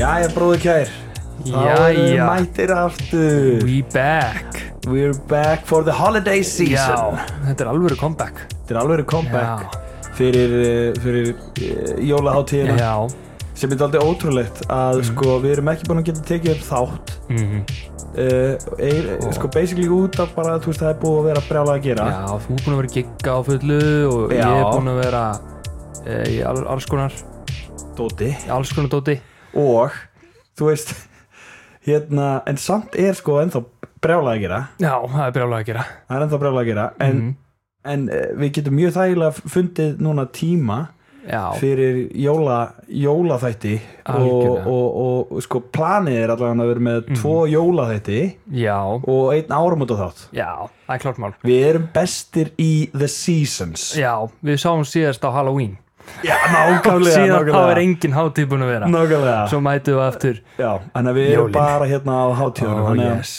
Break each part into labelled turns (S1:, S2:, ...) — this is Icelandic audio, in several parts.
S1: Jæja, bróður kær
S2: Jæja.
S1: Þá erum við mættir aftur
S2: We back
S1: We're back for the holiday season
S2: Já, þetta er alvöru comeback
S1: Þetta er alveg comeback fyrir, eh, fyrir eh, jólaháttíðina
S2: Já
S1: sem er aldrei ótrúlegt að sko, við erum ekki búin að geta tekið upp þátt
S2: Mhm.
S1: uh, er, sko basically út af bara þú veist það er búið að vera brjálað að gera
S2: Já, þú er búin að vera að gigga á fullu og
S1: Já.
S2: ég er búin að vera e, í all, alls konar
S1: Dóti
S2: í alls konar dóti
S1: og þú veist hérna en samt er sko ennþá brjálað að gera
S2: Já, það er brjálega að gera
S1: það er ennþá brjálað að gera en,
S2: Mhm.
S1: en uh, við getum mjög þægilega fundið núna tíma
S2: Já,
S1: fyrir jóla, jólaþætti og,
S2: Algjörlega. Mhm.
S1: og, og, og sko planið er allavega að vera með tvo jólaþætti
S2: já,
S1: og einn áramóta þátt
S2: já, það er klart mál
S1: við erum bestir í the seasons
S2: Já, við sáum síðast á Halloween
S1: já nákvæmlega
S2: Síðan þá er
S1: nákvæmlega,
S2: engin hátíð búin að vera
S1: nákvæmlega.
S2: Svo mætum við aftur
S1: Já, þannig að við erum
S2: Jólin.
S1: bara hérna á hátíðunum
S2: Ó,
S1: þannig að-
S2: yes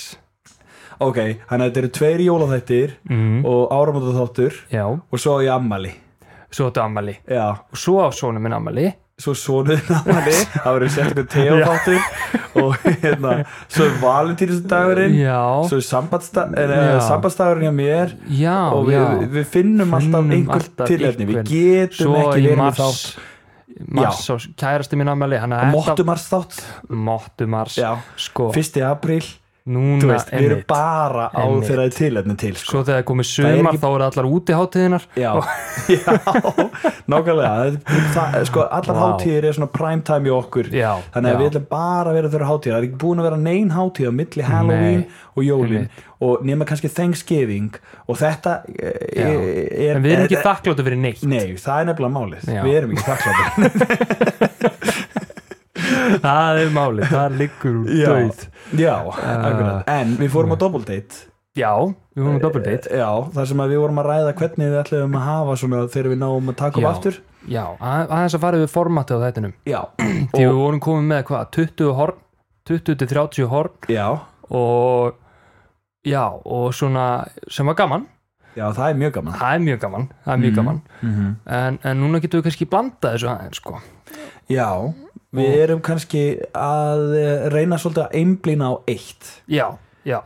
S1: Ok, þannig að þetta eru tveir jólaþættir
S2: Mhm.
S1: og áramöndaþáttur
S2: Já,
S1: og svo á ég ammali
S2: svo áttu ammali
S1: Já,
S2: Og svo á sonu minn ammali
S1: svo sonuðin ammali það verður sérstaklega teoþáttur og hérna, svo er valentínusdagurinn
S2: Já,
S1: svo er
S2: Já.
S1: sambandsdagurinn hjá mér
S2: já,
S1: og
S2: já
S1: við, við finnum alltaf
S2: Finnum
S1: einhver
S2: alltaf
S1: tilhefni við
S2: einhvern.
S1: getum
S2: Svo
S1: ekki
S2: í
S1: verið með
S2: mars
S1: þátt
S2: Mars og kærasti minn ammali
S1: Mottu mars þátt,
S2: Mottu Mars
S1: já,
S2: Sko,
S1: 1. apríl
S2: núna
S1: þú veist, við erum
S2: einmitt.
S1: bara á
S2: Einmitt.
S1: þeirra tilhefni til sko.
S2: Svo þegar komið
S1: er
S2: sumar
S1: ekki-
S2: þá eru allar úti hátíðinar
S1: Já, já, nákvæmlega það, sko, allar
S2: Vá.
S1: hátíðir er svona prime time í okkur
S2: Já,
S1: þannig að
S2: já.
S1: við ætlum bara að vera þeirra hátíðir það er ekki búin að vera nein hátíð á milli Halloween
S2: Nei,
S1: og jólin
S2: einmitt.
S1: og nema kannski Thanksgiving og þetta eh,
S2: Já.
S1: er, er
S2: En við erum ekki
S1: er-
S2: þakkláttu fyrir neitt
S1: Nei, það er nefnilega málið,
S2: Já.
S1: við erum ekki þakkláttir
S2: Það er málið, það liggur úr
S1: Já,
S2: döið
S1: já akkurat. en við fórum á double date
S2: Já, við
S1: Eh,
S2: vorum að double date
S1: Já, þar sem að við vorum að ræða hvernig við ætlum að hafa svona þegar við náum að taka upp
S2: Já.
S1: aftur
S2: Já, að- aðeins að fara yfir formatið á þættinum
S1: Já,
S2: Því við vorum komin með hvað, 20 horn 20 til 30 horn
S1: já,
S2: og já, og svona sem var gaman,
S1: já, það er mjög gaman
S2: það er mjög gaman það er mjög gaman,
S1: Mhm.
S2: en, en núna getum við kannski blanda þessu aðeins sko
S1: Já, við erum kannski að eh, reyna svolítið að einblýna á eitt
S2: Já, já,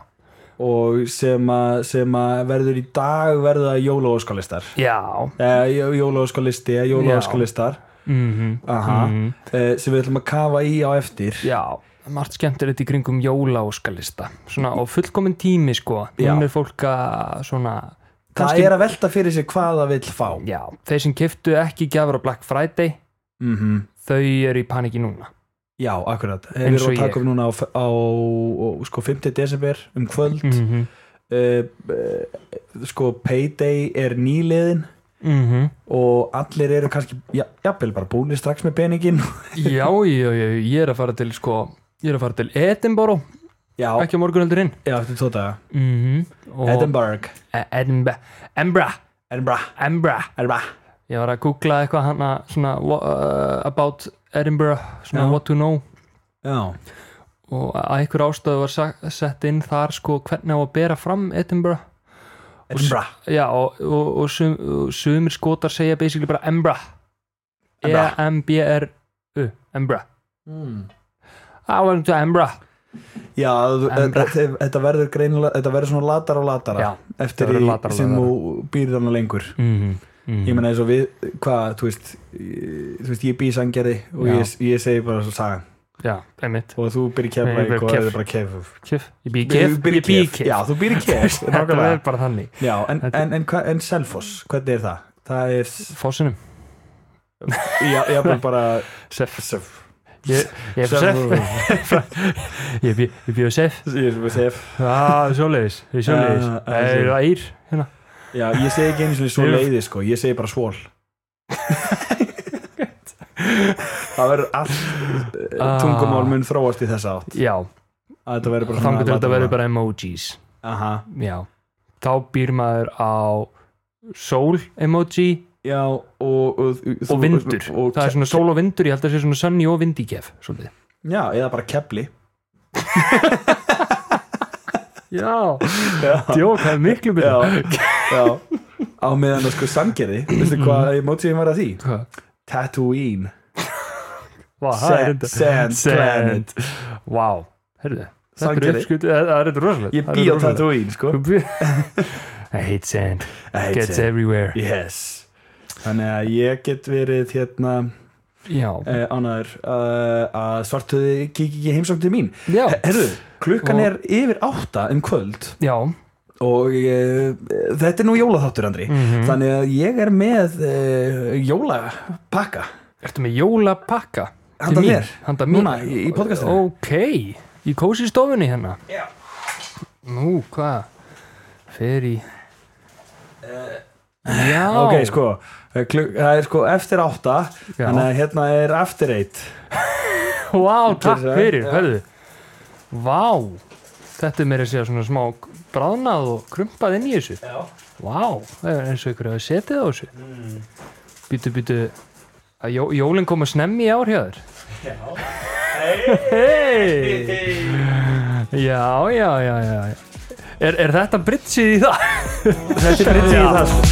S1: og sem að, sem að verður í dag verða jólaóskalistar Eh,
S2: já
S1: jólaóskalisti, jólaóskalistar
S2: mm
S1: aha, eh, sem við ætlum að kafa í á eftir
S2: Já, margt skemmtilegt í kringum jólaóskalista svona, og fullkomin tími sko
S1: Já.
S2: hún er fólk að svona
S1: það er að velta fyrir sér hvað það vill fá
S2: já, þeir sem keftu ekki gjafur á Black Friday
S1: mm
S2: þau eru í paniki núna
S1: já, akkurat, Eh, við
S2: Eins og
S1: erum að taka
S2: ég.
S1: upp núna á, f- á, á sko 5. desember um kvöld mm.
S2: -hmm.
S1: sko payday er nýliðin
S2: Mm -hmm.
S1: og allir eru kannski ja, jafnvel bara búinir strax með peningin
S2: Já, já, já, ég er að fara til sko ég er að fara til Edinburgh
S1: já, Mhm.
S2: ekki á morgunöldurinn
S1: Já, eftir tvo daga
S2: mm og E-
S1: Edinburgh
S2: Edinburgh Embra,
S1: Edinburgh
S2: Embra
S1: Edinburgh
S2: ég var að googla eitthvað hana svona wha- uh, about Edinburgh svona
S1: Já.
S2: what to know
S1: Já,
S2: og að einhver ástöðu var sa- sett inn þar sko hvernig á að bera fram Edinburgh
S1: Edinburgh
S2: já og, og, og, sum, og sumir skotar segja basically bara Embra E
S1: Embra.
S2: E-M-B-R-U Embra I went to Embra
S1: Já, þú-
S2: Edinburgh.
S1: þetta þetta verður greinilega Þetta verður svona latara og latara
S2: Já,
S1: Eftir
S2: þetta
S1: í
S2: verður latara og
S1: sem
S2: latara.
S1: þú býrð hana lengur
S2: mm -hmm.
S1: Ég meina eins og við, hvað, þú veist ég- Þú veist, ég býð sangerði Og
S2: Já.
S1: ég, ég segi bara svo sagan
S2: já, einmitt
S1: Og þú býr í
S2: Ég býr í
S1: keflæk og
S2: Kef.
S1: það er bara kef
S2: kef, ég býr í kef,
S1: Býr í
S2: ég býr í
S1: Kef.
S2: kef
S1: Já, þú býr í kef
S2: þetta
S1: nákvæmlega.
S2: er bara þannig
S1: Já, en,
S2: Þetta-
S1: en, en, hva- en Selfoss, hvernig er það? Það er,
S2: fósinum,
S1: já, ég er bara
S2: sef
S1: Sef
S2: ég, ég er sef, ég býr- ég býr í sef
S1: Ég er sef
S2: já, svoleiðis, ég er svoleiðis
S1: Já, já,
S2: Ah, ég er
S1: já.
S2: ægir hérna
S1: Já, ég segi ekki einu svona svo
S2: Ég-
S1: leiði sko, ég segi bara svol Það verður allt uh,
S2: Ah.
S1: tungumál mun eh, þróast í þessa átt
S2: Já,
S1: að þetta verður bara svona
S2: þangar Ah. til þetta
S1: latína.
S2: verður bara emojis
S1: Aha.
S2: já, þá býr maður á sól emoji
S1: Já, og, og,
S2: og vindur,
S1: og,
S2: það er svona sól og vindur ég held að það sé svona sunny og vindíkef svolítið.
S1: Já, eða bara kepli
S2: já,
S1: Já,
S2: djók, það er miklu
S1: já,
S2: betur
S1: já. Á meðan að sko samgerði Veistu
S2: Mhm.
S1: hvað emojiðin var að því?
S2: Hvað?
S1: Tatooine
S2: Vá, það er
S1: Sand,
S2: þetta
S1: sand planet
S2: Vá, heyrðu Þetta er
S1: Sandgerði.
S2: uppskut, það er þetta rosalegt
S1: Ég bý á Tatooine, sko
S2: tattoo I hate sand, gets everywhere
S1: Yes Þannig að ég get verið hérna
S2: Já,
S1: eh, ánæður uh, að svartuði kíkja ekki heimsókn til mín
S2: já,
S1: Herðu, klukkan
S2: Og-
S1: er yfir átta um kvöld
S2: já
S1: og uh, þetta er nú jólaþáttur Andri
S2: Mhm.
S1: þannig að ég er með uh, jólapakka
S2: Ertu með jólapakka? til
S1: Handa
S2: mín?
S1: mér.
S2: Handa mér
S1: Núna, í- í podcastinu.
S2: Ok, í kósi stofunni hérna
S1: Já.
S2: Nú, hvað? Fer í Já
S1: ok, sko, eh, kluk, það er sko eftir átta
S2: Já.
S1: þannig að hérna er after eight
S2: Vá, takk
S1: Gerðu það,
S2: fyrir,
S1: eh? já.
S2: verðu Vá Þetta er meira að segja svona smá bráðnað og krumpað inn í þessu
S1: Já.
S2: Vá, það er eins og ykkur hefur setið á þessu mm. Býtu, býtu að jó, Jólin kom að snemmi í ár hjá þér Hei Já, já, já, já Er, er þetta britsið í það?
S1: þetta er bryndið í það sko.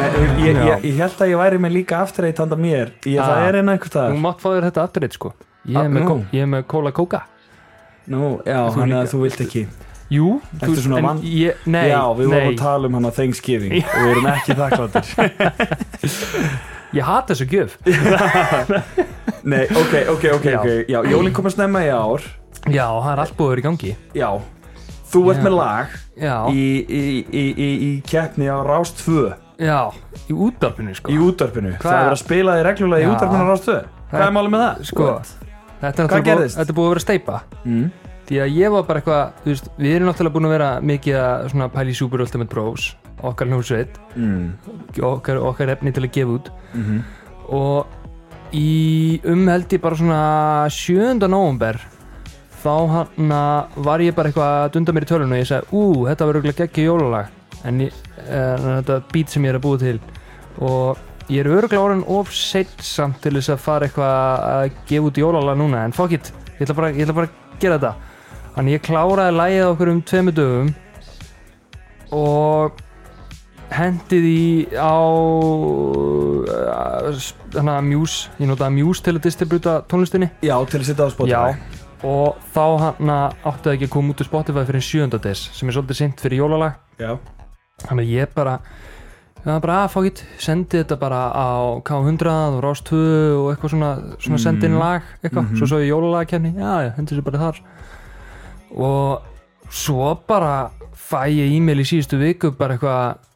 S1: Nei, ég, ég,
S2: Já.
S1: ég, ég held að ég væri með líka after eight handa mér ég, það
S2: Ah.
S1: er einn einhvers
S2: Þú
S1: staðar
S2: mátt fá þér þetta afturreitt sko Ég
S1: Ah,
S2: er með,
S1: nú.
S2: kó, ég er með kóla kóka
S1: Nú, já,
S2: Þú
S1: þannig að
S2: líka.
S1: þú vilt ekki
S2: Jú,
S1: Ertu svona
S2: en
S1: van-
S2: ég, Nei,
S1: Já, við vorum
S2: nei
S1: að tala um hana Thanksgiving og við erum ekki þakkláttir
S2: Ég hata þessu gjöf
S1: Nei, ok, ok, ok,
S2: Já.
S1: ok Já, jólinn kom að snemma í ár
S2: Já, það er allt búið að vera í gangi
S1: Já, þú ert
S2: Já.
S1: með lag
S2: Já,
S1: í, í, í, í, í keppni á Rás 2
S2: já, í útdarpinu sko
S1: í útvarpinu
S2: Hvað?
S1: Það er að spila þig reglulega í
S2: Já.
S1: útvarpinu á Rás 2 Hvað er málið með það?
S2: Sko, þetta er náttúrulega búið,
S1: gerðist?
S2: þetta er búið að vera steipa
S1: Mm.
S2: Því að ég var bara eitthvað, þú veist, við erum náttúrulega búin að vera mikið að svona pæli Super Ultimate Bros Okkar hljómsveit,
S1: Mm.
S2: okkar, okkar efni til að gefa út
S1: Mhm.
S2: Og í umheld ég bara svona 7. november Þá hann var ég bara eitthvað að dunda mér í tölun og ég sagði Ú, þetta var örgulega geggja jólalag En ég, eh, en þetta beat sem ég er að búa til Og ég er örgulega orðin of seitt samt til þess að fara eitthvað að gefa út jólalag núna En fuck it, ég ætla bara, ég ætla bara að gera þetta Þannig ég kláraði lagið á okkur um tveimu dögum Og hendi því á þannig að Muse, ég notaði Muse til að distributa tónlistinni
S1: Já, til að sitta á Spotify
S2: Já, og þá hann átti það ekki að koma út úr Spotify fyrir 7. des sem er svolítið sent fyrir jólalag
S1: Já.
S2: þannig að ég bara ég var bara að fókitt, sendi þetta bara á K100 og Rást 2 og eitthvað svona, svona mm. sendi inn lag eitthvað, svo svo ég jólalagakefni já, já, hendur sér bara þar og svo bara fæ ég e-mail í síðustu viku bara eitthvað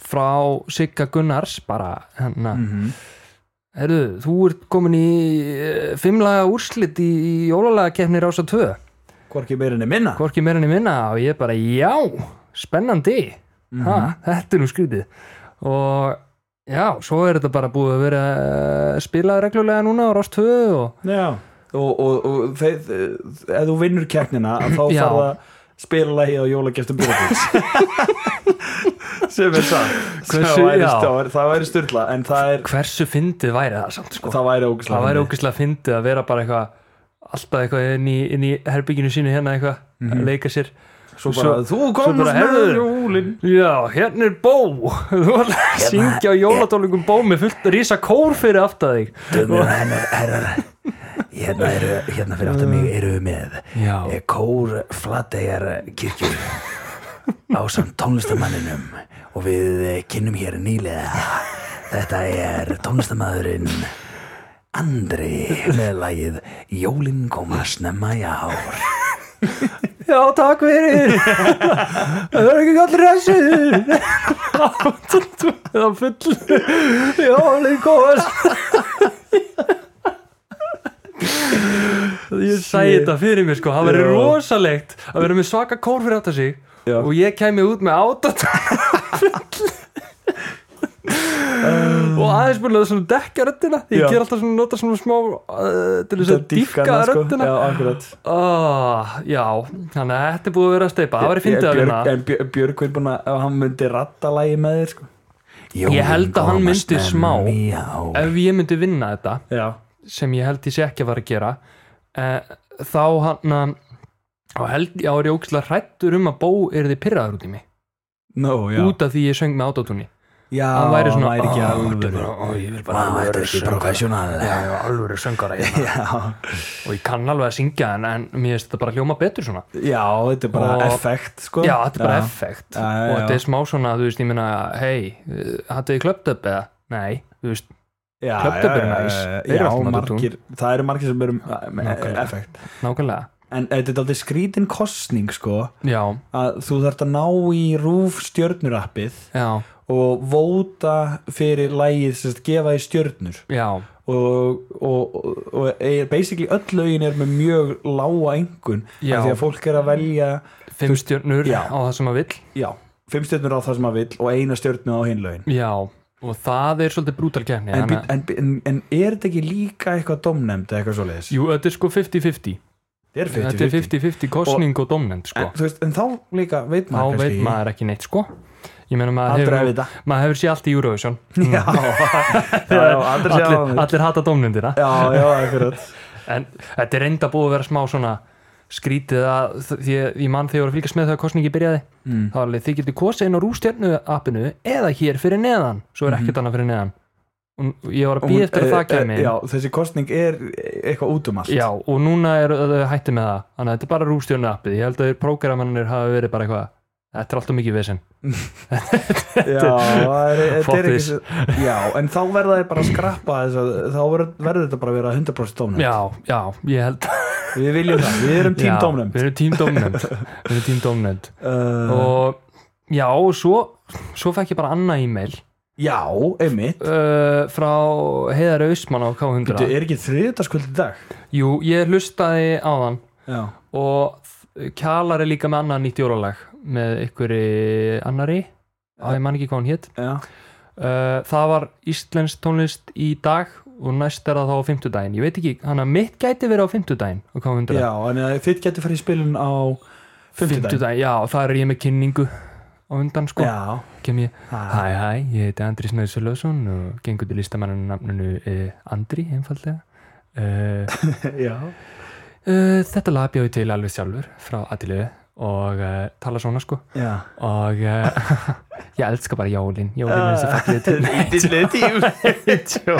S2: frá Sigga Gunnars bara hérna
S1: Mhm.
S2: Herru, þú ert komin í eh, fimmlaga úrslit í, í jólalagakefni Rása 2
S1: Hvorki meirinni minna
S2: Hvorki meira enn ég minna og ég bara, já, spennandi ha,
S1: Mhm.
S2: Þetta er nú skrítið Og já, svo er þetta bara búið að vera eh, spilað reglulega núna á Rása 2 og
S1: Já Og, og, og þeir, eh, ef þú vinnur keppnina að þá
S2: Já.
S1: þarf að spila lagið á jólagestum byrjafins sem er satt
S2: Hversu-
S1: það væri,
S2: já.
S1: það væri, það væri styrla en það, er,
S2: Hversu fyndið væri það samt sko
S1: það væri ógæslega
S2: Það væri ógeðslega fyndið að vera bara eitthvað Alltaf eitthvað inn í, inn í herbygginu sínu hérna eitthvað
S1: Mhm.
S2: að leika sér
S1: svo bara, þú komst
S2: bara,
S1: með
S2: heyrðu.
S1: jólin
S2: Já, hérna er bó Þú var að
S1: Hérna
S2: syngja á jóladólingum bó með fullt rísa kór fyrir aftar þig
S1: hérna, er, hérna fyrir aftur mig eru við með
S2: Já.
S1: eh, kór flategjar kirkjur á samt tónlistamanninum og við eh, kynnum hér nýlega þetta er tónlistamæðurinn Andri með lagið Jólin koma snemma í ár
S2: Já, takk fyrir Það er ekki allir ræsir Það er full Já, líka góðast ég sagði þetta fyrir mér sko það væri rosalegt að vera með svaka kór fyrir átta sig
S1: Já.
S2: og ég kæmi út með átta og aðeins búin að svona dekka röddina ég
S1: Já.
S2: ger alltaf svona nota svona smá uh, til þess að dýfka röddina
S1: sko. Já, akkurat
S2: oh, já, þannig að þetta er búið að vera að steipa það væri fyndið hérna. að vinna
S1: En Björg- Björg er búin að, ef hann myndi ratta lagi með þér, sko
S2: Ég held að hann myndi smá.
S3: já,
S2: ef ég myndi vinna þetta
S1: Já,
S2: sem ég held ég sé ekki að fara að gera eh, þá hann að þá held ég að ég ógislega hrættur um að bó er þið pyrraður út í mig
S1: no, já
S2: út af því ég söng með autotunni
S1: Já,
S2: hann væri svona
S1: væri ekki
S2: "Ah, þetta er
S1: alveg
S2: bara- ó, ég vil bara
S3: Vá, þetta er
S2: alvöru
S3: ekki
S2: söngvara
S3: professional
S2: Já, já, alvöru söngara hérna.
S1: Já,
S2: og ég kann alveg að syngja en, en mér finnst þetta bara hljóma betur svona
S1: já, þetta er bara
S2: Og-
S1: effekt, sko
S2: já, þetta er bara effekt
S1: Já, já,
S2: og þetta
S1: já.
S2: er smá svona, þú veist, ég minna hei, hattu þið klöpt upp eða? Nei, þú veist,
S1: Já,
S2: Klöpptöp eru
S1: já,
S2: næs.
S1: já,
S2: Þeir eru
S1: Já,
S2: alltaf með
S1: margir, það eru margir sem eru með e-
S2: Nákvæmlega.
S1: effekt
S2: nákvæmlega
S1: En þetta er aldrei skrítin kostning sko
S2: já,
S1: að þú þarft að ná í rúf stjörnurappið
S2: já,
S1: og vóta fyrir lægið sem sagt, gefa í stjörnur
S2: já
S1: og, og, og, og er, basically öll lögin er með mjög lága engun
S2: Já.
S1: af því að fólk er að velja
S2: fimm stjörnur
S1: já.
S2: á það sem að vill
S1: já, fimm stjörnur á það sem maður vill og eina stjörnu á hinn lögin
S2: Já, og það er svolítið brútal kefni
S1: en, být- en, en, en er þetta ekki líka eitthvað domnemnd eða eitthvað svoleiðis?
S2: Jú, þetta er sko 50-50
S1: Þetta er
S2: Þetta er 50-50 kosning og, domnend
S1: En,
S2: sko.
S1: þú veist, en þá líka veit
S2: Þá
S1: maður
S2: veit
S1: kannski
S2: maður ekki neitt sko Ég meina maður
S1: Aldrei að
S2: hefur,
S1: vita.
S2: maður hefur séð allt í Eurovision
S1: Já, já, já, aldrei sjá
S2: allir,
S1: hann
S2: allir hata domnendina
S1: Já, já, akkurat
S2: En þetta er reynda búið að vera smá svona skrítið að þ- því að ég mann þegar ég var að fylgjast með þegar kosningi byrjaði mm. þá er alveg þið getur kosið inn á rústjarnu appinu eða hér fyrir neðan svo
S1: Mhm.
S2: er ekkert annað fyrir neðan og ég var að býja eftir að það kemi
S1: eh, Já, þessi kostning er eitthvað út um allt
S2: Já, og núna er þau hætti með það Þannig að þetta er bara rústjónu appið Ég held að þeir prógramannir hafi verið bara eitthvað Þetta er alltaf mikið vesinn
S1: já það er, þetta
S2: Fuck
S1: er ekki
S2: this.
S1: svo- Já, en þá verða þeir bara að skrappa þess að þá verður, verður þetta bara að vera 100% dómnum
S2: Já, já, ég held
S1: Við viljum það, við erum
S2: Já,
S1: tím dómnum
S2: Við erum tím dómnefnd Við erum tím dómnefnd Uh-huh.
S1: uh,
S2: Og já, og svo Svo fekk ég bara annað e-mail
S1: Já, einmitt
S2: uh, Frá Heiðar Ausmann á K100
S1: Þetta er ekki þriðutaskvöld í dag
S2: Jú, ég hlustaði á þann
S1: Já,
S2: Og þ- Kjalar er líka með annað nýtt jólalag Með einhverju annari Æ, ég man ekki hvað hún hétt
S1: já,
S2: Uh, það var Íslensk tónlist í dag og næst er það þá á fimmtudaginn ég veit ekki, hann að mitt gæti verið á fimmtudaginn og hvað hundur
S1: já En þitt getur farið í spilun á 50 dag
S2: já, og það er ég með kynningu á undan sko,
S1: Já,
S2: kem ég
S1: það
S2: hæ hæ, ég heiti Andri Snæður Sölvason og gengur til listamanninu nafninu uh, Andri, einfallega uh,
S1: Já,
S2: uh, þetta lag bjóði til alveg sjálfur frá Adilu og uh, tala svona sko
S1: já
S2: og uh, ég elska bara jólin jólin er þessi fallið til
S1: Ítlið tím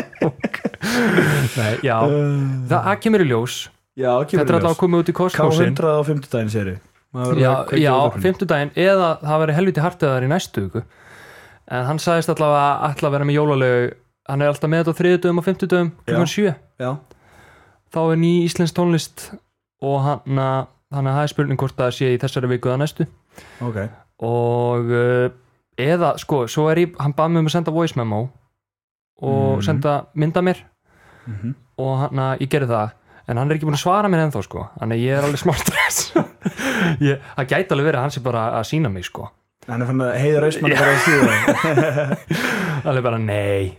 S2: Nei, já, það það kemur í ljós
S1: Já, kemur í
S2: Þetta er
S1: ljós.
S2: alltaf að koma út í kosmosin
S1: K100 á 50 daginn séru
S2: Já, já fimmtudaginn eða það verið helviti hartiðar í næstu viku en hann sagðist alltaf að alltaf að vera með jólalög hann er alltaf með þetta á þriðudögum og fimmtudögum klukkan sjö,
S1: já,
S2: þá er ný íslensk tónlist og hann að hann að það er spurning hvort það sé í þessari viku eða næstu
S1: ok
S2: og uh, eða sko, svo er ég, hann bað mig um að senda voice memo og
S1: Mhm.
S2: senda mynda mér
S1: Mhm.
S2: og hann að ég gerði það en hann er ekki búin að svara mér ennþá sko þannig að ég er alveg smá stress Ég- það gæti alveg verið að hann sé bara að sína mig sko
S1: Hann er fann að heiða rausmann bara að síða
S2: alveg bara nei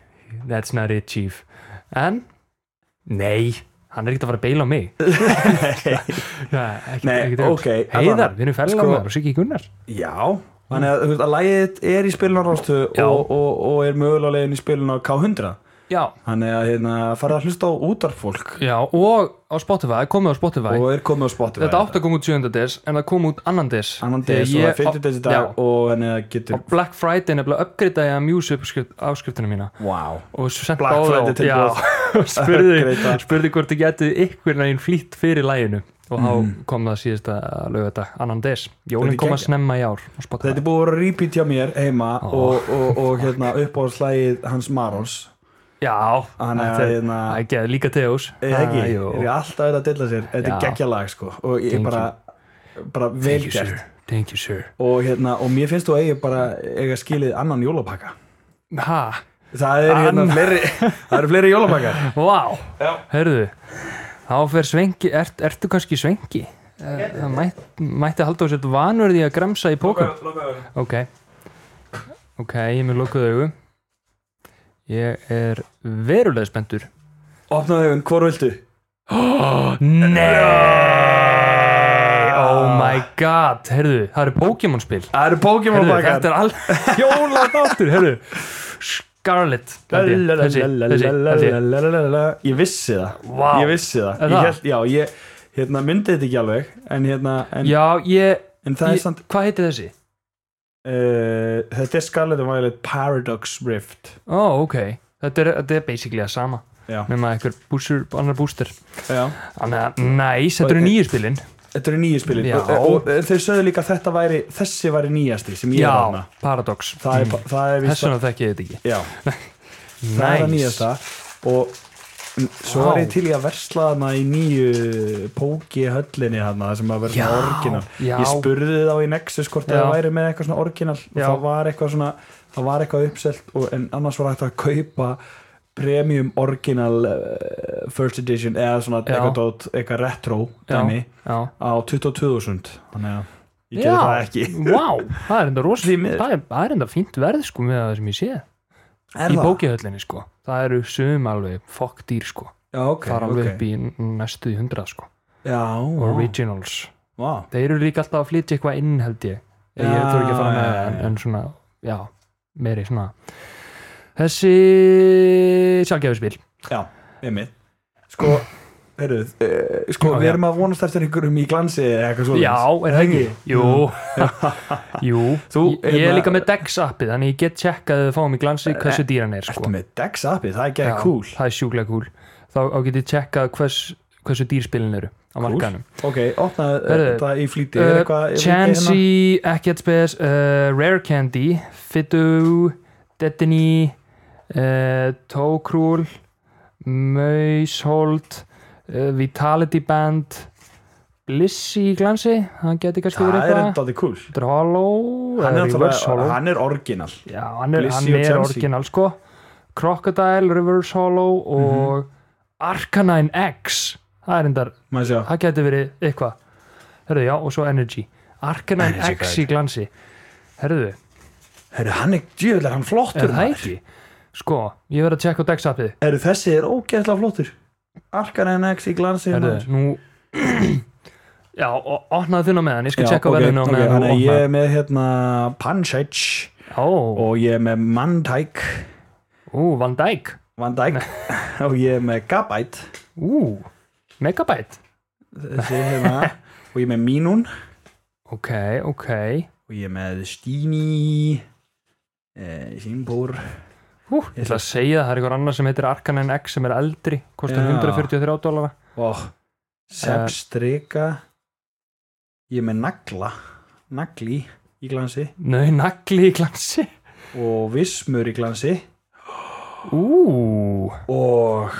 S2: that's not it chief en nei hann er ekkert að fara að beila á mig ja, ekki,
S1: Nei,
S2: ekki til.
S1: ok,
S2: heiðar,
S1: allavega.
S2: við erum ferðlega
S1: Sko-
S2: maður og Siggi Gunnar
S1: Já, þannig að, þú veist, að lægið þitt er í spilun á rástu
S2: Já.
S1: og, og, og er mögulega leiðin í spilun á K100
S2: já,
S1: Þannig að hérna, farið að hlusta á útarfólk
S2: já, og á Spotify, komið á Spotify
S1: og er komið á Spotify
S2: þetta átti að koma út 7. des en það kom út annan des
S1: Annan des og það
S2: Þegar ég-
S1: er 50 des í dag
S2: Já,
S1: og henni að getur
S2: á Black Friday nefnilega uppgreitaði að mjúsi afskriftina mína
S1: Wow
S2: og sent
S1: Black
S2: báða á-
S1: Friday
S2: já,
S1: tilboð.
S2: og spurði,
S1: Upgradear.
S2: spurði hvort þið getið ykkur neginn flýtt fyrir læginu og þá kom það síðasta lögata annan des,
S1: Mm. Þetta
S2: jólinn
S1: er
S2: kom að
S1: geggjað.
S2: snemma í ár á Spotify.
S1: Þetta er búið að vera repeat hjá mér heima og, og, og hérna, upp á slægið hans Marons
S2: já,
S1: Þannig að,
S2: þetta er-
S1: hérna-
S2: það er geð líka tegjós
S1: Eða ekki,
S2: Ah, jú.
S1: er ég alltaf verið að dilla sér Þetta er
S2: Já.
S1: geggjalag sko og ég
S2: Thank
S1: bara, bara vel
S2: Thank you, sir.
S1: gert
S2: thank you sir
S1: og, hérna, og mér finnst þú eigi bara eiga skilið annan jólapakka
S2: ha,
S1: Það er hérna
S2: Annan-
S1: fleiri, það eru fleiri jólapakkar
S2: wow,
S1: Já.
S2: herðu þá fer svengi, ert, ertu kannski svengi? Eh, Það mætt, mætti halda á sér vanverði að gramsa í pókum Ok Ok, ég er með lokuð augu Ég er verulega spenntur
S1: Opnaðu augun, hvor viltu?
S2: Nei
S1: Ah.
S2: Oh my god, heyrðu, það eru Pokémon spil
S1: Það eru Pokémon
S2: Heyrðu,
S1: bakar
S2: þetta er all Jóla þáttur, heyrðu Scarlet held ég. Þessi, þessi, þessi
S1: Lalalalalalala. Ég vissi það
S2: Vá.
S1: Ég vissi það,
S2: Er
S1: Ég
S2: það?
S1: held, Já, ég hérna, myndi þetta ekki alveg En, hérna, en,
S2: Já, ég,
S1: en það
S2: ég
S1: er samt
S2: Hvað heitir þessi?
S1: uh, Þetta er Scarlet and Violet Paradox Rift
S2: Ó, ok Þetta er, þetta er basically að sama
S1: Já,
S2: nema einhver búsur, annar búster
S1: já
S2: Þannig að, næs, þetta eru
S1: Og-
S2: nýju spilin
S1: Þetta eru nýju spilin
S2: Já.
S1: og, og, og þeir sögðu líka að þetta væri Þessi væri nýjasti sem ég er
S2: Já,
S1: hana
S2: Paradox
S1: Það er,
S2: Mm.
S1: mm. það er víst
S2: Þess vegna þekki ég þetta ekki
S1: Já, það er að
S2: Næs,
S1: nýjasta Og mm, svo var
S2: Vá.
S1: ég til í að versla hana í nýju Póki höllinni hana Það sem að vera svona
S2: Já,
S1: orginal
S2: já.
S1: Ég spurði þá í Nexus hvort
S2: Já.
S1: það væri með eitthvað svona orginal og
S2: Já.
S1: það var eitthvað svona það var eitthvað uppselt og, en annars var hægt að kaupa premium original uh, first edition eða svona
S2: Já.
S1: eitthvað, dót, eitthvað retro
S2: Já.
S1: dæmi
S2: já
S1: á 22.000 þannig að ég
S2: Já.
S1: gerði það ekki
S2: Vá, það er enda rosa
S1: Því miður.
S2: það er, það er enda fínt verð sko með það sem ég sé
S1: Er
S2: Í
S1: það?
S2: bókihöllinni sko Það eru sum alveg fokk dýr sko
S1: Já, ok,
S2: Það er alveg
S1: ok
S2: upp í n- næstu í hundrað sko
S1: Já, vá,
S2: Originals
S1: vá.
S2: Þeir eru líka alltaf að flytja eitthvað inn held ég Ég
S1: Já,
S2: þurfi ekki að fara með
S1: já,
S2: það en,
S1: já.
S2: en svona, já, meiri svona Þessi sjálfgæfispil
S1: Já, einmitt Sko, heyrðu, uh, sko
S2: Já,
S1: við
S2: já.
S1: erum að vonast eftir einhverjum í glansi eða eitthvað svo
S2: Já, er það ekki? Jú, Jú.
S1: Þú,
S2: ég, ég er
S1: hérna- Eh,
S2: líka með Dex appi þannig ég get chekkað að við fáum í glansi hversu dýran er sko.
S1: Ertu með Dex appið, það er ekki
S2: Já,
S1: cool
S2: Það er sjúklega cool Þá á get ég chekkað hvers, hversu dýrspilin eru á markanum
S1: Ok, opnaðu uh,
S2: Heyrðu,
S1: það í flýti Er
S2: uh,
S1: eitthvað- er hérna? eitthvað
S2: Chansey, ekkert spes uh, Rare Candy, Fidu Dettany uh, Tókrúl Maushold uh, Vitality Band Blissi í glansi hann geti kannski verið
S1: hérna? Það er
S2: eitthvað
S1: enda alveg cool
S2: Þetta er Hollow
S1: Hann
S2: eða
S1: er,
S2: Reverse
S1: náttúrulega-
S2: Hollow
S1: hann er orginal
S2: Já, hann er, hann
S1: Blissey og
S2: er
S1: Chansey.
S2: orginal sko Crocodile, Reverse Hollow og
S1: Mhm.
S2: Arcanine X Það er endar,
S1: Má ég sjá
S2: það getur verið eitthvað Herðu, já, og svo Energy Arcanine
S1: Energy
S2: X
S1: guide.
S2: í glansi Herðu,
S1: Heyrðu, hann er djöðlega, hann flottur
S2: er það
S1: maður.
S2: ekki? Sko, ég verð að tjekka á Dex-appið
S1: Heyrðu, þessi er ógeðlega flottur Arkan NX í glansi
S2: Herðu, nú Já, og opnaðu þunna með hann, ég skal tjekka okay, verðinu á
S1: ok,
S2: meðan
S1: hann
S2: þú
S1: er ég
S2: opnaðu
S1: er með hérna Punch
S2: Ó,
S1: og ég er með Mandyke
S2: ú, Van Dijk
S1: Van Dyke og ég er með Gabite
S2: Ú, Megabyte
S1: þessi er hérna og ég er með Minun
S2: Ok, ok
S1: og ég er með Stíni eh, Simbor
S2: Hú, ég ætla að segja það, það er einhver annar sem heitir Arcanine X sem er eldri, kostar
S1: Já.
S2: 143 dólara
S1: og
S2: Eh.
S1: Sebstrika ég er með Nagla Nagli í glansi
S2: Nau, nagli í glansi
S1: og Vismur í glansi
S2: Ú,
S1: og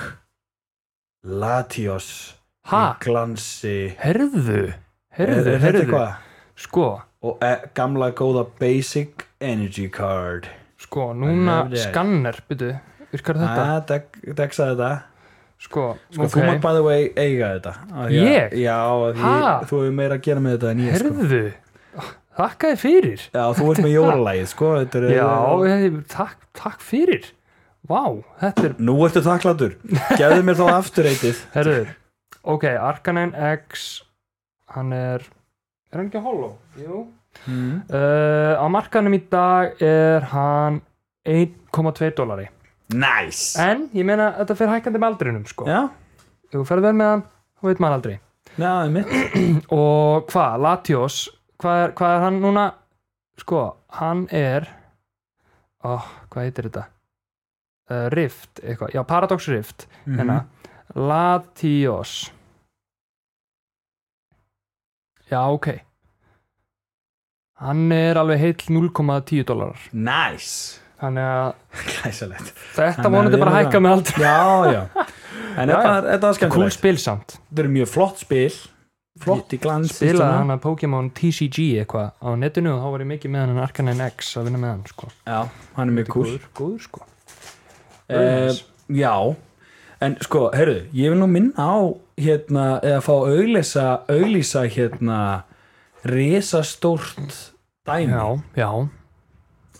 S1: Latios
S2: ha,
S1: í glansi
S2: herðu
S1: Er-
S2: Herðu,
S1: er þetta
S2: herðu,
S1: eitthvað?
S2: sko
S1: og eh, gamla góða Basic Energy Card
S2: Sko, núna
S1: love that.
S2: skanner, byrju, virkar þetta
S1: Ah, dek- Dexa þetta
S2: Sko,
S1: Sko, þú mátt
S2: ok,
S1: by the way eiga þetta Af því að-
S2: Ég?
S1: Já, af því
S2: Ha?
S1: þú hefur meira að gera með þetta en ég sko.
S2: herðu Þakkaði fyrir
S1: Já, þú ert með jólalagið sko. þetta er-
S2: Já, ég- takk, takk fyrir Vá, þetta er,
S1: Nú ertu þakklátur Gefðu mér þá aftur eitið
S2: herðu Ok, Arcanine X Hann er, er hann ekki hollow? Jú
S1: mm.
S2: Uh, á markanum í dag er hann 1,2 dólari
S1: Nice
S2: en ég meina að þetta fer hækkandi með aldrinum sko.
S1: Já,
S2: ef þú ferð vel með hann, þá veit maður aldrei
S1: já, það er mitt
S2: og hvað, Latios hvað er, hvað er hann núna sko, hann er oh, hvað heitir þetta uh, Rift, eitthvað, já Paradox Rift
S1: mm
S2: hérna, Latios já, ok hann er alveg heill 0,10 dólarar
S1: Nice
S2: Þannig að
S1: Glæsilegt
S2: þetta
S1: Þannig að
S2: vonandi
S1: við
S2: bara
S1: erum
S2: hækka
S1: það.
S2: með aldrei
S1: Já, já En
S2: Já,
S1: þetta var- þetta var
S2: Cool
S1: skemmtilegt
S2: spil samt
S1: Þetta er mjög flott spil Flott í glans
S2: Spilaði hann að Pokémon TCG eitthvað á netinu og þá var ég mikið með hann en Arcanine X að vinna með hann sko
S1: Já, hann er mjög cool
S2: Góður, góður sko
S1: Eh,
S2: Nice.
S1: Já en sko, heyrðu, ég vil nú minna á hérna, eða fá auglýsa auglýsa hérna risastórt dæmi
S2: já, já,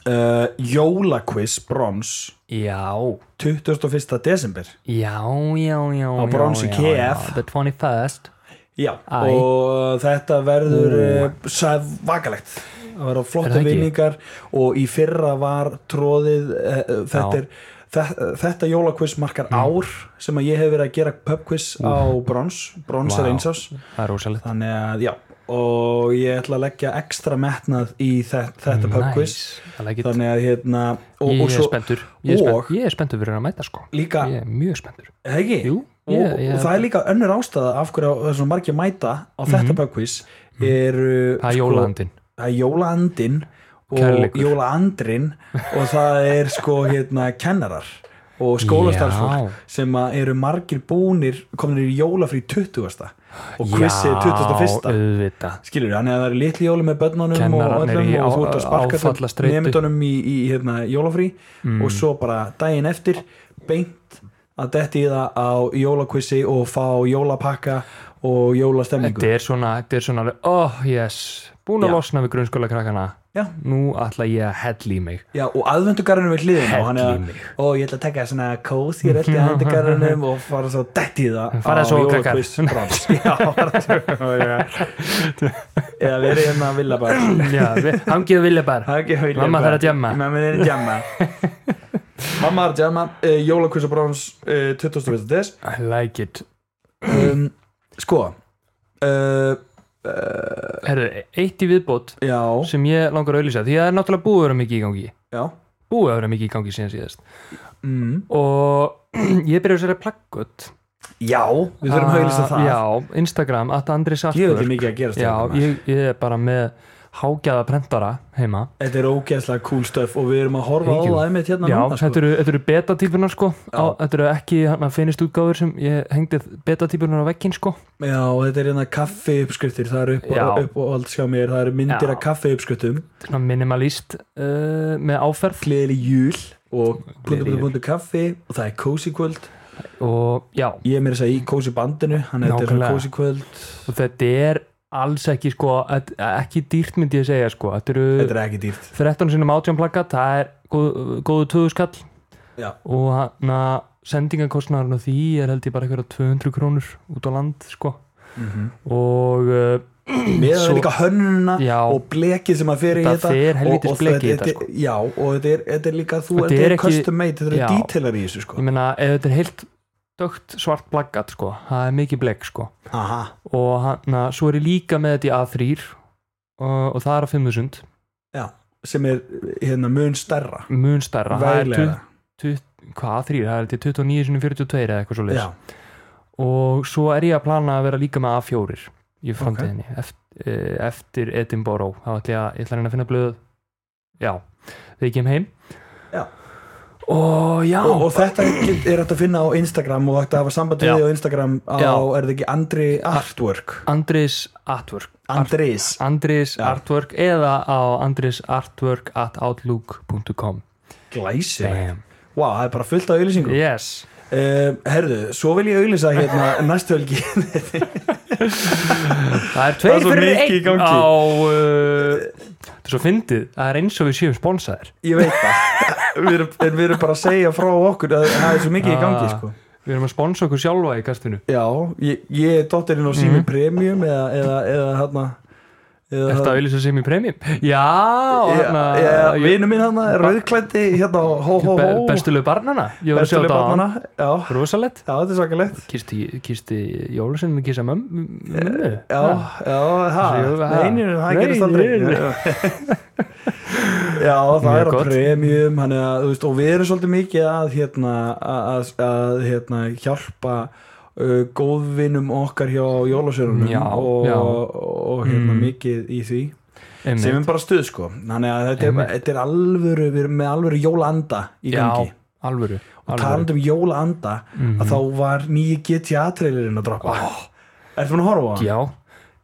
S1: uh, Jólakviss brons
S2: já
S1: 21. desember
S2: já, já, já
S1: Á Bronze
S2: já,
S1: KF.
S2: já, the 21st
S1: Já,
S2: Æ.
S1: og þetta verður uh, vakalegt að vera
S2: Er það
S1: flottu
S2: ekki?
S1: vinningar og í fyrra var tróðið uh, þetta,
S2: Já. Mm.
S1: er, þetta, þetta jólakviss markar ár sem að ég hef verið að gera pubquiss á brons, brons
S2: Vá.
S1: er einsás
S2: það er rosalegt
S1: þannig að já og ég ætla að leggja ekstra metnað í þetta, þetta pubquiz
S2: það er ekki
S1: þannig að hérna og,
S2: ég
S1: og
S2: er
S1: svo,
S2: spenntur ég er, spennt,
S1: og-
S2: ég er spenntur fyrir að mæta sko
S1: Líka-
S2: ég er mjög spenntur
S1: hegi,
S2: Jú,
S1: og,
S2: ég- ég-
S1: og það er líka önnur ástæða af hverju það er svona margir mæta á þetta mm eru
S2: Mhm. það er
S1: sko,
S2: jólahandin
S1: það er jólaandinn og
S2: Kærleikur.
S1: jólaandrin og það er sko hérna kennarar og skólastarfsfólk
S2: Já.
S1: sem að eru margir búnir komnir í jólafrí 20. og quizið 21.
S2: auðvitað
S1: skilur við, þannig að það eru litli jóli með börnunum og
S2: Kennarar eru
S1: öllum
S2: í
S1: og þú
S2: á-
S1: ert að sparka
S2: áfallastreitu. Mm.
S1: nefndunum í, í hérna, jólafrí og svo bara daginn eftir beint að detti í það á jólakvissi og fá jólapakka og jólastemningu
S2: þetta er svona, þetta er svona alveg, oh yes, búin að
S1: Já.
S2: losna við grunnskóla krakkana
S1: Já.
S2: nú ætla ég að hella í mig
S1: Já, og aðvendugarinn við hliðin og hann er að,
S2: Helli mig.
S1: og ég ætla að taka svona kósi rölt í aðvendugarinn og fara svo dætt í það
S2: Farið
S1: á
S2: svo, krakkar.
S1: jólakviss brons. Já, farið svo, já. eða verið hérna að vilja bara
S2: já, við, hangið vilja bara
S1: Það er ekki vilja
S2: Mamma
S1: bara.
S2: þarf að djamma.
S1: Mamma þarf að djamma Mamma þarf að djamma uh, Jólakviss og brons uh, 20. des
S2: I like it
S1: um, Sko
S2: eh,
S1: uh,
S2: Herðu, eitt í viðbót
S1: Já,
S2: sem ég langar að auðlýsa því að það er náttúrulega búið að vera mikið í gangi
S1: já
S2: búið að vera mikið í gangi síðan síðast
S1: mm.
S2: og ég byrja að sér að plaggut
S1: Já, við þurfum að auðvitað það
S2: Ah, Já, Instagram, at Andri
S1: Ég hef ekki
S2: Sarkur
S1: mikið að hérna. gera
S2: Já,
S1: stjórnum
S2: ég, ég er bara með hágæða prentara heima
S1: Þetta er ógeðslega cool stöf og við erum að horfa á
S2: Thank you.
S1: það einmitt hérna
S2: Já,
S1: núna sko.
S2: þetta eru, þetta eru beta-típunar sko á, Þetta eru ekki hann að finnist útgáfur sem ég hengdi beta-típunar á veggin sko
S1: Já, og þetta er hérna kaffi uppskriftir það eru upp,
S2: Já.
S1: upp og allt skjá mér það eru myndir
S2: Já.
S1: af kaffi uppskriftum
S2: Þetta er svona minimalist uh, með áferð
S1: gleðli júl og
S2: Gleðileg jól.
S1: blundu kaffi og það er cozy kvöld
S2: og já,
S1: ég er mér að segja í cozy bandinu hann er þetta er svona
S2: Nákvæmlega.
S1: cozy kvöld
S2: og þetta er alls ekki sko, að- ekki dýrt myndi ég segja sko, þetta eru
S1: þetta er ekki dýrt
S2: 13 sinum átján plakkat, það er góð, góðu töðuskall
S1: Já.
S2: og hann að sendingakostnaðurinn á því er held ég bara eitthvað 200 krónur út á land sko og uh,
S1: Mhm. við erum
S2: Svo-
S1: líka hönnuna
S2: Já.
S1: og blekið sem að fyrir í
S2: Þetta
S1: þetta
S2: fer helvítis
S1: og- og
S2: blekið í
S1: þetta
S2: þetta, sko.
S1: er- já, og þetta er, þetta er líka þú,
S2: Þetta
S1: þetta
S2: er
S1: er
S2: ekki-
S1: custom made þetta
S2: Já.
S1: eru dítelar í þessu
S2: ég
S1: sko
S2: meina ef þetta er heilt dögt svart plaggat sko, það er mikið blek sko
S1: aha,
S2: og hann að svo er ég líka með þetta í A3 og, og það er að 5000
S1: já, sem er hérna mun stærra
S2: mun stærra,
S1: veglegra.
S2: það er 20, hvað A3, það er held ég 29 sinum 42 eða eitthvað svo
S1: já,
S2: og svo er ég að plana að vera líka með A4 í framtíðinni eftir, eftir Edinburgh þá ætla ég að, ég ætla að reyna að finna blöð já, þegar ég kem heim
S1: Já.
S2: og já
S1: og, og þetta get- er hægt að finna á Instagram og hægt að hafa samband við
S2: Já.
S1: þig á Instagram á,
S2: Já.
S1: er það ekki Andri Artwork
S2: Andris Artwork
S1: Andris,
S2: Andris
S1: Já.
S2: Artwork eða á andrisartwork at outlook.com
S1: glæsileg
S2: Bam.
S1: Vá, það er bara fullt af auðlýsingum yeah.
S2: yes
S1: Herðu, svo vil ég auðlýsa hérna næstu helgi
S2: það er
S1: Það er
S2: tveir
S1: svo
S2: fyrir
S1: mikið í
S2: einn
S1: gangi.
S2: á uh, þetta er svo fyndið, það er eins og við séum sponsaðir
S1: Ég veit það við erum, En við erum bara að segja frá okkur að það er svo mikið í gangi
S2: Ah.
S1: sko.
S2: við erum að sponsa okkur sjálfa í kastinu
S1: Já, ég, ég er dottirinn á sími premium eða, eða, eða hérna eða,
S2: Þetta auðvitað sem í premjum Já,
S1: hérna,
S2: hérna
S1: Vinu minn hérna, rauðklændi hérna, hó, hó, hó,
S2: be- Bestulegu barnana Ég var að
S1: bestuleg
S2: sjá þetta á hann
S1: barnana Já,
S2: Rosalett
S1: já, þetta er svakalegt
S2: Kisti, kisti Jólusinn að kissa mömmu mömmu?
S1: Eh, Já, já,
S2: Þessi,
S1: það
S2: ha?
S1: Nei, nei, nei, það
S2: Nei,
S1: gerist
S2: nei,
S1: aldrei
S2: nei.
S1: Já, það
S2: Mjög
S1: er á
S2: gott.
S1: premium hann er að, þú veist, og við erum svolítið mikið að hérna, að, að hérna, hjálpa uh, góðvinum okkar hjá jólasjörunum
S2: Já,
S1: og,
S2: já.
S1: og, hérna
S2: Mm.
S1: mikið í því
S2: Einmitt.
S1: sem er bara stuð sko þannig að þetta er,
S2: Einmitt.
S1: þetta er alvöru við erum með alvöru jólaanda í gangi
S2: Já, alvöru Mhm.
S1: og talandi um jólaanda að þá var nýji GTA trailerinn að droppa oh. Ertu búin að horfa á hann?
S2: Já,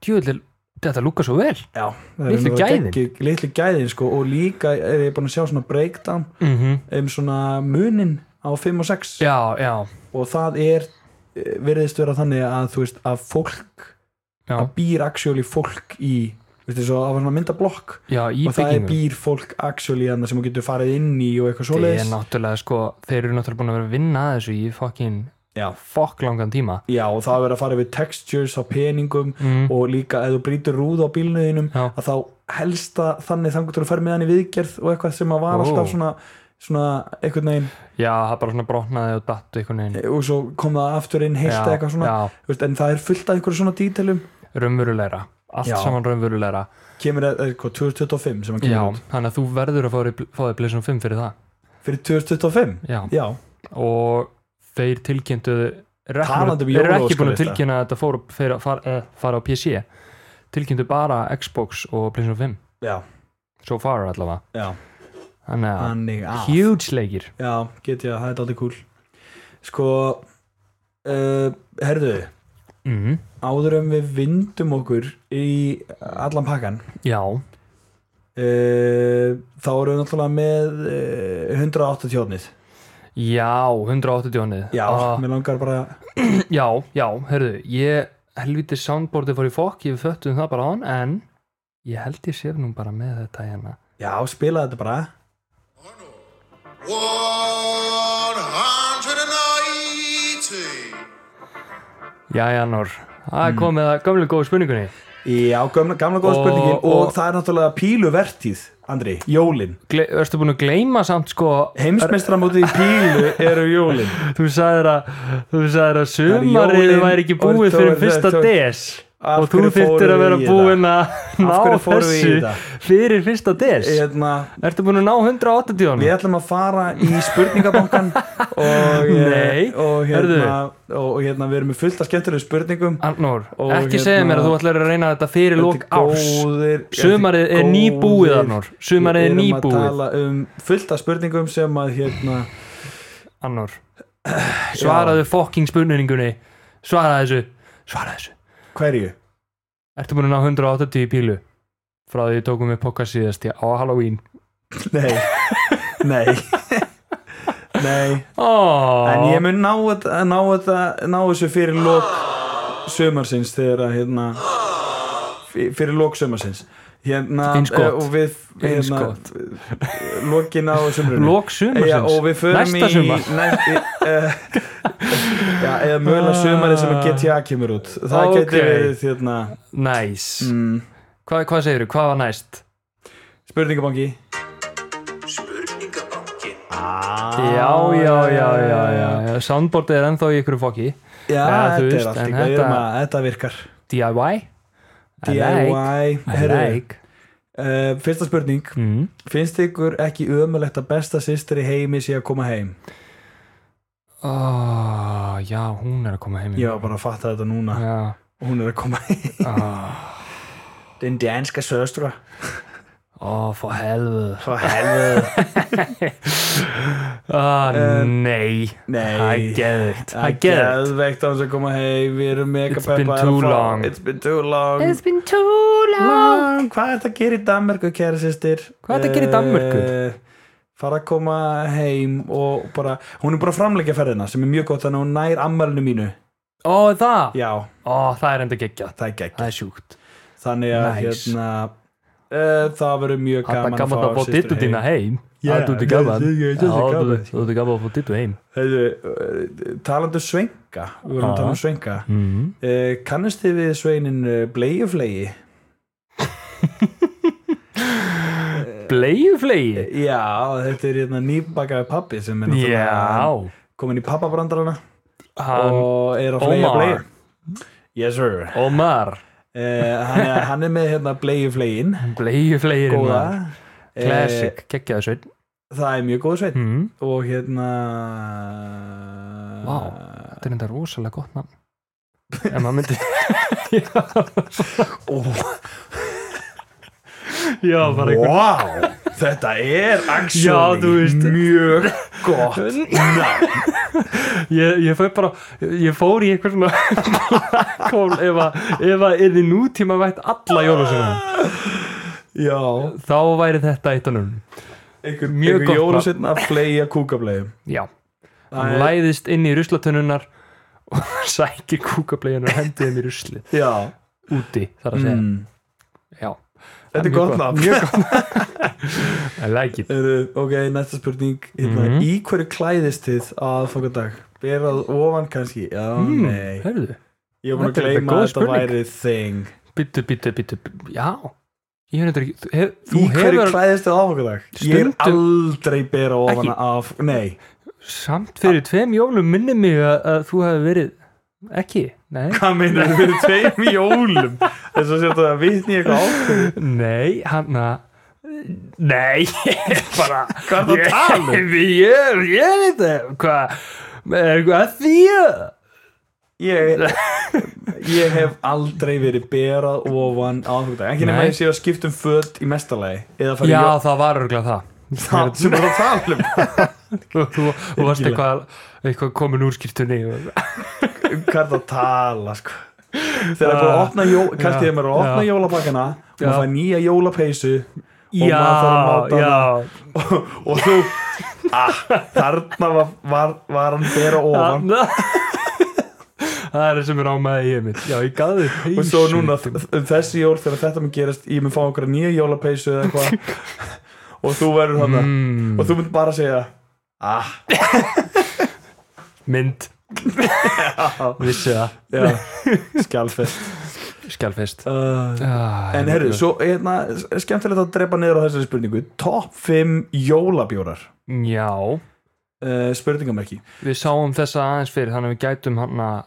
S2: djúvill Þetta lúka svo vel
S1: Já,
S2: Litlu gæðin.
S1: Lítlu gæðin sko og líka er ég búin að sjá svona breakdown
S2: mm -hmm.
S1: um svona munin á á 5 og 6
S2: já, já,
S1: og það er eh, virðist vera þannig að þú veist að fólk
S2: já,
S1: að býr actually fólk í veistu, svo, það var svona myndablokk
S2: já í
S1: og það er
S2: byggingum
S1: býr fólk actually þarna sem þú getur farið inn í og eitthvað
S2: það er
S1: svoleiðis
S2: náttúrulega sko þeir eru náttúrulega búin að vera að vinna að þessu í fokkin
S1: já.
S2: fokk langan tíma
S1: já og það er verið að fara yfir textures á peningum
S2: mm.
S1: og líka ef þú brýtur rúð á bílnuðinum
S2: Já.
S1: að þá helsta þannig þangur til að fara með hann í viðgerð og eitthvað sem að var
S2: Ó.
S1: alltaf svona svona einhvern veginn
S2: já, það bara svona brotnaði og datt einhvern veginn
S1: og svo kom það aftur inn heilt eða eitthvað svona
S2: já,
S1: Þú veist, en það er fullt af einhverju svona dítelum
S2: raunverulegra allt
S1: Já.
S2: saman raunverulegra
S1: kemur e, sko, að, er, hvað, 2025 sem að
S2: já,
S1: kemur út
S2: þannig að þú verður að fá þér- fá þér Playstation 5 fyrir það
S1: fyrir 2025
S2: já,
S1: já,
S2: og þeir tilkynntu eru ekki
S1: Talandi um
S2: búin- eru ekki búin að
S1: jólaóskalista.
S2: tilkynna að þetta fór, fór, far, uh, fara á PC tilkynntu bara Xbox og Playstation 5
S1: já,
S2: so far allavega
S1: já
S2: þannig að
S1: þannig að
S2: huge leikir
S1: já, get ég að það er aldrei cool sko uh, herðu, Mhm.
S2: mm,
S1: áður en við vindum okkur í allan pakkan
S2: já,
S1: uh, þá erum við náttúrulega með uh, 180 hóðnið
S2: já 180 honnið
S1: já,
S2: Ah,
S1: mér langar bara
S2: já, já, herðu ég helviti soundboardið fór í fokk ég föttu um það bara á hann en ég held ég séf nú bara með þetta hérna
S1: já, spila þetta bara
S4: 180.
S2: Jæja, Nór, það er
S1: Mm.
S2: komið að gamlu góðu spurningunni
S1: já, gamla, gamla góða
S2: Og-
S1: spurningin og,
S2: og-
S1: það er náttúlega píluvertíð Andri, jólin
S2: Gle Erstu búin að gleyma samt sko
S1: heimsmeistramótið í pílu eru jólin
S2: Þú sagðir að, þú sagðir að
S1: er
S2: sumarið
S1: jólin,
S2: væri ekki
S1: og
S2: búið
S1: þú-
S2: fyrir
S1: þú-
S2: fyrsta
S1: þú-
S2: des
S1: Af
S2: og þú
S1: hverju
S2: þyrftir
S1: fórum
S2: að
S1: við
S2: vera
S1: í
S2: búin að ná
S1: hverju fórum við í
S2: þessu
S1: þetta?
S2: fyrir fyrsta des
S1: Eðna,
S2: Ertu búin að ná 180
S1: við
S2: honum?
S1: ætlum að fara í spurningabankan og,
S2: Nei,
S1: eh, og, hérna,
S2: heyrðu.
S1: og, og hérna við erum með fullt af skemmtilegum spurningum
S2: Arnór,
S1: Og
S2: ekki
S1: hérna-
S2: segja mér að þú ætlar að reyna þetta fyrir
S1: Þetta
S2: lók
S1: er
S2: árs
S1: góðir-
S2: Sumarið
S1: þetta
S2: er nýbúið,
S1: góðir-
S2: Arnór Sumarið er
S1: Við erum að
S2: nýbúið,
S1: tala um fullt af spurningum sem að hérna
S2: Arnór Svaraðu fokking spurningunni Svaraðu þessu, svaraðu þessu
S1: Hverju?
S2: Ertu búin að ná 180 í pílu frá því ég tókum við pokar síðast já, á Halloween
S1: Nei Nei Nei
S2: oh,
S1: En ég mun ná, þetta- ná, þetta- ná þessu fyrir lók sumarsins þegar að hérna fyr- fyrir lók sumarsins hérna
S2: Eins gott.
S1: eh, og við
S2: Eins
S1: hérna, lokin á sumrunni
S2: Lók sumarsins
S1: Já, og við förum
S2: Næsta
S1: í
S2: sumar.
S1: næst, uh, já, eða mögulega sumarið
S2: Ah.
S1: sem að GTA kemur út það okay.
S2: Ókei.
S1: getur verið hérna,
S2: Næs
S1: mm,
S2: Hva, Hvað segirðu, hvað var næst?
S1: spurningabangi
S4: Spurningabankin.
S2: já,
S1: Ah.
S2: já, já, já, já, já Soundboardið er ennþá í ykkur fokki
S1: Já,
S2: Já, þú
S1: þetta
S2: veist,
S1: er allt
S2: en
S1: í góð,
S2: þetta-
S1: þetta virkar
S2: DIY I like,
S1: DIY,
S2: I
S1: herru,
S2: like.
S1: uh, fyrsta spurning
S2: Mm.
S1: finnst ykkur ekki ömulegt að besta systir í heimi sé að koma heim
S2: Oh, já, hún er að koma heim í-
S1: ég var bara að fatta þetta núna
S2: já.
S1: hún er að koma heim
S2: Oh,
S1: den danska söstra
S2: oh, for helvið
S1: hvað helvið
S2: oh,
S1: Um,
S2: Nei, það er
S1: nei
S2: geðvikt Það
S1: Það
S2: er geðvikt
S1: er veikt á hans að koma heim Við erum mega
S2: It's been
S1: peppaðar
S2: too
S1: að fá-
S2: long.
S1: It's been too long
S2: It's been too long
S1: long Hvað er þetta að gera í Danmörku, kæra sýstir?
S2: Hvað ertu að gera í Danmörku?
S1: Fara að koma heim og bara Hún er bara að framleggja ferðina sem er mjög gott Þannig að hún nær ammælinu mínu
S2: Ó, það?
S1: Já,
S2: Ó, það er enda geggjað
S1: það er gegn
S2: Það er sjúkt
S1: Þannig að
S2: Nice.
S1: hérna uh, Það verður mjög
S2: Það
S1: gaman
S2: er gaman að fá dittu þína heim
S1: Já,
S2: Það er þetta gaman
S1: þetta er-
S2: Já,
S1: þetta er
S2: Þú
S1: gaman.
S2: þú ert gaman að fá dittu heim
S1: Heiðu, uh, Talandu svenka Við vorum
S2: Ah.
S1: að tala um svenka
S2: mm.
S1: uh, Kannist þið við sveinin uh, bleiuflegi?
S2: Bleiuflegi
S1: Já, þetta er hérna nýbakaði pappi sem
S2: Eh,
S1: er
S2: Já
S1: náttúrulega komin í pappabrandarana
S2: Hann
S1: og er að flega
S2: Omar.
S1: bleiu Yes sir
S2: Omar
S1: Eh, hann, er, hann er með hérna bleiu flegin
S2: Bleiuflegirinn
S1: góða
S2: maður.
S1: Eh,
S2: Classic Geggjaðu sveit
S1: það er mjög góð sveit
S2: mm.
S1: og hérna eh,
S2: Vá. Þetta er enda rosalega gott nafn En maður myndi
S1: Ó,
S2: Já, bara einhvern
S1: Vá, þetta er actually
S2: Já, þú veist.
S1: mjög gott Ná,
S2: Ég, ég fór bara, ég fór í eitthvað svona kól ef að, ef að er þið nútíma vægt alla jólasöguna
S1: Já,
S2: þá væri þetta eitt af nöfnum
S1: einhver,
S2: Mjög
S1: einhver
S2: gott
S1: jólasinn að flega kúkableiðum
S2: Já hann
S1: Æ.
S2: læðist inn í ruslatunnunar og sækir kúkableginu og hendur þeim í rusli
S1: já
S2: úti þar að segja
S1: mm.
S2: já,
S1: Þetta er
S2: Mjög
S1: gott
S2: gott.
S1: nafn
S2: I like it
S1: Eru, ok, næsta spurning hérna,
S2: Mhm.
S1: Í hverju klæðist þið að fokkadag? Berað ofan kannski? Já,
S2: Mm,
S1: nei
S2: hörðu,
S1: Ég var búin að
S2: Hmm. Þetta er
S1: gleyma
S2: góð
S1: að þetta
S2: spurning.
S1: væri þing
S2: byttu, byttu, byttu já, ég hef þetta ekki þú, hef,
S1: Í
S2: þú
S1: hverju
S2: hefur
S1: klæðist þið að fokkadag? Ég er
S2: Stundum-
S1: aldrei berað ofan
S2: Ekki.
S1: af Nei,
S2: samt fyrir
S1: Ah.
S2: tveim jólum minni mig að, að þú hefur verið ekki, nei
S1: hvað minn er fyrir tveim jólum Þess að setja það vitni í eitthvað ákveð
S2: Nei, hann að Nei, ég bara
S1: Hvað er það að tala um?
S2: Ég, ég, ég veit það Hvað, er eitthvað að því eða?
S1: Ég, ég hef aldrei verið berað ofan á fokkadag Ekki nema
S2: Nei.
S1: ég sé að skipta um föt í mestalagi Eða fara í
S2: Já,
S1: jó-
S2: það var örgulega það
S1: það sem við erum að tala um
S2: Þú, þú, þú varst
S1: Virkilega.
S2: eitthvað, eitthvað komin úr skýrtunni og...
S1: um hvað er það að tala sko. þegar það er búið að opna jó, kannski þegar maður er að opna
S2: já.
S1: jólapakkana og
S2: Já.
S1: maður fær nýja jólapeysu og
S2: Já,
S1: maður þarf að máta
S2: já
S1: hana og þú ah, þarna var, var, var hann bera ofan
S2: Þarna- Það er það sem er á með ég mitt Já, ég gaði
S1: og svo núna um þessi jól þegar þetta mun gerast ég mun fá einhverja nýja jólapeysu eða eitthvað og þú verður þarna
S2: mm,
S1: og þú mun bara segja ah,
S2: Mynd Vissi það
S1: já, skjálfest
S2: Skjálfest
S1: uh,
S2: ah,
S1: En herru, svo hérna, skemmtilegt að drepa niður á þessari spurningu Top 5 jólabjórar
S2: Já
S1: uh, Spurningamerki
S2: við sáum þessa aðeins fyrir þannig að við gætum hann að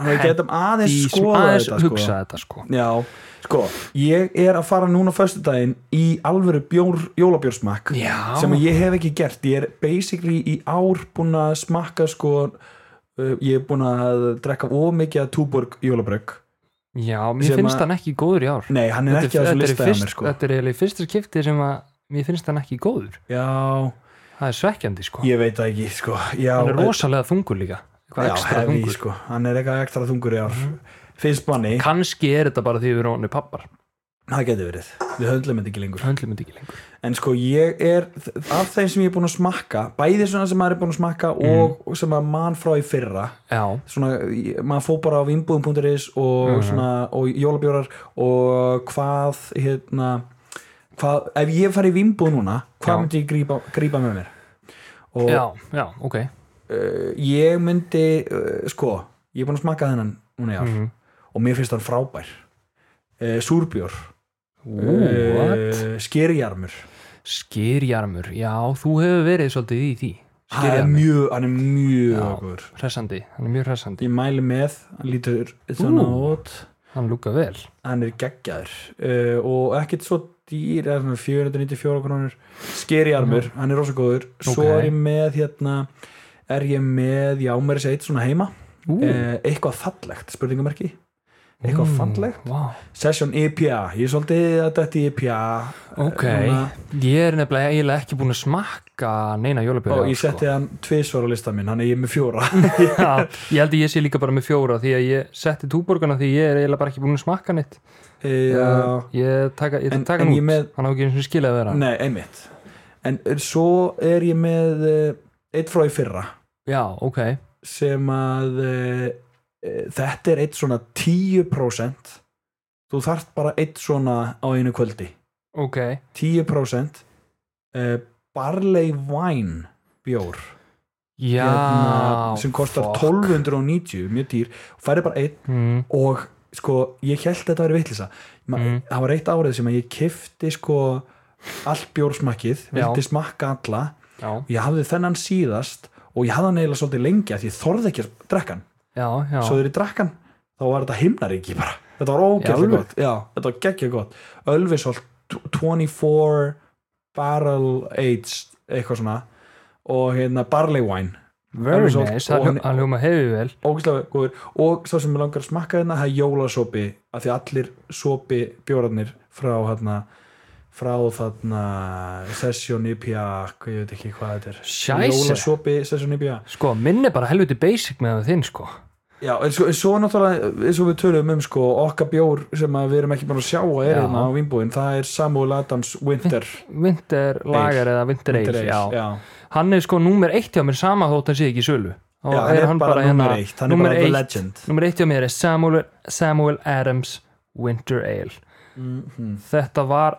S1: Þannig að við getum aðeins
S2: í-
S1: skoða
S2: aðeins
S1: þetta
S2: hugsa
S1: sko.
S2: þetta sko
S1: Já, sko, ég er að fara núna á föstudaginn í alvöru bjór, jólabjórsmakk
S2: já,
S1: sem ég hef ekki gert, ég er basically í ár búin að smakka sko uh, ég er búin að drekka ómikið að túborg jólabrauk
S2: já
S1: sem
S2: mér
S1: að-
S2: finnst hann ekki góður í ár
S1: Nei, hann er ekki að þessu
S2: þetta, er
S1: lista hjá
S2: fyrst,
S1: mér sko
S2: þetta er eiginlega í fyrsta skipti sem að mér finnst hann ekki góður
S1: Já,
S2: það er svekkjandi sko
S1: ég veit það ekki sko Já,
S2: hann er
S1: þetta-
S2: rosalega þungur líka eitthvað
S1: Já,
S2: ekstra
S1: hefði,
S2: þungur Mhm.
S1: sko, hann er eitthvað ekstra þungur í ár finnst manni,
S2: kannski er þetta bara því við erum orðnir pappar
S1: það getur verið við höndlum þetta ekki lengur
S2: höndlum þetta ekki lengur
S1: en sko ég er, af þeim sem ég er búin að smakka bæði svona sem maður er búin að smakka
S2: Mhm.
S1: og sem maður mann frá í fyrra
S2: já,
S1: svona, ég- maður fór bara á vimbúðum.is og,
S2: Mhm.
S1: mm og jólabjórar og hvað hérna hvað, ef ég fari í vimbúð núna hvað
S2: Já.
S1: myndi ég grípa, grípa með mér og
S2: já, já, ok
S1: uh, ég myndi uh, sko, ég er búin að smakka þennan núna í ár
S2: Mhm.
S1: og mér finnst hann frábær uh, súrbjór
S2: what?
S1: uh, skeriarmur
S2: skýrjarmur, já, þú hefur verið svolítið í því
S1: hann er
S2: skýrjarmur,
S1: mjög, hann er
S2: Já.
S1: mjög góður
S2: hressandi, hann er mjög hressandi
S1: ég mæli með, hann lítur svona út
S2: hann lúka vel
S1: hann er geggjaður uh, og ekkert svo dýr eða svona 494 krónur skeriarmur, hann er rosa góður svo
S2: Ok.
S1: er ég með hérna er ég með, já, mér er sér eitt svona heima
S2: Ú. Mm.
S1: uh, eitthvað fallegt, spurningamerki eitthvað fallegt Eh,
S2: wow.
S1: Session IPA, ég er svolítið að þetta í E IPA
S2: Ok,
S1: eh, Núna-
S2: ég er nefnilega eiginlega ekki búin að smakka neina jólabjóra
S1: og ég setti hann tvisvar á lista minn, hann er ég með fjóra
S2: sko. Já, ég held að ég sé líka bara með fjóra því að ég setti túborgana því ég er eiginlega bara ekki búin að smakka neitt
S1: Eh, Já,
S2: Ég taka, ég
S1: En-
S2: en, taka
S1: en
S2: hann
S1: ég
S2: út,
S1: með-
S2: hann á ekki eins og skilja að vera
S1: nei, einmitt en er- svo er ég með eh, einn frá í fyrra
S2: Já, ok,
S1: sem að eh, eh, þetta er eitt svona 10% þú þarft bara eitt svona á einu kvöldi
S2: ok
S1: 10% eh, barley wine bjór
S2: Já,
S1: hérna, sem kostar
S2: fuck.
S1: 1290 mjög dýr, færi bara einn
S2: mm,
S1: og sko, ég held þetta verið vittlisa
S2: Mm.
S1: það var eitt árið sem að ég kifti sko allt bjórsmakkið,
S2: Já.
S1: vildi smakka alla
S2: Já,
S1: ég hafði þennan síðast og ég hafði hann eiginlega svolítið lengi af því ég þorði ekki að drekka hann
S2: já, já
S1: svo þegar ég drakk hann, þá var þetta himnaríki bara, þetta var
S2: alveg?
S1: ógæðlega gott já, þetta var geggja gott, Ölvisholt 24 barrel aged, eitthvað svona og hérna barley wine
S2: Very
S1: alveg svo-
S2: nice,
S1: og
S2: hann
S1: hann-
S2: hljó- hann hljóma hefur vel
S1: ógæðlega góður og svo sem ég langar að smakka hérna, það er jólasopi af því allir sopi bjórarnir frá hérna frá þarna Session IPA, hvað ég veit ekki hvað þetta er
S2: Scheisse.
S1: jólasopi Session IPA
S2: Sko, minn er bara helviti basic með það þinn sko
S1: Já, en svo, en svo náttúrulega eins og við tölum um sko, okkar bjór sem að við erum ekki búin að sjá að er
S2: Já.
S1: hérna á vinnbúin, það er Samuel Adams Winter
S2: Winter Lager eða Winter
S1: Winter
S2: Ale
S1: Ale,
S2: já.
S1: já.
S2: hann er sko númer eitt hjá mér sama þótt hann sé ekki í sölu og
S1: Já, hann er bara númer eitt, hann er
S2: hérna númer
S1: bara the
S2: eitt-
S1: legend.
S2: númer eitt hjá mér er Samuel, Samuel Adams Winter Ale þetta var,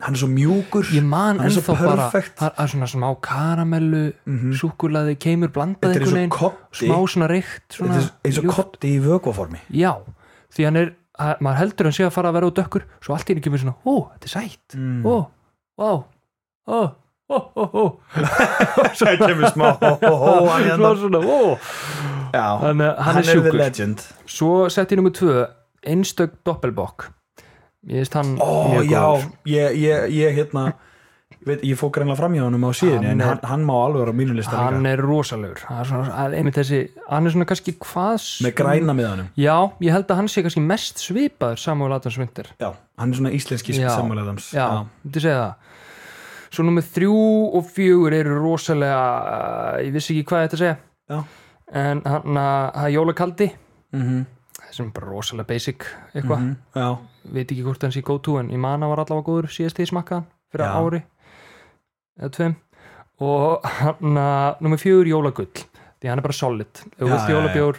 S1: Hann er svo mjúkur
S2: Mhm. ég man
S1: Hann er svo
S2: ennþá bara
S1: perfect.
S2: það er svona smá karamellu mm keimur blandað
S1: Þetta er eins og
S2: einhvern veginn
S1: koddi.
S2: smá svona reykt
S1: Þetta
S2: svona,
S1: er eins og
S2: ljúft.
S1: kotti í vökuformi
S2: já, því hann er að, maður heldur hann sé að fara að vera út ökkur svo allt í henni kemur svona, ó, þetta er sætt
S1: Mm. Oh.
S2: ó, ó, ó ó, ó, ó
S1: Það kemur smá hó, hó, hó, hann hérna.
S2: Svo svona, ó
S1: Já, hann,
S2: Þannig að hann er
S1: er the
S2: sjúkur
S1: legend
S2: Svo sett ég nummer tvö Einstök doppelbokk Ég veist hann
S1: Ó,
S2: mjög
S1: já,
S2: góður.
S1: ég, ég, ég hérna ég veit, ég fók greinlega fram hjá honum á síðinu
S2: Hann
S1: en
S2: er-
S1: hann, hann má alveg vera á mínu lista
S2: Hann
S1: líka
S2: er rosalegur Hann er svona, hann- einmitt þessi, hann er svona kannski hvað s-
S1: með græna með honum
S2: Já, ég held að hann sé kannski mest svipaður Samuel Adams Winter
S1: Já, hann er svona íslenski
S2: Já.
S1: Samuel Adams
S2: Já, þetta segja það Svo nummer þrjú og fjögur eru rosalega uh, Ég vissi ekki hvað þetta segja
S1: Já.
S2: En hann að það er jólakaldi
S1: Mhm,
S2: sem er bara rosalega basic eitthvað
S1: mhm, já.
S2: veit ekki hvort hann sé góð tú en ég man að var allavega góður síðast því smakkaðan fyrir
S1: Já.
S2: ári eða tveim og hann að nummer fjögur jólagull því hann er bara solid ef
S1: Já,
S2: þú vilt
S1: já,
S2: jólabjór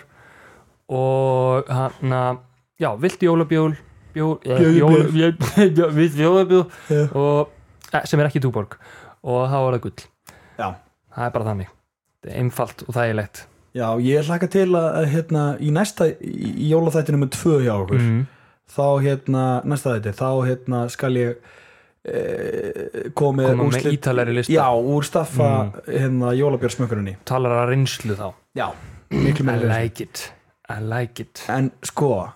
S2: og hann að já, vilt jólabjór bjór, eh,
S1: Bjór,
S2: jóla- bjór, vilt jólabjór
S1: Já.
S2: og, eh, sem er ekki túborg og þá er það gull
S1: Já.
S2: það er bara þannig Þetta er einfalt og þægilegt
S1: já, ég hlaka til að að, hérna, í næsta, í, í jólaþættinu með tvö hjá okkur
S2: Mm.
S1: þá hérna, næsta þetta, þá hérna skal ég e, komið
S2: Koma með ítarlegri Mm. lista.
S1: Já, úr staffa hérna jólabjörnsmökkurinni
S2: talar að reynslu þá
S1: Já, miklu
S2: I
S1: meira lista.
S2: like it I like it
S1: En sko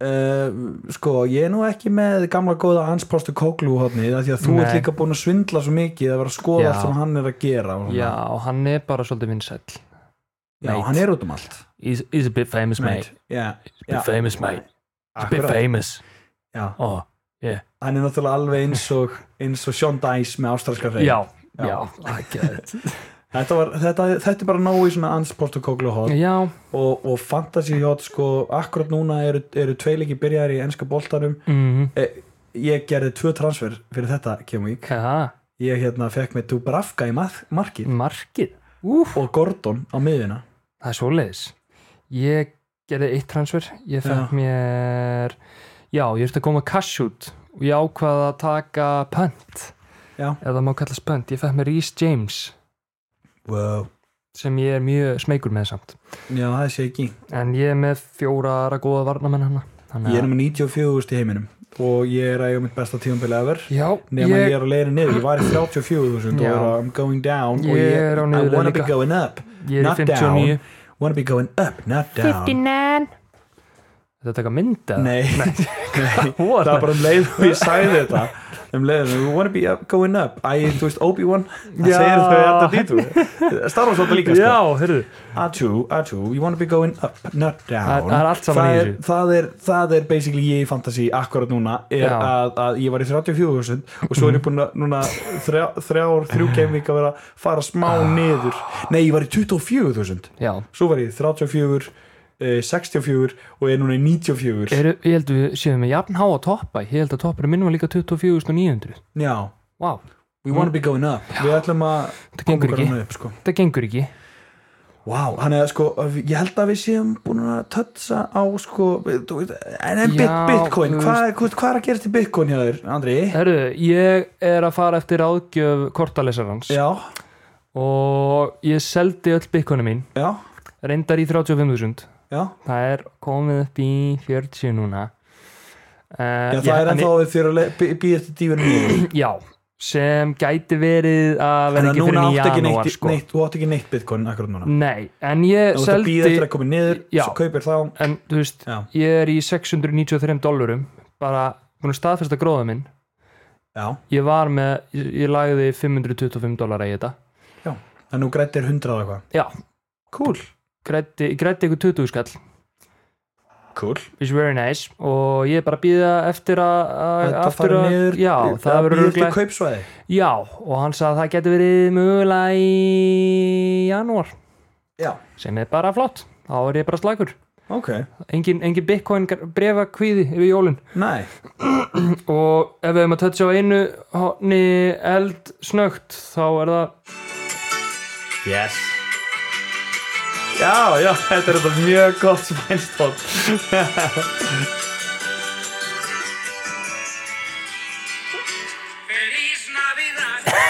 S1: Uh, sko, ég er nú ekki með gamla góða hans postu kóklu hóðni því að þú
S2: Nei.
S1: ert líka búin að svindla svo mikið að vera að skoða
S2: Já.
S1: allt sem hann er að gera og svona.
S2: Já, hann er bara svolítið vinsæll
S1: já
S2: mate.
S1: hann er út um allt
S2: he's, he's a bit famous
S1: Mate. Já,
S2: He's
S1: Já.
S2: famous mate
S1: akkurat.
S2: famous
S1: Já.
S2: oh.
S1: hann er náttúrulega alveg eins og eins og Sean Dice með ástralska hrein
S2: Já, já, I get it
S1: þetta, var, þetta, þetta er bara nógu í svona Ans Portokoglu hot
S2: Já,
S1: og, og Fantasy hot sko akkurat núna eru, eru tveileiki byrjar í enska boltanum
S2: mhm
S1: eh, ég gerði tvö transfer fyrir þetta kemvík
S2: Hvað,
S1: ég hérna fekk með Dubravka í mað, markið
S2: markið Úf,
S1: og Gordon á miðuna
S2: það er svoleiðis Ég gerði eitt transfer Ég
S1: Já.
S2: fekk mér Já, ég þurfti að koma cash út og ég ákvaða að taka pönt
S1: Já.
S2: Ef það má kallast pönt Ég fekk mér Rhys James
S1: wow.
S2: sem ég er mjög smeykur með samt
S1: já það sé ekki
S2: En ég er með fjóra aðra góða varnamenn hana Þannig
S1: ég er um
S2: að-
S1: 94 í heiminum og ég er að ég mitt besta tíumbili ever
S2: Já,
S1: nema ég, er að leiðin niður, ég var í 34.000 og
S2: Já.
S1: er að I'm going down og
S2: Ég er á
S1: I
S2: niðurleið
S1: wanna be
S2: líka.
S1: going up
S2: Ég er í
S1: not
S2: 59
S1: down wanna be going up, not down
S5: 59.
S2: Þetta taka mynda
S1: Nei, Nei.
S2: What?
S1: það var bara um leið og ég sagði þetta um leið, we wanna be up, going up Æ, þú veist, Obi-Wan það
S2: Já.
S1: segir þau alltaf dítu Star Wars alltaf líka sko.
S2: Já, heyrðu
S1: A2, A2, you wanna be going up, not down
S2: Það- það er allt saman
S1: það
S2: í
S1: er,
S2: þessu.
S1: það er, það er basically ég í fantasy akkurat núna er
S2: Já.
S1: að, að ég var í 34.000 og svo er ég búin að núna þrjá, þrjár, þrjú gaming að vera að fara smá
S2: Ah.
S1: niður Nei, ég var í 24.000
S2: Já,
S1: svo var ég í 34 eh, 64 og ég er núna í 94
S2: eru, ég held að við séum með jafn há að toppa Ég held að toppurinn minn var líka 24.900
S1: Já,
S2: Vá,
S1: we wanna be going up Við ætlum að
S2: Þetta
S1: koma
S2: gengur
S1: okkur
S2: ekki.
S1: annað upp sko.
S2: þetta gengur ekki
S1: Wow, hann er sko, ég held að við séum búin að tötsa á sko þú veist, En en
S2: Já,
S1: bit, bitcoin,
S2: þú Eh,
S1: hvað, hvað, hvað er að gerast í bitcoin hjá þér, Andri?
S2: Herru, ég er að fara eftir áðgjöf kortalesarans
S1: Já,
S2: Og ég seldi öll bitcoinu mín
S1: já,
S2: Reyndar í 35.000
S1: já
S2: Það er komið upp í 40 núna uh,
S1: Já, það er ennþá við fyrir að býja eftir dífinu niður
S2: Já, sem gæti verið að
S1: Þannig
S2: vera
S1: að
S2: ekki
S1: núna
S2: fyrir
S1: átt ekki
S2: nýjanúar
S1: neitt,
S2: sko.
S1: neitt, þú átt ekki neitt bitcoin akkurat núna
S2: Nei, en ég
S1: Þú átt að býja
S2: seldi
S1: eftir að koma niður,
S2: Já.
S1: svo kaupir þá
S2: en þú veist,
S1: Já.
S2: ég er í 693 dollurum, bara búin að staðfesta gróða minn,
S1: Já,
S2: ég var með ég, ég lagði 525 dollara í þetta
S1: já, en nú grættir hundrað eitthvað
S2: já,
S1: Cool,
S2: grætti, grætti ykkur 20 skall
S1: cool
S2: it's very nice og ég er bara að býða eftir að að-
S1: Þetta
S2: aftur
S1: farið
S2: að,
S1: niður,
S2: já, það verður
S1: býja eftir
S2: örugglega-
S1: kaupsvæði
S2: já, og hann sagði að það geti verið mögulega í janúar
S1: Já,
S2: sem er bara flott, þá er ég bara slagur
S1: ok,
S2: engin, engin bitcoin brefa kvíði yfir jólin
S1: næ
S2: og ef við hefum að toucha á einu honni eld snögt þá er það
S1: yes já, já, þetta er þetta mjög gott spænstofn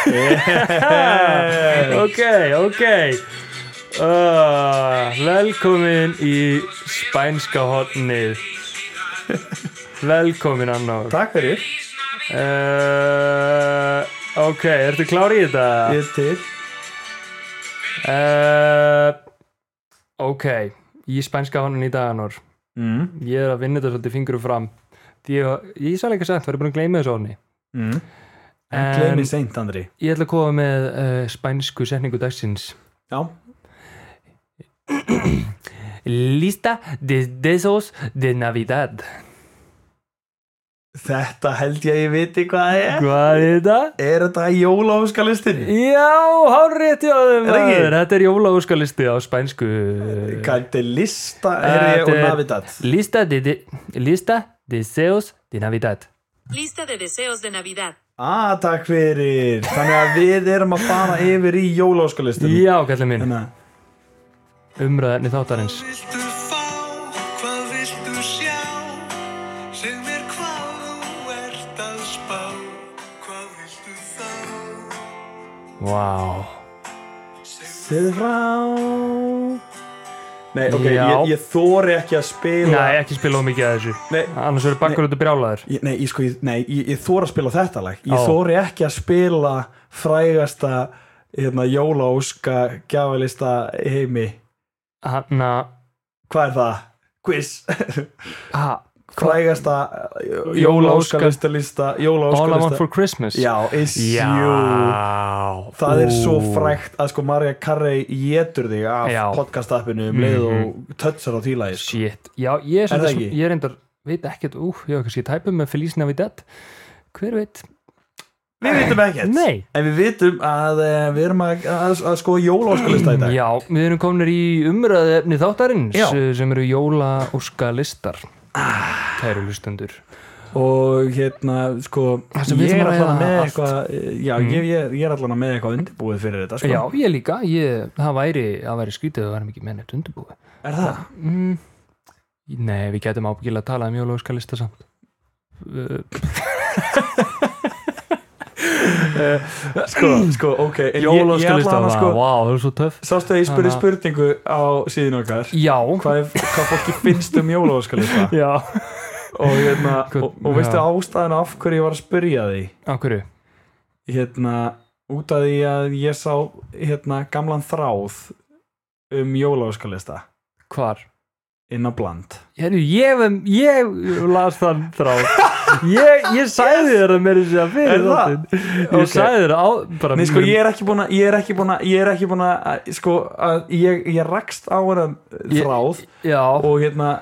S1: Eh,
S2: ok, ok uh, velkomin í spænska hotnið velkomin annar
S1: takk fyrir,
S2: uh, ok, ertu klár í þetta?
S1: ég er til
S2: Uh, ok, í spænska honum í daganor
S1: mm.
S2: Ég er að vinna þetta svolítið fingurum fram Því að ég sæl ekki sent, það er búin að gleyma þessu honni
S1: Mm. en
S2: En-
S1: gleymið seint, Andri
S2: Ég ætla að koma með uh, spænsku setningu dagsins
S1: já,
S2: Lista de desos de Navidad
S1: þetta held ég að ég viti hvað það er
S2: Hvað er þetta?
S1: er þetta jóláskalistinni?
S2: Já, hárrétt hjá þeim
S1: Er það ekki?
S2: maður. Þetta er jólaúskalisti á spænsku
S1: Gæti lista er ég og
S2: Þetta er-
S1: navidat
S2: Lista de, de Lista de desos de Navidad
S5: Lista de deseos de Navidad.
S1: Ah, takk fyrir Þannig að við erum að fara yfir í jóláskalistum
S2: Já, kallar minn,
S1: Þannig að
S2: umræðarni þáttarins
S4: Viltu fá, hvað viltu sjá Segð mér hvað þú ert að spá Hvað viltu þá
S2: Vá wow.
S1: Þið frá Nei, ok,
S2: Já.
S1: ég, ég þóri ekki að spila
S2: Nei, ekki spila of mikið að þessu
S1: Nei,
S2: Annars verður bakkur út að brjálaður
S1: ég, nei, ég, sko, ég, nei, ég, ég þóri að spila þetta lag Ég
S2: Ó.
S1: þóri ekki að spila frægasta hérna, jóláska gjafalista heimi
S2: Hanna
S1: Hvað er það? Quiz
S2: ha,
S1: Frægasta uh,
S2: Jólaóska-
S1: jóláska lista
S2: All I
S1: Jóláska
S2: Want
S1: lista
S2: For Christmas
S1: Já, is you
S2: Já
S1: Það er svo
S2: Ú.
S1: frækt að sko Marja Carrey getur þig af
S2: Já. Mhm.
S1: podcast-appinu um leið og touchar á tílaði sko.
S2: Shit Já, ég er,
S1: Er það
S2: svolítið
S1: ekki?
S2: sm- ég er reyndar Veit ekkert Ú, ég var kannski tæpum með Feliz Navidad Hver veit
S1: Við vitum ekkert
S2: Nei.
S1: En við vitum að eh, við erum að, að, að sko jóláskalista í dag
S2: Já, við erum kominir í umræðu efni þáttarins
S1: Já.
S2: eh, Sem eru jólaóska listar Kæru lustendur
S1: og hérna sko
S2: Það sem við
S1: ég
S2: ætlum
S1: er
S2: að
S1: allan
S2: ræða
S1: með
S2: allt. Mm.
S1: eitthvað eh, já, ég, ég, ég er allan með eitthvað undirbúið fyrir þetta sko.
S2: Já, ég líka ég, Það væri, það væri skrítið Það væri mikið með neitt undirbúi
S1: Er það?
S2: mm, Nei, við getum ábyggilega að tala um jólaóska lista samt Uh,
S1: Sko, sko ok en ég- ég
S2: Jólaóskalista
S1: allan að,
S2: Vá,
S1: sko,
S2: það er svo töff
S1: Sástu að ég spurði
S2: Hana-
S1: spurningu á síðan okkar
S2: Já,
S1: hvað, er- hvað fólki finnst um jóláskalista
S2: já
S1: og, hérna,
S2: Hvern-
S1: og, og veistu
S2: já.
S1: ástæðan af hverju ég var að spyrja því
S2: Á hverju?
S1: hérna út af því að ég sá hérna gamlan þráð um jóláskalista
S2: Hvar?
S1: inn á bland
S2: Hérðu, ég, hef- ég las þann þrá Ég, ég sæði yes. þér að mér þess að
S1: Er
S2: fyrir
S1: það?
S2: þáttinn Ég
S1: Ok.
S2: okay. sæði þér á bara
S1: Nei, sko,
S2: mér-
S1: ég er ekki búin að ég er ekki búin að, ég er ekki búin að, að sko, að ég, ég rakst á hennan
S2: Ég-
S1: þráð
S2: Já,
S1: og hérna,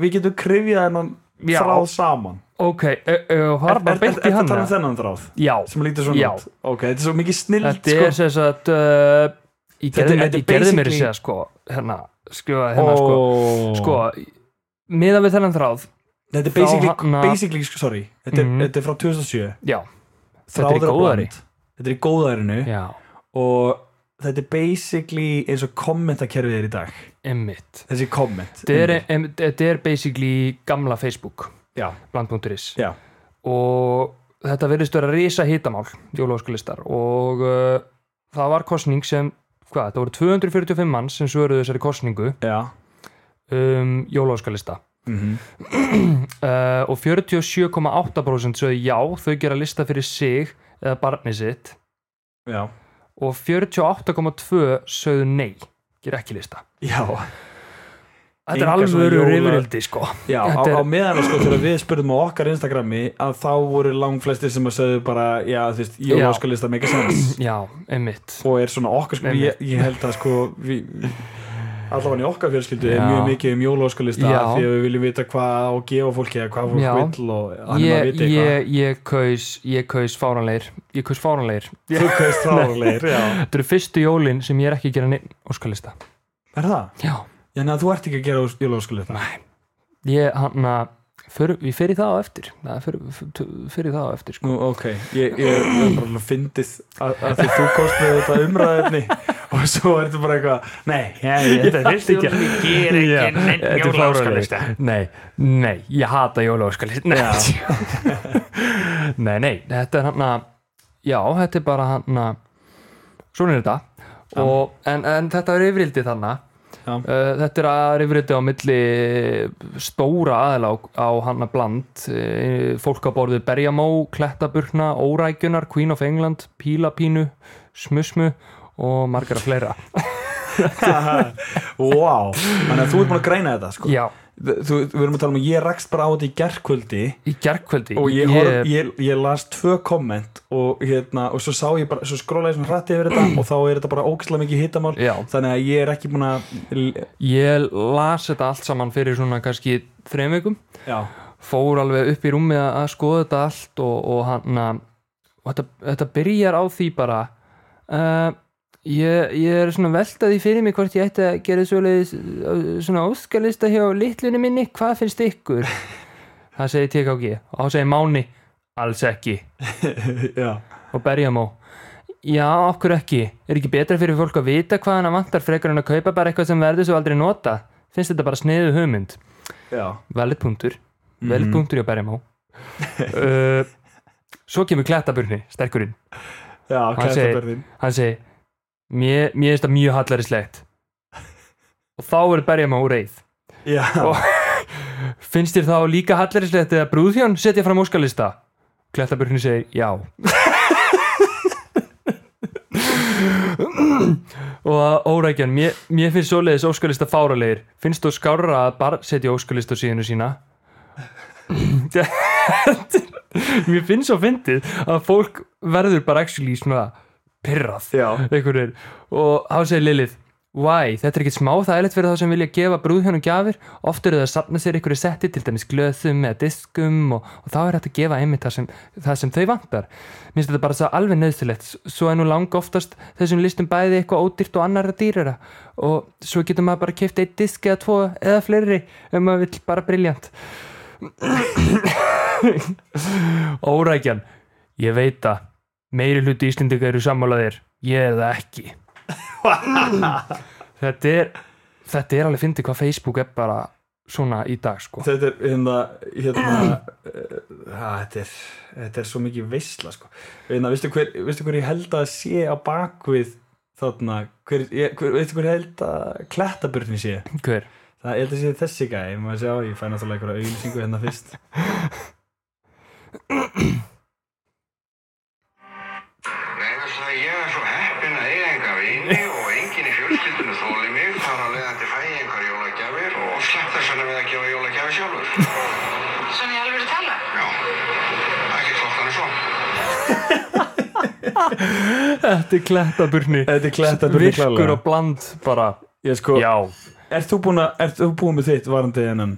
S1: við getum krifjað hennan
S2: Já.
S1: þráð saman
S2: ok Það er bara beint í
S1: Þetta
S2: hana
S1: tala um þennan þráð
S2: Já,
S1: sem lítur svona
S2: Já.
S1: út Ok, þetta er svo mikið sko. snild,
S2: þetta er sem sagt uh, Ég
S1: Þetta-
S2: gerði,
S1: þetta er
S2: ég gerði mér
S1: basically-
S2: þess að sko Hérna, sko, hérna sko Sko, miðan við þennan þráð
S1: Þetta er basically,
S2: Þá hana-
S1: basically sko, sorry þetta er,
S2: Mhm.
S1: þetta er frá 2007
S2: Já, þetta er
S1: Þráður
S2: í
S1: á
S2: góðari
S1: bland Þetta er í góðarinu
S2: Já,
S1: og þetta er basically eins og kommentakerfið er í dag
S2: emmitt
S1: þessi komment
S2: Þetta er, em, þetta er basically gamla Facebook
S1: já,
S2: bland.is
S1: já,
S2: og þetta verðist vera risa hitamál jólóskulistar og uh, það var kosning sem hvað, þetta voru 245 mann sem svöruðu þessari kosningu
S1: já.
S2: um jólóskulista
S1: Mhm.
S2: uh, og 47,8% sögðu já, þau gera lista fyrir sig eða barnið sitt
S1: já.
S2: og 48,2 sögðu nei, gera ekki lista
S1: Já,
S2: Þetta er
S1: Engar svona
S2: alvöru
S1: jóla-
S2: rifrildi sko
S1: já á,
S2: Þetta er-
S1: á meðan sko þegar við spurðum á okkar Instagrami að þá voru langflestir sem að segðu bara já, þú veist,
S2: Já.
S1: jólaskalista make a sense
S2: Já, einmitt
S1: og er svona okkar sko,
S2: Nei, nei.
S1: ég, ég held að sko við allavega í okkar fjölskyldu er
S2: Já.
S1: mjög mikið um jólaskalista
S2: Já.
S1: því að við viljum vita hvað á að gefa fólki eða hvað
S2: Já.
S1: fólk vill og hann er að
S2: Ég,
S1: vita eitthvað
S2: ég, ég kaus ég kaus fáranleir ég kaus fáranleir
S1: þú kaust þráðarleir, já
S2: Þetta eru fyrstu jólin sem ég er ekki að gera neinn óskalista
S1: Er það?
S2: Já,
S1: Þannig að þú ert ekki að gera jólaskjöld Nei
S2: ég hann að Fyr, við fyrir það á eftir Nei, fyrir, fyrir- fyrir það á eftir sko.
S1: Nú, ok, ég, ég, ég er bara alveg fyndið að, að því þú komst með þetta umræðinni og svo ertu bara eitthvað Nei, ég, ég, þetta er fyrst ekki
S2: Já, þetta er
S6: jólaóskalista.
S2: fáránlegt. nei, nei, ég hata jólaóskalista nei. nei, nei, þetta er hann að já, þetta er bara hann að svona er þetta Og, en, en þetta er yfirildi þannig
S1: Já.
S2: Uh, þetta er að yfirildi á milli stóra aðila á, á hann að bland uh, fólk á borðið Berjamó, Klettaburna Órækjunar, Queen of England Pílapínu, Smusmu og margara fleira
S1: Wow, þannig að þú ert búin að greina þetta sko.
S2: já,
S1: þú, Við erum að tala um að ég rakst bara á þetta í gerkvöldi
S2: í gerkvöldi
S1: og ég, horf, ég, ég las tvö komment og, hérna, og svo sá ég bara svo skrólaði svona hrætti yfir þetta og þá er þetta bara ógæslega mikið hitamál
S2: Já.
S1: þannig að ég er ekki búin að
S2: Ég las þetta allt saman fyrir svona kannski þreim vikum
S1: já,
S2: fór alveg upp í rúmið að skoða þetta allt og, og hann að og þetta, þetta byrjar á því bara uh, ég, ég er svona veltaði fyrir mig hvort ég ætti að gera svoleiðis uh, svona óskalista hjá litlunni minni, hvað finnst ykkur það segi TKG og þá segi Máni, alls ekki
S1: já,
S2: og berjamó já, okkur ekki, er ekki betra fyrir fólk að vita hvað hana vantar frekar en að kaupa bara eitthvað sem verður svo aldrei nota finnst þetta bara sniðu hugmynd
S1: já.
S2: valid punktur valid punktur hjá Berjamó uh, svo kemur klettaburni sterkurinn,
S1: já
S2: Hann segir-
S1: klæðtabörðin
S2: hann segi mér, mér finnst það mjög hallarislegt og þá er Berjamó reið
S1: já,
S2: Og- finnst þér þá líka hallarislegt eða brúðfjón setja fram óskalista klettaburni segir já og órækjan mér, mér finnst svoleiðis óskalista fáralegir finnst þú skárra að bara setja óskalista á síðinu sína mér finnst svo fyndið að fólk verður bara actually svona pyrrað
S1: Já.
S2: einhverjir og þá segir Lilith Why? Þetta er ekkert smá þægilegt fyrir þá sem vilja gefa brúðhjónum gjafir oft eru það að safna sér einhverju setti til dæmis glöðum eða diskum og, og þá er þetta að gefa einmitt það sem, það sem þau vantar minnst þetta bara svo alveg nöðsilegt svo er nú lang oftast þessum listum bæði eitthvað ódýrt og annarra dýrara og svo getur maður bara keift eitt disk eða tvo eða fleiri ef maður vill bara briljant Órækjan Ég veit að meiri hluti Íslendinga eru sammálaðir Ég er það ekki Þetta er Þetta er alveg fyndið hvað Facebook er bara svona í dag sko
S1: þetta er hérna, hérna að, þetta, er, þetta er svo mikið veisla sko. hérna, veistu, hver, veistu hver ég held að sé á bakvið þarna, hver, ég, hver, veistu hver ég held að klættaburðin sé
S2: Hver?
S1: það ég held að sé þessi gæ ég maður sjá, ég fæ náttúrulega einhverja auglýsingu hérna fyrst
S7: Vegna þess að ég er svo heppin að eiga enga vini og enginn í fjölskyldinu þóli mig þar að leiðandi fæ ég engar jólagjafir og slepp þess vegna við að gefa jólagjafir sjálfur.
S8: Svona ég alveg að tala? um.
S7: Já, það er ekki flott hann er svo.
S2: Þetta er klettaburni
S1: Þetta er klettaburni
S2: Virkur
S1: klárlega.
S2: og bland bara
S1: ég sko,
S2: Já
S1: ert þú búin að- ert þú búin með þitt varandi hennan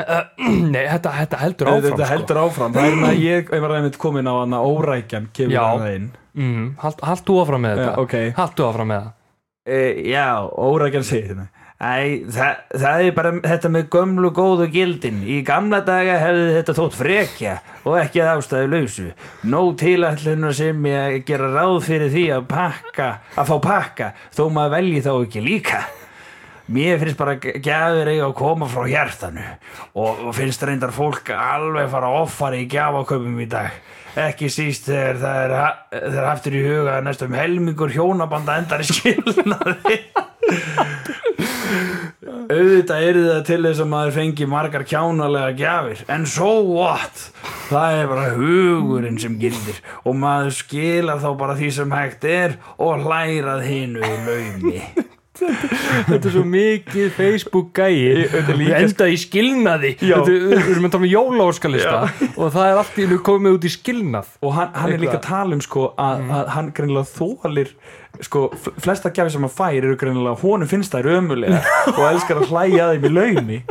S2: Nei, þetta, þetta heldur áfram sko.
S1: þetta heldur áfram það er hérna, ég, ég var einmitt komin á hann að órækjan kemur
S2: Já.
S1: hann inn
S2: sko. mm, hald, Hald þú áfram með þetta
S1: Já, ok.
S2: Hald þú áfram með það
S1: e, já, órækjan segir hérna Æ, það, það er bara þetta með gömlu góðu gildin í gamla daga hefði þetta þótt frekja og ekki að ástæðu lausu nóg tilætlunar sem ég að gera ráð fyrir því að pakka að fá pakka, þó maður velji þá ekki líka Mér finnst bara gjafir eiga að koma frá hjartanu og, og finnst reyndar fólk alveg fara offari í gjafaköpum í dag. Ekki síst þegar það er, ha- þegar haft er í huga að næstum helmingur hjónabanda endar í skilnaði. Auðvitað eru það til þess að maður fengi margar kjánalega gjafir, en so what? Það er bara hugurinn sem gildir og maður skilar þá bara því sem hægt er og hlærað hinu í laumi.
S2: Þetta er svo mikið Facebook gæi Við enda í skilnaði
S1: Já.
S2: Þetta er- Við erum að tala um jólaórskalista Og það er allt í nú komið út í skilnað
S1: og hann, hann er
S2: Eitthvað. Mhm.
S1: líka að tala um sko, að, að hann greinilega þólir sko, fl- flesta gjafir sem hann fær eru greinilega honum finnst þær ömulega og elskar að hlæja að þeim í laumi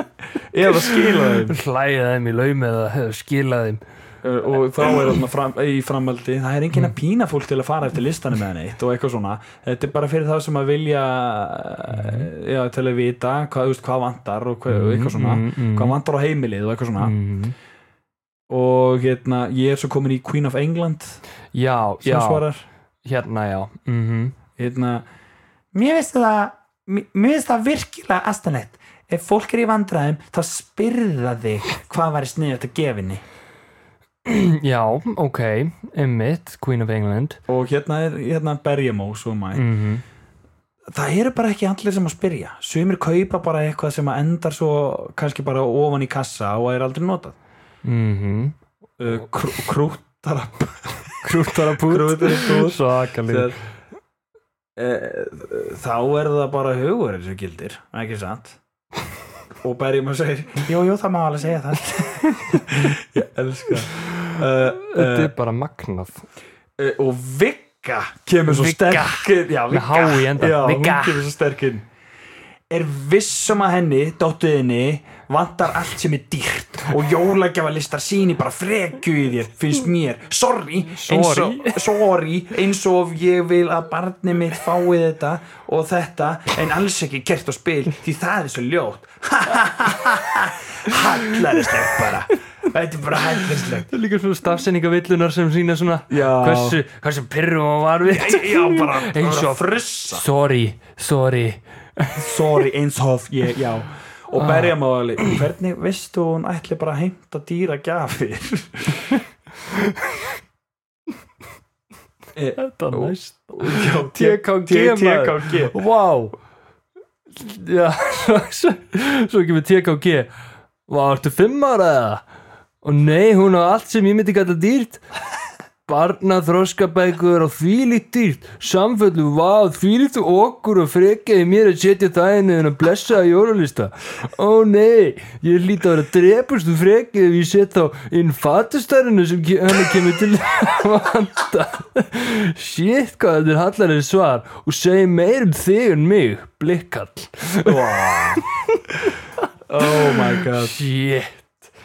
S1: eða skila þeim
S2: Hlæja þeim í laumi eða hefur skilað þeim
S1: Uh, og þá er þarna fram, í framhaldi það er
S2: Mhm.
S1: enginn að pína fólk til að fara eftir listanum með neitt og eitthvað svona þetta er bara fyrir þá sem að vilja
S2: Mhm.
S1: já, til að vita hvað, þú veist, hvað vantar og hvað, eitthvað svona
S2: mhm,
S1: hvað vantar á heimilið og eitthvað svona og hérna, ég er svo komin í Queen of England
S2: já,
S1: sem
S2: já,
S1: svarar
S2: hérna já mm
S1: hérna, mér veist það mér mér veist það virkilega astanlegt ef fólk er í vandræðum þá spyrða þig hvað væri sniðið að gefinni
S2: já, ok, Emmitt Queen of England
S1: og hérna er hérna Berjamó svo mæ
S2: mm
S1: það eru bara ekki allir sem að spyrja sumir kaupa bara eitthvað sem að endar svo kannski bara ofan í kassa og er aldrei notað
S2: mhm,
S1: uh, krú, krútara
S2: krúttara pút
S1: krútara búð
S2: svakalíð
S1: Þegar- Eh, þá er það bara hugur eins og gildir, ekki sant og Berjamó segir jú, jú, það má alveg segja það ég elska uh,
S2: þetta er bara magnað
S1: uh, og Vigga kemur svo
S2: Vigga.
S1: sterkinn já,
S2: Með H í enda.
S1: já, hún
S2: Vigga.
S1: kemur svo sterkinn er vissum að henni, dóttuðinni vantar allt sem er dýrt og jólagjafa listar síni bara frekju í þér, finnst mér sorry, eins og, sorry eins og ég vil að barni mitt fái þetta og þetta en alls ekki kert og spil því það er svo ljótt hallaristlegt bara þetta er bara hallaristlegt
S2: Það er líka svona stafsendingavillunar sem sína svona
S1: Já.
S2: hversu, hversu pyrrum hann var við
S1: já, bara,
S2: eins
S1: bara
S2: og
S1: frussa
S2: sorry, sorry
S1: sorry eins og ég, já
S2: Ah.
S1: og berja máli, hvernig veistu að hún ætli bara að heimta dýra gjafir
S2: Þetta er næst
S1: Eh, T-
S2: TKG maður.
S1: TKG
S2: Vá Já, svo, svo kemur TKG Vá, ertu fimm ára eða? Og nei, hún á allt sem ég myndi gæta dýrt Barna þroskabækur og þvílíkt dýrt Samföllu, vá, þvílíkt okkur og frekjaði mér að setja það inn en að blessa að jólulista Ó nei, ég hlýta að vera drepust og frekjaði ef ég set þá inn fattustarinu sem ke- henni kemur til vanda Shit, hvað þetta er hallarið svar og segi meir um þig en mig, blikkall
S1: oh my god
S2: Shit,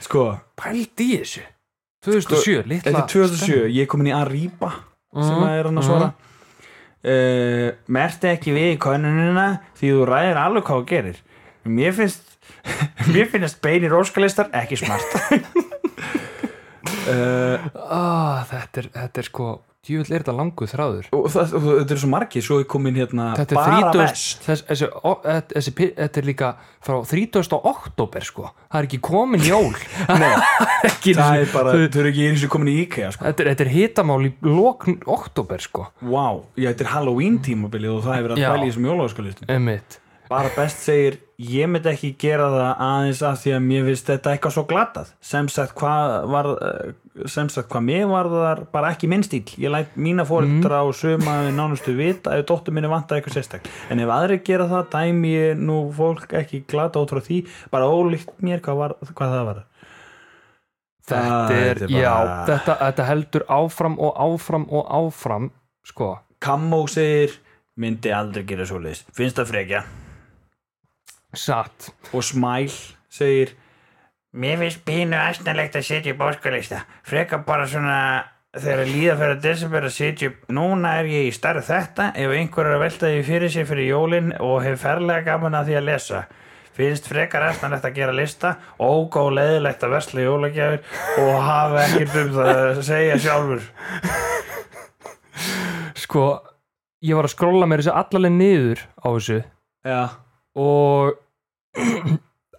S1: sko,
S2: pældi í þessu 2007,
S1: þetta
S2: litla
S1: er 2007, ég er komin í Arriba
S2: Mhm,
S1: sem að er hann að svara uh, merti ekki við í konunina því þú ræðir alveg hvað þú gerir mér finnst mér finnst beinir óskalistar ekki smart uh,
S2: ah, þetta, er, þetta er sko, djúvill er þetta langu þráður
S1: og, það, og þetta er svo margir svo er komin hérna
S2: Þetta er
S1: bara
S2: 30
S1: vest
S2: þess, þessi, ó, þetta- þessi, pi- þetta er líka frá 30. oktober sko það er ekki komin jól ekki,
S1: það er bara,
S2: þau-
S1: þau eru ekki eins og komin í IKEA sko.
S2: þetta, er- þetta er hitamál í lokn oktober sko
S1: wow, já, þetta er Halloween tímabilið og það hefur að
S2: Já.
S1: pæla í þessum jólagaskalistum
S2: Einmitt.
S1: bara best segir, ég myndi ekki gera það aðeins af því að mér finnst þetta eitthvað svo glatað sem sagt hvað var eh, sem sagt hvað mér var það bara ekki minn stíl, ég læt mína fóreldra
S2: Mhm.
S1: og suma við nánustu vita ef dóttur minni vantaði eitthvað sérstak, en ef aðri gera það dæmi ég nú fólk ekki glata út frá því, bara ólíkt mér hvað, var, hvað það var
S2: Ah, þetta
S1: Það
S2: er,
S1: er bara-
S2: já, þetta, þetta heldur áfram og áfram og áfram sko,
S1: Kammo segir, myndi aldrei gera svo leis finnst það frekja
S2: satt
S1: og Smæl segir
S6: Mér finnst pínu aðsnalegt að setja upp óskalista. Freka bara svona þegar líða fyrir desember að setja upp. Núna er ég í starf þetta ef einhver er að velta því fyrir sér fyrir jólin og hef ferlega gaman að því að lesa. Finnst frekar aðsnalegt að gera lista, ógóð leðilegt að versla jólagjafir og hafa ekkert um það að segja sjálfur.
S2: sko, ég var að skrolla mér þessi allaleg niður á þessu
S1: já,
S2: og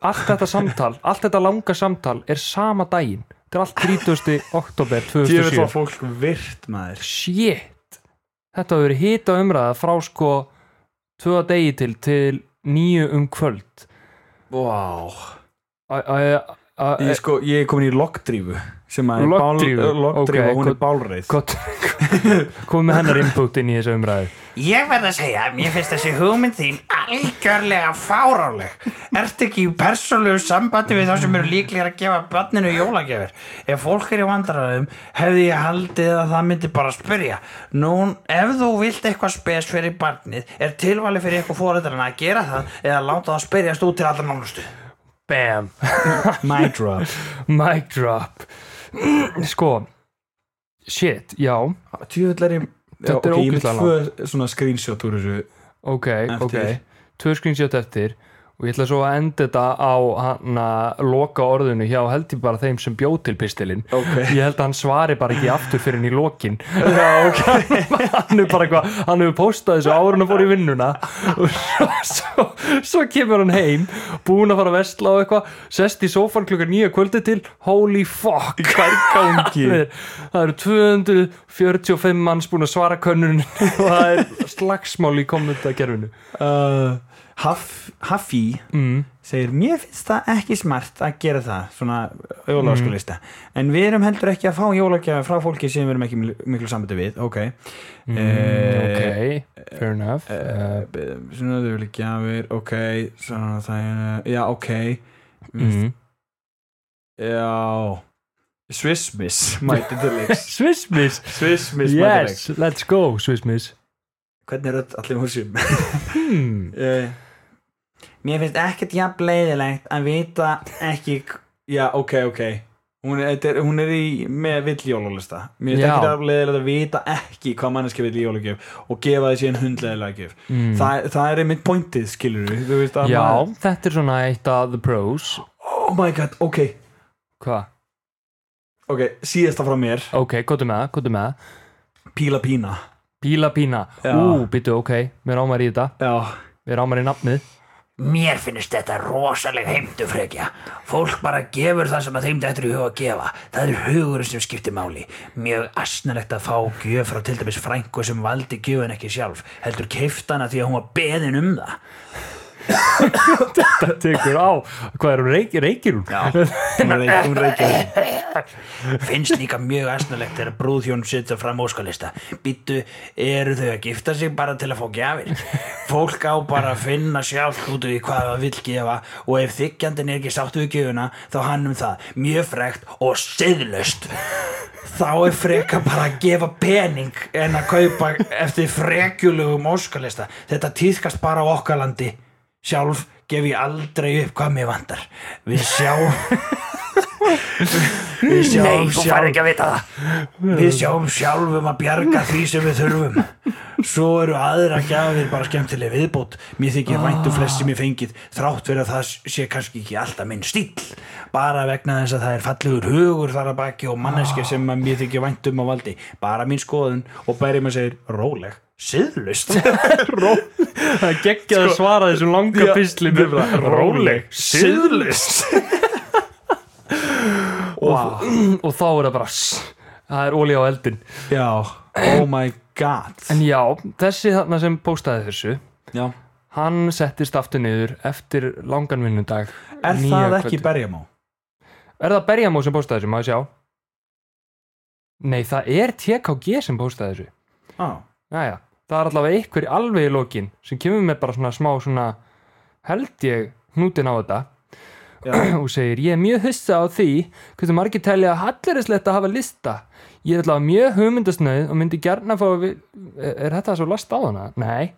S2: allt þetta samtal, allt þetta langa samtal er sama daginn þetta er allt 30. oktober
S1: ég vil
S2: 2007
S1: þá fólk virt maður
S2: shit þetta hefur verið hita umræða frá sko tvöða degi til til nýju um kvöld
S1: wow.
S2: Æ, æ, æ, æ,
S6: Eh,
S1: ég, sko, ég er komin í loggdrífu sem að er
S2: Loggdrífu,
S1: bál, eh, loggdrífu
S2: ok,
S1: og hún er
S2: gott-
S1: bálreið
S2: gott komið með hennar input inn í þessu umræðu
S6: Ég verð að segja, mér finnst þessi hugmynd þín algjörlega fáráleg. Ertu ekki í persónlegu sambandi við þá sem eru líklega að gefa barninu jólagjafir? Ef fólk er í vandræðum, hefði ég haldið að það myndi bara spyrja. Nú, ef þú vilt eitthvað spes fyrir barnið, er tilvalið fyrir eitthvað fóreldrarna að gera það eða láta það spyrjast út til allra nánustu?
S2: bam,
S1: my drop
S2: mic drop Sko Shit, já,
S1: Tjöfullar ég Já,
S2: Þetta er
S1: ok, ég vil
S2: ógeðslega
S1: tvö svona screenshot úr þessu
S2: ok,
S1: Eftir.
S2: ok Tvö screenshot eftir og ég ætla svo að enda þetta á hann að loka orðinu hjá held ég bara þeim sem bjóð til pistilinn
S1: Ok
S2: ég held að hann svari bara ekki aftur fyrir hann í lokin já, ok hann er bara eitthvað, hann hefur postað þessu ára hann fór í vinnuna og svo, svo, svo kemur hann heim búin að fara að vestla og eitthvað sest í sófan klukkan nýja kvöldi til holy fuck
S1: Hvað er gangi?
S2: það eru 245 manns búin að svara könnun og það er slagsmál í kommentakerfinu
S1: uh, Haf, Hafi
S2: Mm.
S1: segir mér finnst það ekki smart að gera það svona
S2: Mm.
S1: jólagskulista en við erum heldur ekki að fá jólagjafi frá fólki sem við erum ekki mil- miklu sambandi við ok
S2: Eh,
S1: mm,
S2: ok, fair enough
S1: eh,
S2: uh,
S1: svona þau vilja gjafir ok svona það er eh, já ok
S2: mm.
S1: já Swissmiss mæti til leiks
S2: Swissmiss
S1: Swissmiss mæti til leiks
S2: yes, let's go Swissmiss
S1: hvernig er öll allir húsum
S2: hmm
S1: Eh, Mér finnst ekkert jafn leiðilegt að vita ekki Já, ok, ok Hún er, þetta er, hún er í, með vill jólulista Mér finnst
S2: Já.
S1: ekkert jafn leiðilegt að vita ekki hvað manneski vill jólugjöf og gefa þessi en hundleiðilega gjöf
S2: Mm.
S1: það, það er einmitt pointið, skilur við Þú veist að
S2: Já,
S1: maður-
S2: þetta er svona eitt af the pros
S1: Oh my god, ok,
S2: Hva?
S1: ok, síðasta frá mér
S2: Ok, gotum með það, gotum með það
S1: Píla pína
S2: Píla pína,
S1: Já.
S2: ú, byttu, ok Mér ámar í þetta,
S1: Já,
S2: mér ámar í nafnið
S6: Mér finnst þetta rosaleg heimtufrekja. Fólk bara gefur það sem að þeim þetta er í huga að gefa. Það er hugurinn sem skiptir máli. Mjög asnalegt að fá gjöf frá til dæmis frængu sem valdi gjöfin ekki sjálf. Heldur keiftana því að hún var beðin um það.
S2: Það tekur á, hvað er hún, reik, reikir hún?
S6: Já.
S1: hún reykir, hún reykir
S6: Finnst líka mjög asnalegt þegar brúðhjón setja fram óskalista. Býttu, eru þau að gifta sig bara til að fá gjafir? Fólk á bara að finna sjálf út í hvað það vil gefa og ef þykjandin er ekki sátt við gjöfuna þá hann um það. Mjög frekt og siðlust. Þá er freka bara að gefa pening en að kaupa eftir frekjulegum óskalista. Þetta týðkast bara á okkarlandi. Sjálf gef ég aldrei upp hvað mér vandar. Við sjáum Við sjáum sjálf
S1: að vita það
S6: Við sjáum sjálfum að bjarga því sem við þurfum Svo eru aðra gjafir bara skemmtileg viðbót Mér þykir væntu flest sem ég fengið Þrátt fyrir að það sé kannski ekki alltaf minn stíll Bara vegna þess að það er fallegur hugur þar að baki Og manneski sem að mér þykir væntum á valdi Bara mín skoðun Og bæri maður segir róleg Siðlust
S2: Það geggja að svara þessum langa pistli Sko, Róleg,
S6: Siðlust
S2: wow. Og þá er það bara sss, Það er ólí á eldin
S1: Já, oh my god
S2: En já, þessi þarna sem postaði þessu
S1: Já.
S2: Hann settist aftur niður eftir langan vinnundag
S1: Er
S2: nýja
S1: það ekki
S2: kvöldið.
S1: berjamó?
S2: Er það Berjamó sem postaði þessu, maður sjá? Nei, það er TKG sem postaði þessu.
S1: Já,
S2: Jæja, það er allavega einhver alveg í lokin sem kemur með bara svona smá svona held ég hnútin á þetta
S1: Já.
S2: og segir ég er mjög hussa á því hversu margir telja að hallerislegt að hafa lista ég er allavega mjög hugmyndasnöð og myndi gjarna fá að vi- er er þetta svo last á hana? Nei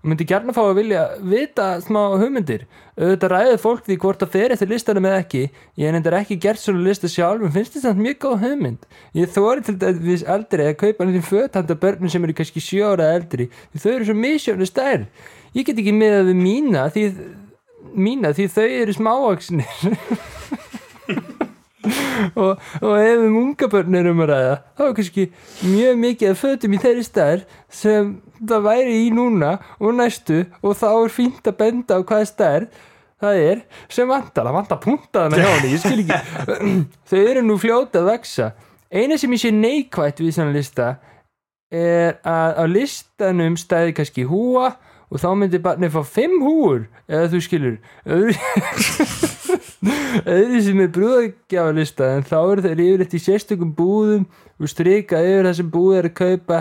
S2: og myndi gjarna fá að vilja vita smá hugmyndir auðvitað ræðið fólk því hvort það fer eftir listanum eða ekki ég er endur ekki gert svona lista sjálf en finnst þetta mjög góð hugmynd ég þóri til dæmis aldrei að kaupa nýttin fötanda börnum sem eru kannski sjö ára eldri því þau eru svo misjöfni stærð ég get ekki miðað við mína því, mína, því þau eru smávaksnir og, og ef um unga börn er um að ræða þá er kannski mjög mikið að fötum í þeirri staðar sem það væri í núna og næstu og þá er fínt að benda á hvaða staðar það er sem vantar, það vantar puntaðana hjá henni, ég skil ekki þau eru nú fljóta að vexa eina sem ég sé neikvætt við svona lista er að á listanum stæði kannski húa og þá myndi barnið fá fimm húur eða þú skilur öðru öðru sem er brúðagjafalista en þá eru þeir yfirleitt í sérstökum búðum og strika yfir það sem búð er að kaupa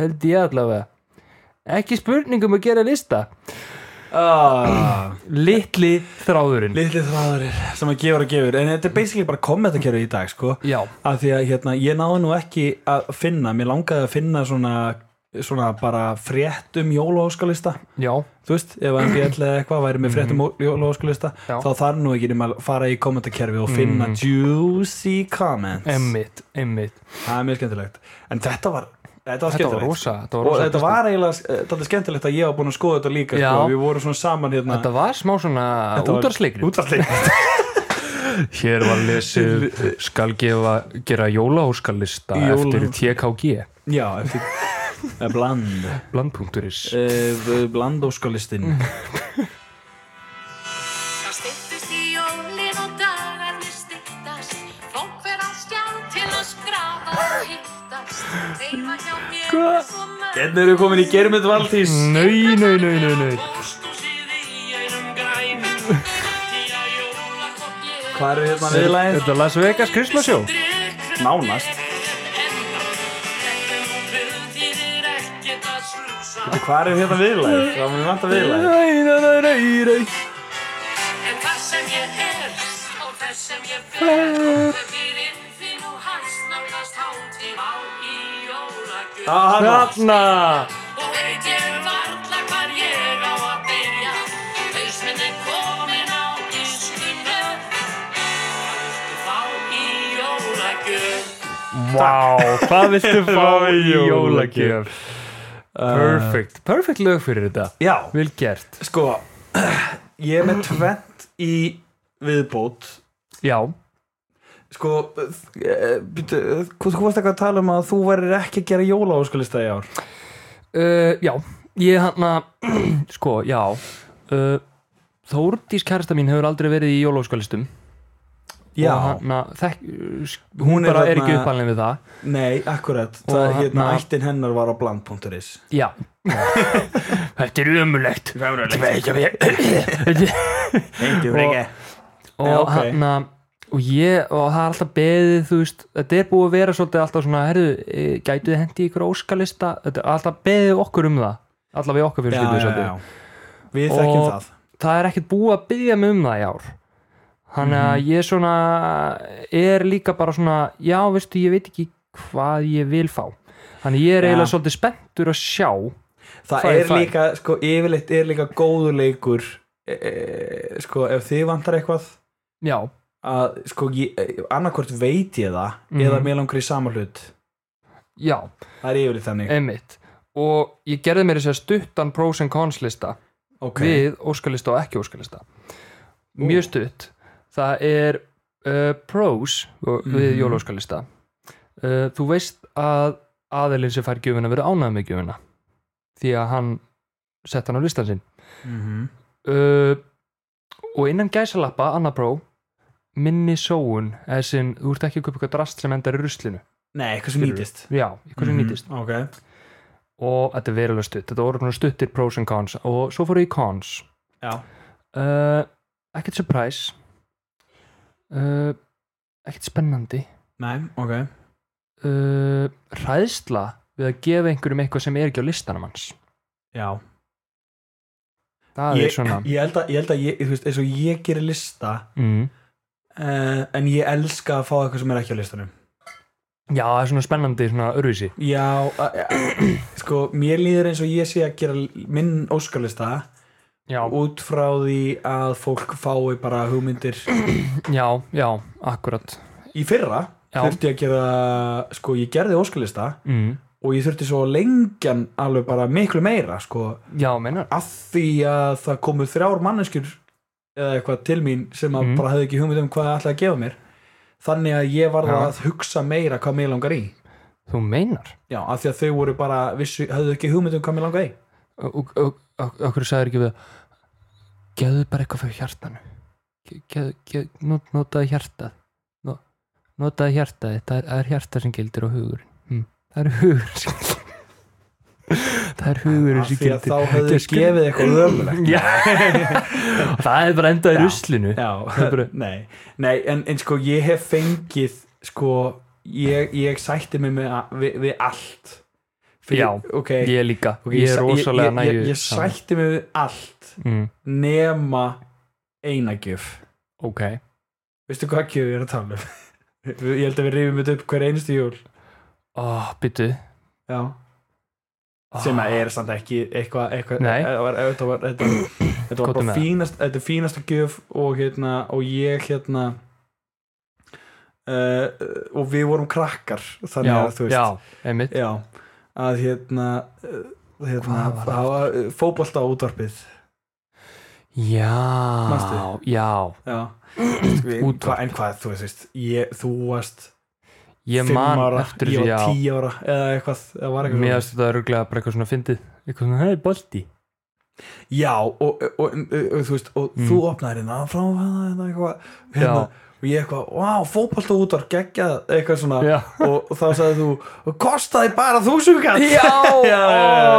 S2: held ég allavega ekki spurningum að gera lista
S1: ah,
S2: litli þráðurinn
S1: litli þráðurir sem að gefur og gefur en þetta er basically bara kommentarkerfi í dag sko
S2: já,
S1: af því að hérna, ég náði nú ekki að finna mér langaði að finna svona
S6: svona bara fréttum jólaóskalista
S2: já,
S6: þú veist, ef hann fjall eða eitthvað væri með fréttum jólaóskalista
S2: Mhm. Já. Mhm.
S6: þá þarf nú ekki nema að fara í kommentakerfi og finna juicy comments
S2: emmitt, emmitt
S6: það er mjög skemmtilegt en þetta var, þetta var
S2: Þetta var
S6: skemmtilegt
S2: rosa, þetta var
S6: og
S2: rosa
S6: þetta var eiginlega þetta er skemmtilegt að ég var búin að skoða þetta líka
S2: Já.
S6: sko. við vorum svona saman hérna
S2: Þetta var smá svona útarsleikri
S6: útvarsleikrit
S2: Hér var lesið skal gefa, gera jólahúskalista
S6: Jóla-
S2: eftir TKG
S6: já, eftir eh, bland
S2: blandpunkturis
S6: eh, blandóskalistin
S2: Mhm.
S8: Það styttist í jólin og dagarnir styttast Fólk fer að sjá til að skrafa og hittast Heima hjá mér er svo mörg
S6: hérna eru komin í Germund Valdís
S2: Nei, nei, nei, nei, nei
S6: hvað eru hérna viðlæðið?
S2: Þetta er Las Vegas Christmas Show
S6: nánast hvað eru hérna viðlæðið? það mér vant að viðlæðið
S2: Nei, nei, nei, nei, nei
S8: En það sem ég er og það sem ég fer Fyrir þín og hans nafnast hátíð á í jólagjöf
S6: hérna?
S2: Þarna
S8: Og veit ég varla hvar ég á að byrja Hausminn er komin á diskinu Fá í jólagjöf
S2: Vá, hvað viltu fá í
S6: jólagjöf?
S2: jólagjöf? Perfect, perfect lög fyrir þetta
S6: já,
S2: Vel gert
S6: sko ég er með tvent í viðbót
S2: Já,
S6: Sko, eh, býtu, eh, hvað- þú varst eitthvað að tala um að þú verður ekki að gera jólaóskalista í ár
S2: uh, já, ég hann að Sko, já uh, Þórdís kærasta mín hefur aldrei verið í jólóskalistum og hann að þekk, hún,
S6: Hún er hérna-
S2: bara er
S6: þarna-
S2: ekki uppalinn við það
S6: Nei, akkurat
S2: Og
S6: Það er hérna,
S2: þarna-
S6: ættin hennar var á bland.is
S2: Já Þetta er umulegt
S6: Engi
S2: Frigga. og
S6: Já, ok.
S2: hann að og ég, og það er alltaf beðið þú veist, þetta er búið að vera svolítið alltaf svona herðu, e, gætuð hendi ykkur óskalista þetta er alltaf beðið okkur um það alltaf við okkar fyrir
S6: Já, já, já Við þekkjum
S2: Og-
S6: það
S2: það er ekkert búið að byggja mig um það í ár þannig
S6: Mhm.
S2: að ég svona er líka bara svona já veistu ég veit ekki hvað ég vil fá þannig ég er
S6: Já.
S2: eiginlega svolítið spenntur að sjá
S6: Það
S2: Fæ,
S6: er
S2: fæ.
S6: líka, sko, yfirleitt er líka góður leikur e, e, Sko, ef þið vantar eitthvað
S2: já,
S6: að, sko, ég, eh, annarkvort veit ég það
S2: Mhm.
S6: eða mér langur í sama hlut
S2: já,
S6: Það er yfirleitt þannig
S2: einmitt og ég gerði mér þess að stuttan pros and cons lista
S6: Ok,
S2: við óskalista og ekki óskalista mjög stutt það er uh, pros og- við
S6: Mhm.
S2: jólóskalista uh, þú veist að aðeilin sem fær gjöfuna verið ánægð með gjöfuna því að hann sett hann á listan sinn
S6: Mhm.
S2: uh, og innan gæsalappa annar pró minni sóun eða sinn, þú ert ekki að köpa eitthvað drast sem endar í ruslinu
S6: Nei, eitthvað sem
S2: Skilurðu?
S6: nýtist
S2: já, eitthvað sem
S6: Mhm.
S2: nýtist
S6: Ok
S2: og þetta er verulega stutt, þetta voru svona stuttir pros and cons og svo fóru í cons
S6: Já
S2: uh, ekkert surprise uh, ekkert spennandi
S6: Nei, ok
S2: uh, ræðsla við að gefa einhverjum eitthvað sem er ekki á listanum hans
S6: Já
S2: það
S6: ég,
S2: er svona
S6: ég held að, ég, held að ég, þú veist, eins og ég gerir lista
S2: mm,
S6: uh, En ég elska að fá eitthvað sem er ekki á listanum
S2: já, það er svona spennandi, svona örvísi
S6: Já, a- a- sko, mér líður eins og ég sé að gera minn óskarlista
S2: já,
S6: Út frá því að fólk fái bara hugmyndir
S2: já, já, akkurat
S6: Í fyrra
S2: Já.
S6: þurfti ég að gera, sko, ég gerði óskarlista
S2: mm,
S6: Og ég þurfti svo lengjan alveg bara miklu meira, sko
S2: já, meinar
S6: Af því að það komu þrjár manneskjur eða eitthvað til mín sem að
S2: Mhm.
S6: bara hefði ekki hugmynd um hvað það ætlaði að gefa mér þannig að ég varð
S2: Já.
S6: að hugsa meira hvað mér langar í
S2: þú meinar
S6: já, af því að þau voru bara vissu, höfðu ekki hugmynd um hvað mér langar í
S2: og okkur sagður ekki við það, geðu bara eitthvað fyrir hjartanu Ge- geðu- geðu- not- notaðu hjartað No- notaðu hjartað þitt. það er, það er hjartað sem gildir og hugurinn hm. það er hugurinn sem það er hugurinn
S6: af
S2: sem
S6: því að
S2: gildir
S6: þá höfðu
S2: Ég skil-
S6: gefið eitthvað ömulegt
S2: Já. Og það er bara endað í
S6: Já.
S2: ruslinu
S6: já,
S2: er bara-
S6: nei, nei en, en sko ég hef fengið sko, ég, ég sætti mig með, að- við, við allt
S2: Já,
S6: ok,
S2: ég líka,
S6: ok,
S2: ég er
S6: sæ-
S2: rosalega
S6: ég,
S2: nægju
S6: ég, ég sætti mig við allt
S2: mm,
S6: nema einagjöf
S2: ok,
S6: Veistu hvað gjöf ég er að tala um? ég held að við rifum þetta upp hver einustu jól
S2: oh, byttu
S6: Já
S1: sem að er eh, samt ekki eitthvað eitthva,
S2: Nei.
S1: þetta var, þetta, þetta var
S2: Komdu
S1: bara
S2: með það.
S1: fínast þetta er fínasta gjöf og, hérna, og ég hérna uh, og við vorum krakkar þannig að þú veist
S2: já, einmitt
S1: Já, að hérna uh, hérna,
S2: Hvað var það
S1: hafa uh, fótbolta á útvarpið
S2: Já,
S1: Manstu?
S2: já
S1: Já, Útvarp.
S2: Útvarp.
S1: en hvað, þú veist ég, þú varst
S2: Ég
S1: fimm
S2: man
S1: ára,
S2: eftir
S1: ég
S2: því
S1: var
S2: já.
S1: 10 ára eða eitthvað, eða var eitthvað
S2: Mér
S1: svoleiðis.
S2: finnst þetta örgulega bara eitthvað svona fyndið Eitthvað svona, hei, bolti
S1: Já, og, og, og, og þú veist og
S2: Mm.
S1: þú opnaðir hérna frá hérna eitthvað, hérna og ég eitthvað, vá, fótbolta útvarp geggjað eitthvað svona,
S2: Já.
S1: og þá sagði þú kostaði bara þúsungall
S2: Já, ó, já,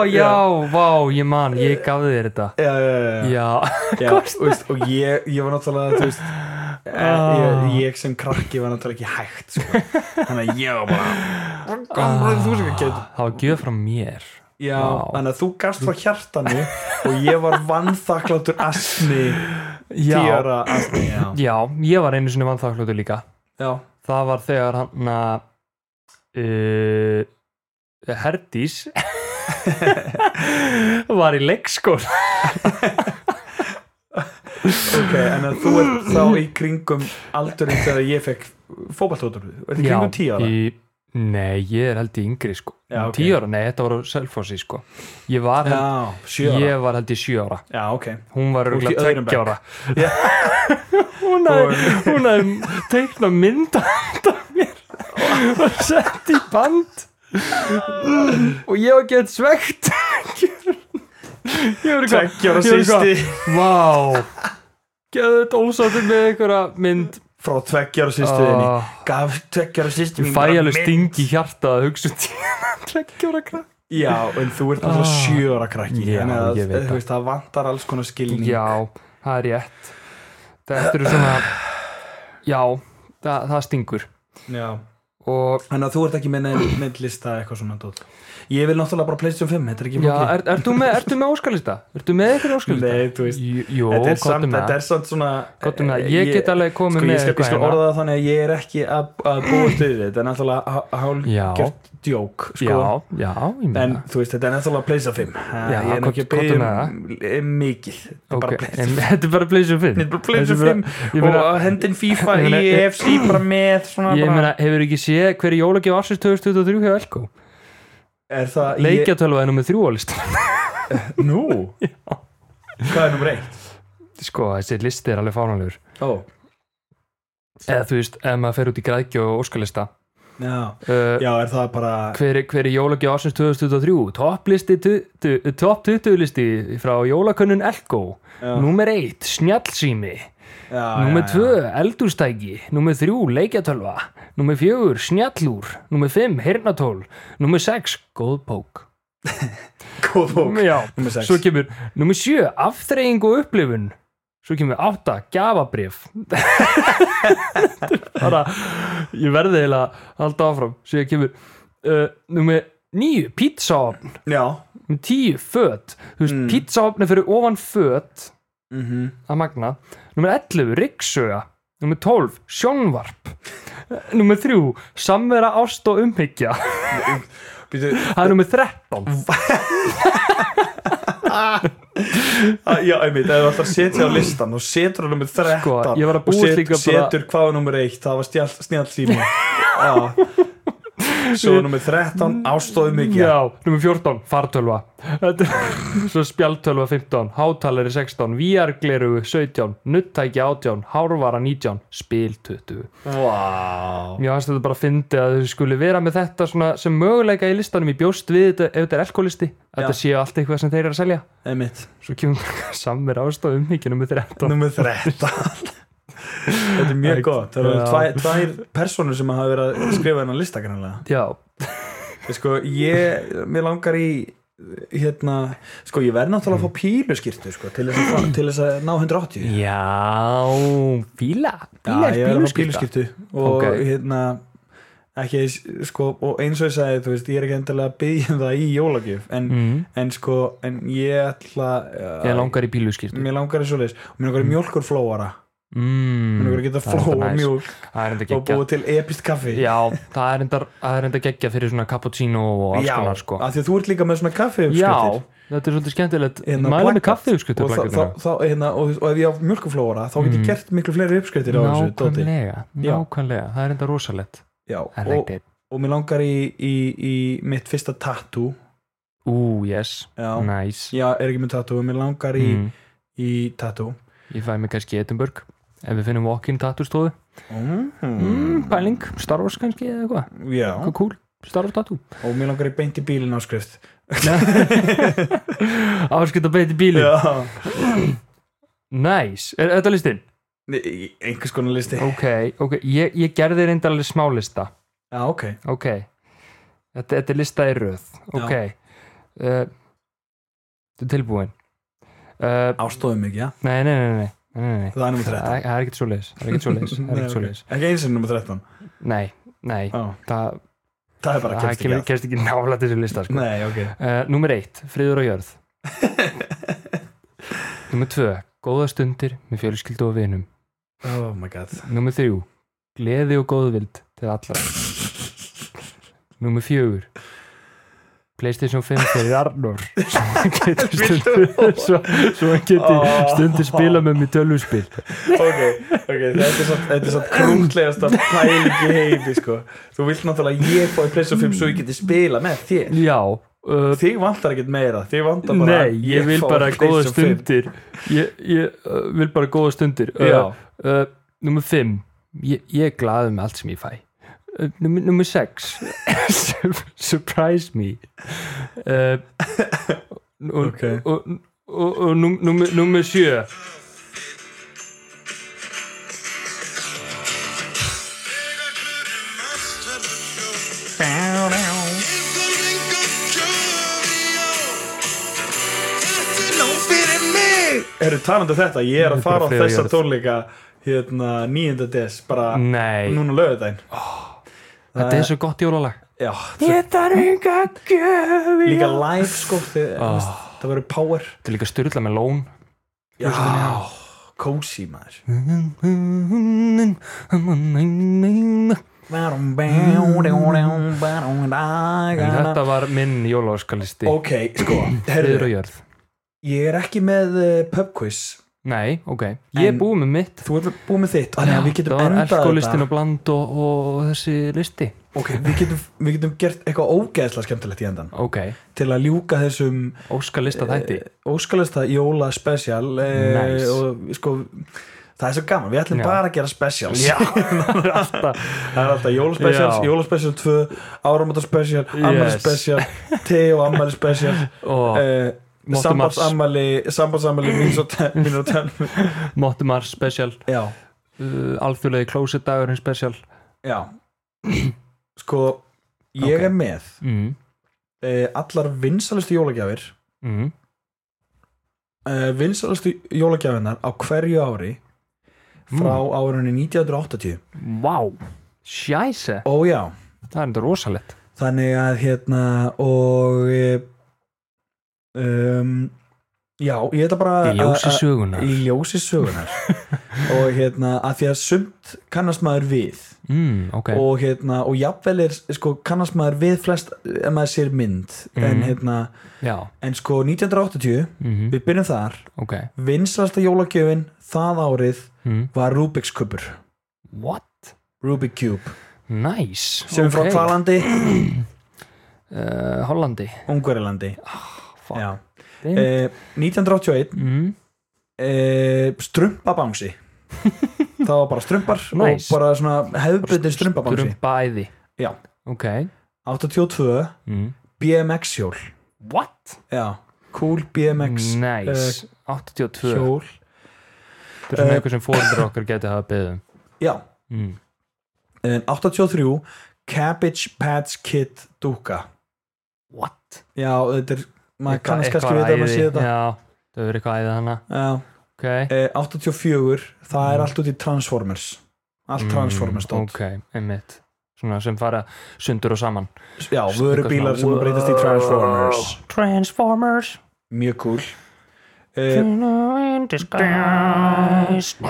S1: já,
S2: vá, ég man, ég gaf þér þetta
S1: já, já, já.
S2: Já,
S1: Já, og veist, og ég, ég var náttúrulega þú veist, eh, ég, ég sem krakki var náttúrulega ekki hægt sko. þannig að ég var bara
S6: Ah.
S1: gamla þú sem ekki
S2: það var gjöð frá mér
S1: já,
S2: Vá.
S1: þannig að þú gafst frá hjartanu og ég var vannþakláttur asni
S2: Já,
S1: tíara asni já,
S2: já, ég var einu sinni vannþakklótu líka
S1: já,
S2: Það var þegar hann að uh, Herdís var í leikskóla
S1: ok en að þú er þá í kringum aldurinn þegar ég fekk fótballtóttur er það í kringum tíara?
S2: í, Nei, ég er held í yngri sko
S1: Já, ok.
S2: Tíu ára, nei, þetta var á Selfossi sko Ég var,
S1: já,
S2: held,
S1: sjöara,
S2: ég var held í sjö ára
S1: já, ok
S2: Hún var
S1: Þú ert í
S2: örgulega
S1: öðrum bekk.
S2: tveggja ára Hún hafði hún hafði teiknað mynd af mér og sett í band og ég var gett svegt Ég var eitthvað
S1: Tveggjára
S2: ég var eitthvað,
S1: sýsti
S2: Vá Geðu þetta ósáttur með einhverja mynd
S1: frá tveggjara sýstiðinni
S2: Ah.
S1: gaf tveggjara sýsti
S2: Ég fæ alveg sting í hjarta að hugsa um tíma Tveggjára krakk
S1: Já, en þú ert náttúrulega
S2: Ah.
S1: sjö ára krakki
S2: Já,
S1: þannig að
S2: ég veit
S1: þú
S2: það.
S1: veist, það vantar alls konar skilning
S2: Já, það er rétt Þetta eru svona Já, það, það stingur
S1: Já.
S2: Og
S1: Þannig að þú ert ekki með neinn neinn lista eitthvað svona dót. Ég vil náttúrulega bara Playstation 5, þetta er ekki
S2: Já,
S1: flókið.
S2: er, ertu með, ertu með óskalista? Ertu með eitthvað óskalista?
S1: Nei, þú veist,
S2: Jú, um Jú,
S1: þetta er
S2: komdu
S1: samt,
S2: með
S1: þetta er samt svona eh,
S2: Komdu með, um ég get alveg komið
S1: sko,
S2: með
S1: ég skal,
S2: eitthvað
S1: ég skal
S2: hérna.
S1: orða það þannig að ég er ekki að, að búa til þetta, þetta er náttúrulega há- hálfgert djók sko.
S2: Já, já, ég meina
S1: en þú veist, þetta er náttúrulega Playstation 5 Ha,
S2: Já,
S1: ég er nú ekki að
S2: komdu- komdu
S1: byggja
S2: með
S1: um um mikið Þetta er
S2: Ok,
S1: bara
S2: en
S1: PlayStation 5
S2: Þetta er bara
S1: Þetta
S2: Playstation 5
S1: er bara PlayStation 5
S2: Ég meina,
S1: og hendin FIFA
S2: Ég
S1: í
S2: meina, ég-
S1: EFC bara með svona
S2: ég
S1: bara-
S2: meina hefur ekki séð hverju jólagjöf ársins 2023 hjá Elko?
S1: Er það
S2: Leikjatölu ennum með þrjúvalist
S1: Ég... Nú? Hvað er nummer eitt?
S2: Sko, þessi listi er alveg fánanlegur
S1: Ó,
S2: Eða þú veist, ef maður fer út í græðgjöf og óskalista
S1: já.
S2: uh,
S1: já, er það bara
S2: hver, er- hver er jólagjöf ársins 2023 topplisti tu- tu- topp 20 listi frá jólakönnun Elko
S1: Já.
S2: Númer 1, snjallsými
S1: já,
S2: Númer
S1: já,
S2: 2, eldurstæki Númer 3, leikjatölva Númer 4, snjallúr Númer 5, hirnatól Númer 6, góð pók
S1: já. Góð bók
S2: Já,
S1: Númer sex.
S2: svo kemur Númer 7, afþreying og upplifun Svo kemur 8, gjafabrif Bara Ég verði eiginlega að halda áfram Svo kemur uh, Númer 9, pítsaofn
S1: Já,
S2: Númer 10, föt Þú veist, mm. pítsaofn er fyrir ofan föt
S1: mm -hmm.
S2: að magna Númer 11, ryggsöga Númer 12, sjónvarp Númer 3, samvera ást og umhyggja
S1: Býtu,
S2: Það er númer 13
S1: að, Ah, já, einmitt, ef þú ætlar að setja á listan og setur á nummer 13
S2: Sko, ég var að
S1: og
S2: búa til líka bara-
S1: setur hvað er nummer 1, það var stjall, snjallsými Já Svo er nummer 13, ástóðu mikið
S2: Já, númer 14, fartölva Þetta er- Svo spjaldtölva 15 Hátalari 16, VR-gleru 17 Nuttæki 18, hárvara 19 Spil 20
S1: Vá
S2: Mér fannst þetta bara að fyndi að þau skuli vera með þetta svona sem möguleika í listanum í bjóst við þetta ef þetta er elkolisti að þetta séu allt eitthvað sem þeir eru að selja
S1: Einmitt,
S2: Svo kemur samver ástofum um mikið nummer 13
S1: nummer 13 Þetta er mjög
S2: Æ,
S1: gott Það eru
S2: já.
S1: tvær, tvær personur sem hafa verið að skrifa hennar lista kannanlega
S2: Já,
S1: Sko, ég, mér langar í hérna, sko, ég verð náttúrulega að fá píluskirtu, sko, til þess að, til þess að ná 180.
S2: Já, fíla Fíla
S1: Já,
S2: er
S1: ég verð að fá
S2: bíluskylda
S1: píluskirtu og
S2: Ok.
S1: hérna ekki, eins- sko, og eins og ég sagði, þú veist, ég er ekki endilega að byggja um það í jólagjöf, en,
S2: Mm.
S1: en sko, en ég ætla
S2: Ég langar í bíluskirtu
S1: mér langar í svoleiðis og mér langar í mjólkurflóara
S2: mm,
S1: Hún er að geta
S2: Mhm. það er
S1: flóa
S2: enda næs.
S1: mjólk
S2: Það er enda
S1: og
S2: geggja
S1: búið til epist kaffi
S2: Já, það er enda, það er enda geggja fyrir svona cappuccino og alls
S1: Já,
S2: konar sko
S1: af því að þú ert líka með svona kaffi
S2: Já, þetta er svolítið skemmtilegt
S1: Hérna,
S2: Mæla með
S1: plakat.
S2: kaffi uppskriftir
S1: og, þá, þá, þá, hérna, og, og ef ég á mjölkuflóra þá get ég gert miklu fleiri uppskriftir á þessu dóti
S2: Mhm. Nákvæmlega,
S1: Já.
S2: nákvæmlega Það er enda rosalegt
S1: Já,
S2: Það er
S1: og,
S2: ekki
S1: og mér langar í, í, í mitt fyrsta tattoo
S2: Ú, yes,
S1: Já,
S2: nice
S1: já er ekki með tattoo mér langar í,
S2: Mm.
S1: í tattoo
S2: Ég fæ mig kannski í Edinburgh Ef við finnum walk-in tattoo-stofu
S1: mm.
S2: mm, Pæling, Star Wars kannski eða eitthvað
S1: Já,
S2: Hvað cool, Star Wars tattoo
S1: og mér langar í beint í bílinn áskrift
S2: Áskipt að beita bílinn
S1: Já,
S2: Nice, er þetta listinn?
S1: Í- í einhvers konar listi
S2: Ok, ok, ég, ég gerði reynda alveg smálista
S1: Já, ok
S2: Ok Þetta, þetta er lista í röð Ok uh, Þetta er tilbúin uh,
S1: Ástofum ekki, já
S2: Nei, nei, nei, nei, nei, nei, nei.
S1: Það er nummer
S2: Það
S1: 13
S2: það er ekkert svoleiðis Það er ekkert svoleiðis Það er
S1: Nei, ok.
S2: ekkert svoleiðis
S1: Ekki eins og nummer 13
S2: Nei, nei
S1: Já,
S2: Það,
S1: Það er bara
S2: það
S1: kemst ekki
S2: kemur-
S1: að
S2: kemst ekki nála til þessu lista sko.
S1: Nei, ok
S2: Uh, númer eitt, friður og jörð Númer tvö, góða stundir með fjölskyldu og vinum
S1: Oh my god
S2: Númer þrjú, gleði og góðvild til allar Númer fjögur Playstation 5 fyrir Arnur Svo hann getur stundir Svo, svo hann getur stundir spila með mér tölvuspil
S1: Ok, ok, þetta er satt, þetta er satt krútlegasta pæling í heimi, sko. Þú vilt náttúrulega að ég fóði PlayStation 5 svo ég geti spila með þér.
S2: Já, uh,
S1: Þig vantar ekkert meira, þig vantar bara
S2: nei, ég vil
S1: fái
S2: bara góða
S1: PlayStation 5.
S2: stundir Ég, ég uh, vil bara góða stundir
S1: Já.
S2: uh, Númer 5 ég, ég er glaður með allt sem ég fæ uh, Númer númer 6 Surprise me uh, og,
S1: Ok.
S2: og, og, og nú- númer, númer 7
S1: Herru, talandi um þetta, ég er að fara á
S2: friður
S1: þessa
S2: jörð.
S1: tónleika hérna 9. des, bara
S2: Nei,
S1: núna lögudaginn.
S2: þetta er svo gott jólalag
S1: Já,
S2: Ég þarf enga gjöfi
S1: líka live, sko, þið, oh.
S2: Ah.
S1: það verður power.
S2: Þetta er líka styrla með lón
S1: Já, cozy maður. Mm.
S2: En
S1: Þetta
S2: þetta var minn jólaskalisti
S1: Ok, sko,
S2: Friður
S1: herru,
S2: og jörð
S1: ég er ekki með eh, pub quiz
S2: Nei, ok, ég er
S1: En-
S2: búið með mitt
S1: Þú ert búið með þitt Þannig að við getum
S2: Það var
S1: endað
S2: alkoholistin
S1: þetta
S2: og bland og, og þessi listi
S1: Ok, við getum, við getum gert eitthvað ógeðslega skemmtilegt í endan
S2: Ok,
S1: Til að ljúka þessum Eh,
S2: óskalista þætti
S1: óskalista jóla special
S2: Nice.
S1: Og sko, það er svo gaman Við ætlum
S2: Já.
S1: bara að gera specials
S2: Já, það er alltaf
S1: Það er alltaf jóla specials,
S2: Já.
S1: jóla special 2 Áramata special, ammæli
S2: Yes.
S1: special Teo ammæli special
S2: Og
S1: eh,
S2: Mottu Mars.
S1: Sambandsammæli Sambandsammæli mínus og ten- mínus og ten
S2: Mottumar special
S1: Já
S2: uh, Alþjóðlegi klósetdagurinn special
S1: Já Sko, ég
S2: Ok.
S1: er með
S2: mm.
S1: uh, allar vinsalustu jólagjafir
S2: Mm.
S1: uh, vinsalustu jólagjafinar á hverju ári frá mm. árunni 1980
S2: Vá, sjæse
S1: Ó já,
S2: Það er enda rosalegt
S1: þannig að hérna og eh, um, já, ég ætla bara
S2: Í ljósi
S1: að- að-
S2: sögunar
S1: eh, Í ljósi sögunar og hérna, að því að sumt kannast maður við
S2: mm, Ok,
S1: og hérna, og jafnvel er sko, kannast maður við flest ef maður sér mynd en
S2: Mhm.
S1: hérna,
S2: já
S1: en sko 1980
S2: mm.
S1: Við byrjum þar,
S2: Ok,
S1: vinsalasta jólagjöfin það árið
S2: mm.
S1: var Rubik's kubur
S2: what?
S1: Rubik's Cube,
S2: Nice
S1: sem er frá
S2: Ok.
S1: Kvalandi
S2: uh, Hollandi
S1: Ungverilandi
S2: Ah, fuck.
S1: Já.
S2: Damn.
S1: eh, 1981
S2: mm.
S1: eh, strumpabangsi það var bara strumpar
S2: Nice.
S1: og bara svona hefðbundin strumpabangsi
S2: Drumbæði
S1: Já.
S2: Ok
S1: 82
S2: mm.
S1: BMX hjól
S2: What?
S1: Já. cool BMX
S2: Nice 82
S1: hjól
S2: Þetta er svona
S1: Eh,
S2: eitthvað sem fóreldur okkar geti hafa um. beðum
S1: Já. Eh,
S2: mm.
S1: En 83 Cabbage Patch Kid dúka
S2: What?
S1: Já, þetta er maður
S2: Eitthvað-
S1: kannast kannski
S2: eitthvað
S1: við þetta að maður sé
S2: æði.
S1: þetta
S2: Já, það verður eitthvað æðið hana
S1: Já.
S2: Ok,
S1: Eh, 84, það er allt út í Transformers allt Transformers dot
S2: Mm. Ok, einmitt Svona sem fara sundur og saman
S1: já, vörubílar sem
S2: Eitthvað svona,
S1: breytast í Transformers
S2: Transformers
S1: mjög cool eh,
S2: In disguise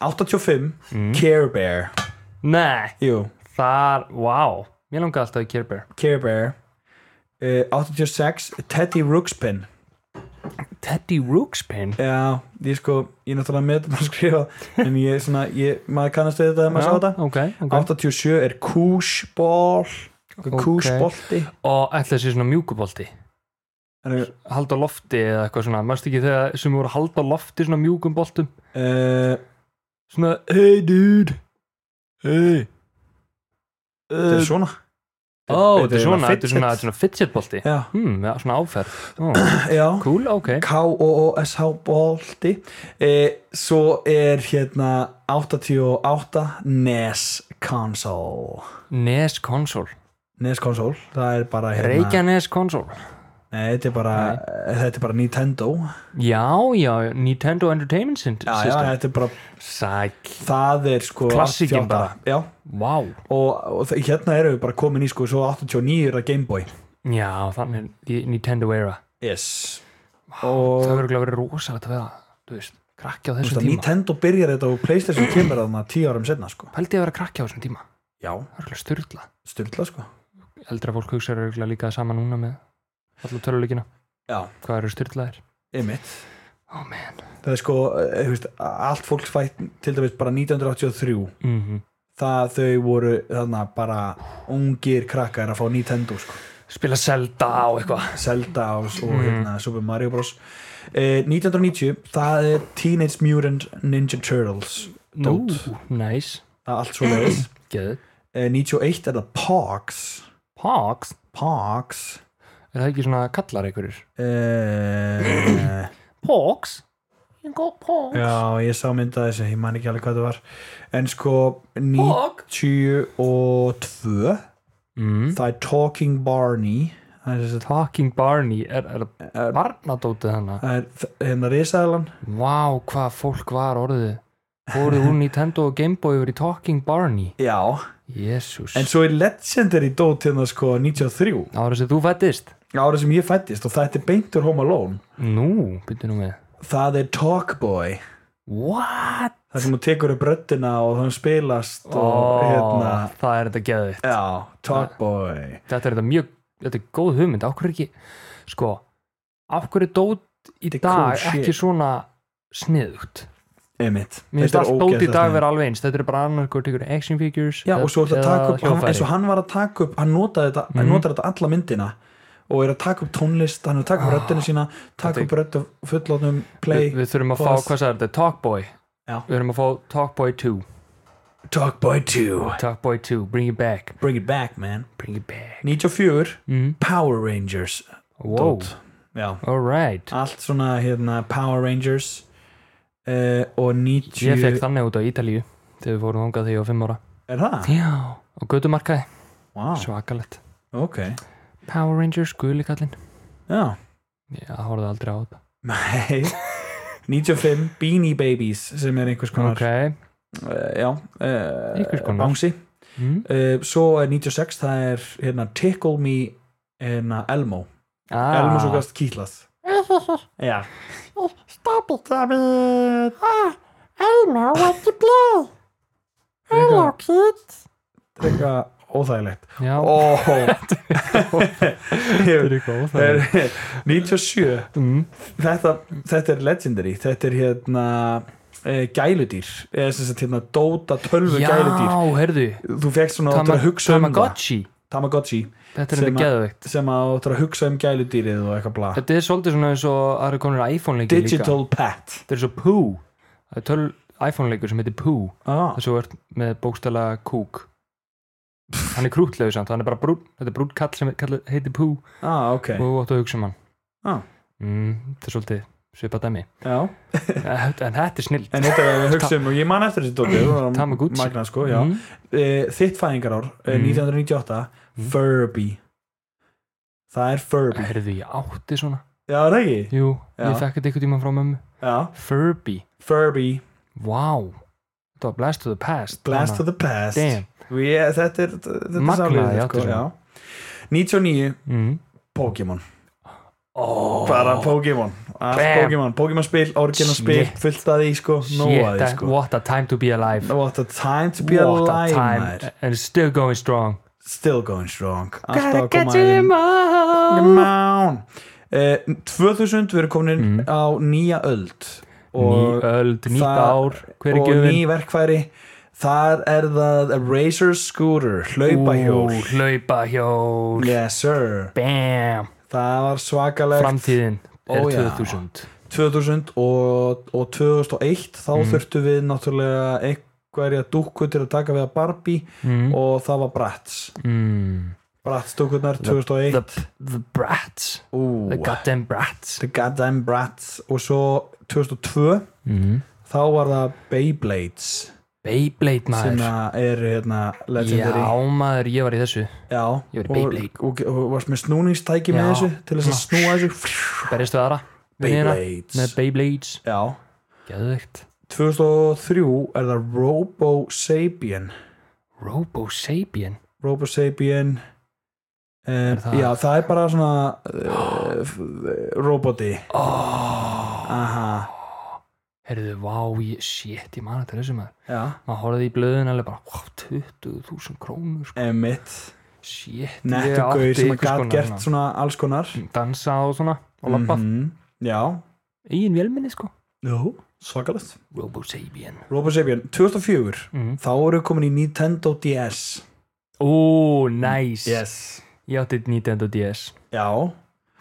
S1: 85
S2: Mm.
S1: Care Bear
S2: Nei,
S1: Jú,
S2: þar, wow Mér langaði alltaf í Care Bear
S1: Care Bear uh, 86 Teddy Ruxpin
S2: Teddy Rookspin
S1: Já, ég sko, ég er náttúrulega með þetta bara skrifa en ég er svona, ég, maður kannast við þetta þegar maður sá þetta
S2: Ok, ok
S1: 87 er Kúsból Kúsbolti
S2: Og ætla þessi svona mjúkubolti
S1: okay.
S2: Halda á lofti eða eitthvað svona Mæstu ekki þegar sem voru að halda á lofti svona mjúkum boltum
S1: uh,
S2: Svona, hey dude Hey
S1: Þetta er svona
S2: Ó,
S1: þetta
S2: þetta
S1: er
S2: er svona, þetta er
S1: fidget.
S2: svona, þetta er svona fidget bolti
S1: Já,
S2: Hmm, já, svona áferð Ó,
S1: já
S2: Cool, ok
S1: K-O-O-S-H bolti eh, Svo er hérna 88 NES E console
S2: NES konsól
S1: NES console, það er bara hérna,
S2: Reykjanes konsól
S1: Nei, þetta er bara, þetta er bara Nintendo
S2: Já, já, Nintendo Entertainment System
S1: já, já, þetta er bara,
S2: Sæk
S1: það er sko
S2: Klassíkin
S1: 88.
S2: bara.
S1: Já,
S2: Vá
S1: og, og þ- hérna erum við bara komin í sko svo 89 er að Gameboy
S2: Já, þannig í Nintendo era
S1: Yes
S2: og... Það verður verið rosalegt að vera Þú veist, krakki á
S1: Þú
S2: þessum
S1: veist að
S2: tíma
S1: Nintendo byrjar þetta og Playstation kemur þarna tíu árum setna sko
S2: Pældi ég að vera krakki á þessum tíma
S1: Já,
S2: Það er örugglega styrla
S1: styrla sko
S2: Eldra fólk hugsa er örugglega líka sama núna með allu töluleikina
S1: Já,
S2: Hvað eru styrlaðir?
S1: einmitt
S2: Oh man
S1: Það er sko, eh, þú veist, allt fólk fætt til dæmis bara 1983
S2: mm
S1: það þau voru þarna bara ungir krakkar að fá Nintendo sko
S2: Spila Zelda á eitthvað
S1: Zelda og, og
S2: Mhm.
S1: hérna, Super Mario Bros eh, 1990, það er Teenage Mutant Ninja Turtles
S2: Nú,
S1: Dót.
S2: nice
S1: það er allt svo leiðis
S2: Geðið
S1: eh, 91 er það Pogs
S2: Pogs
S1: Pogs
S2: Er það ekki svona kallar einhverjur?
S1: eh,
S2: Pogs? Ég góð Pogs
S1: já, ég sá mynda þessu, ég man ekki alveg hvað það var en sko 92
S2: mm.
S1: það er Talking Barney það er þessi
S2: Talking Barney er, er það barnadótið hana
S1: það er þ- hérna risaðalan
S2: Vá, hvað fólk var orðið Fóruð hún Nintendo og Gameboy yfir í Talking Barney
S1: já,
S2: Jésús
S1: en svo er Legendary dót hérna sko 93
S2: Ára sem þú fættist
S1: ára sem ég fættist og þetta er beintur Home Alone
S2: Nú, byrju nú með
S1: það er Talkboy
S2: What?
S1: það sem hún tekur upp röddina og hún spilast og
S2: Ó,
S1: hérna
S2: Það er þetta geðið
S1: já, Talkboy
S2: Þetta er þetta mjög, þetta er góð hugmynd Ákveður ekki, sko Ákveður dót í
S1: Þetta er cool
S2: dag
S1: shit.
S2: ekki svona sniðugt
S1: einmitt
S2: Mér finnst
S1: Þetta er
S2: allt dót í
S1: ógeðslega
S2: dag
S1: sniðugt.
S2: vera alveg eins Þetta er bara annar hvort ykkur action figures
S1: já, og svo er þetta að taka upp hann,
S2: hljóðfæri.
S1: eins og hann var að taka upp, hann notaði þetta hann
S2: Mhm.
S1: notaði þetta alla myndina og er að taka upp tónlist, hann er að taka upp röddina sína taka
S2: þetta-
S1: upp rödd af fullotnum play,
S2: Ah, Við, við þurfum að
S1: pause.
S2: fá, hvað sagði þetta, Talkboy
S1: Já.
S2: Við þurfum að fá Talkboy 2
S1: Talkboy 2
S2: Talkboy 2, bring it back
S1: bring it back man
S2: Bring it back
S1: 94,
S2: mm.
S1: Power Rangers
S2: Wow,
S1: Dót. já,
S2: alright
S1: allt svona hérna Power Rangers uh, og 90
S2: Ég fekk þannig út á Ítalíu Þegar við fórum þangað þegar ég var 5 ára
S1: er það?
S2: Já, og gödumarkaði,
S1: Wow.
S2: svakalett
S1: ok,
S2: Power Rangers, guðlikallinn
S1: já
S2: Ég horfði aldrei á þetta
S1: Nei 95, Beanie Babies sem er einhvers konar
S2: Ok,
S1: uh, já,
S2: Einhvers
S1: uh,
S2: konar.
S1: bánsi
S2: mm.
S1: uh, svo er 96, það er hérna, Tickle Me hérna, Elmo
S2: Ah.
S1: Elmo svo gast kýtlað já stop it damn it
S9: Elmo, what to play? Hello, kids.
S1: þetta er eitthvað óþægilegt
S2: Já,
S1: oh.
S2: þetta er eitthvað óþægilegt.
S1: 97
S2: Mm.
S1: þetta, þetta er legendary þetta er hérna eh, gæludýr eða sem sagt hérna Dota 12
S2: Já,
S1: gæludýr
S2: heyrðu
S1: þú fegst svona áttur að
S2: Tama-
S1: hugsa um það
S2: Tamagotchi,
S1: Tamagotchi
S2: þetta er
S1: Sem
S2: þetta
S1: að-
S2: geðveikt
S1: sem áttur að hugsa um gæludýrið og eitthvað bla
S2: Þetta er svolítið svona eins og það eru konur iPhone-leikir líka
S1: Digital Pet
S2: Þetta er svo Pooh Það er töl iPhone-leikur sem heitir Pooh
S1: ah,
S2: Það svo er með bókstala kúk Hann er krútlegu samt, hann er bara brún Þetta er brún kall sem kall, heitir Pooh
S1: ah, ok
S2: og þú átt að hugsa um hann
S1: Ah.
S2: mm, Þetta er svolítið svipað dæmi
S1: já.
S2: En þetta er snillt
S1: en þetta er að hugsa um og ég man eftir þessi dótið það var
S2: Tamagotchi.
S1: magnað, sko, já.
S2: mm,
S1: Eh, þitt fæðingarár eh,
S2: Mm.
S1: 1998 Furby það er Furby
S2: Herðu ég átti svona
S1: já, er það ekki?
S2: Jú,
S1: Já.
S2: ég fekk þetta einhvern tímann frá mömmu
S1: já,
S2: Furby,
S1: Furby
S2: wow Þetta var Blast to the Past
S1: Blast to the Past
S2: Damn
S1: Ég, þetta er sko, þetta er
S2: Magnað, Mhm.
S1: sálega,
S2: já,
S1: sko,
S2: þetta er
S1: já. 99
S2: mm.
S1: Pokémon bara Pokémon allt
S2: Bam.
S1: Pokémon, Pokémon spil, orginal spil
S2: Shit.
S1: fullt að því sko, nóa því
S2: Shit,
S1: sko
S2: what a time to be alive
S1: What a time to be
S2: What a
S1: alive
S2: time
S1: maður.
S2: And it's still going strong
S1: Still going strong
S2: Gotta
S1: Alltaf að
S2: get
S1: koma aðeins
S2: him out
S1: Mán uh, 2000, við erum komin á nýja öld
S2: Mm. Ný öld, nýtt
S1: það-
S2: ár Hver er
S1: og ný
S2: gjöfin?
S1: verkfæri þar er það Razor Scooter hlaupahjól
S2: Ú, Hlaupahjól
S1: yes sir
S2: Bam
S1: það var svakalegt
S2: Framtíðin er
S1: Ó, já.
S2: 2000
S1: 2000 og, og 2001 þá
S2: Mm.
S1: þurftu við náttúrulega einhverja dúkku til að taka við að Barbie og það var Bratz
S2: mm.
S1: Bratz dúkkunar 2001
S2: the, the brats
S1: Ú,
S2: The goddamn brats
S1: the goddamn Bratz og svo 2002
S2: mm.
S1: þá var það Beyblades
S2: Beyblade
S1: sem
S2: maður
S1: að er hérna legendary
S2: Já maður, ég var í þessu
S1: Já,
S2: Ég var í
S1: og,
S2: Beyblade.
S1: og, og varst með snúningstæki með
S2: Já.
S1: þessu til þess að
S2: Já.
S1: snúa þessu
S2: Berist við aðra vinina, Með
S1: Beyblades
S2: Beyblades
S1: Já,
S2: Geðveikt
S1: 2003 er það Robo Sapien
S2: Robo Sapien
S1: Robo Sapien Uh,
S2: það-
S1: já, það er bara svona uh, f- roboti
S2: oh.
S1: Aha,
S2: Herðu, vá, ég, shit, ég man þetta þessu maður
S1: já,
S2: Maður horfði í blöðin alveg bara wow, 20.000 krónur sko.
S1: emitt
S2: Shit, ég
S1: Nettugauð
S2: átti
S1: sem að
S2: einhvers
S1: gat
S2: konar hérna.
S1: gert
S2: svona
S1: svona alls konar
S2: Dansa og svona og lappa mm
S1: Mhm, Já,
S2: Egin velminni sko
S1: Jú, svakalegt
S2: Robo Sapien
S1: Robo Sapien, 2004
S2: mm.
S1: Þá eru komin í Nintendo DS
S2: Ó, nice
S1: Yes
S2: Ég átti Nintendo DS
S1: Já, Mhm.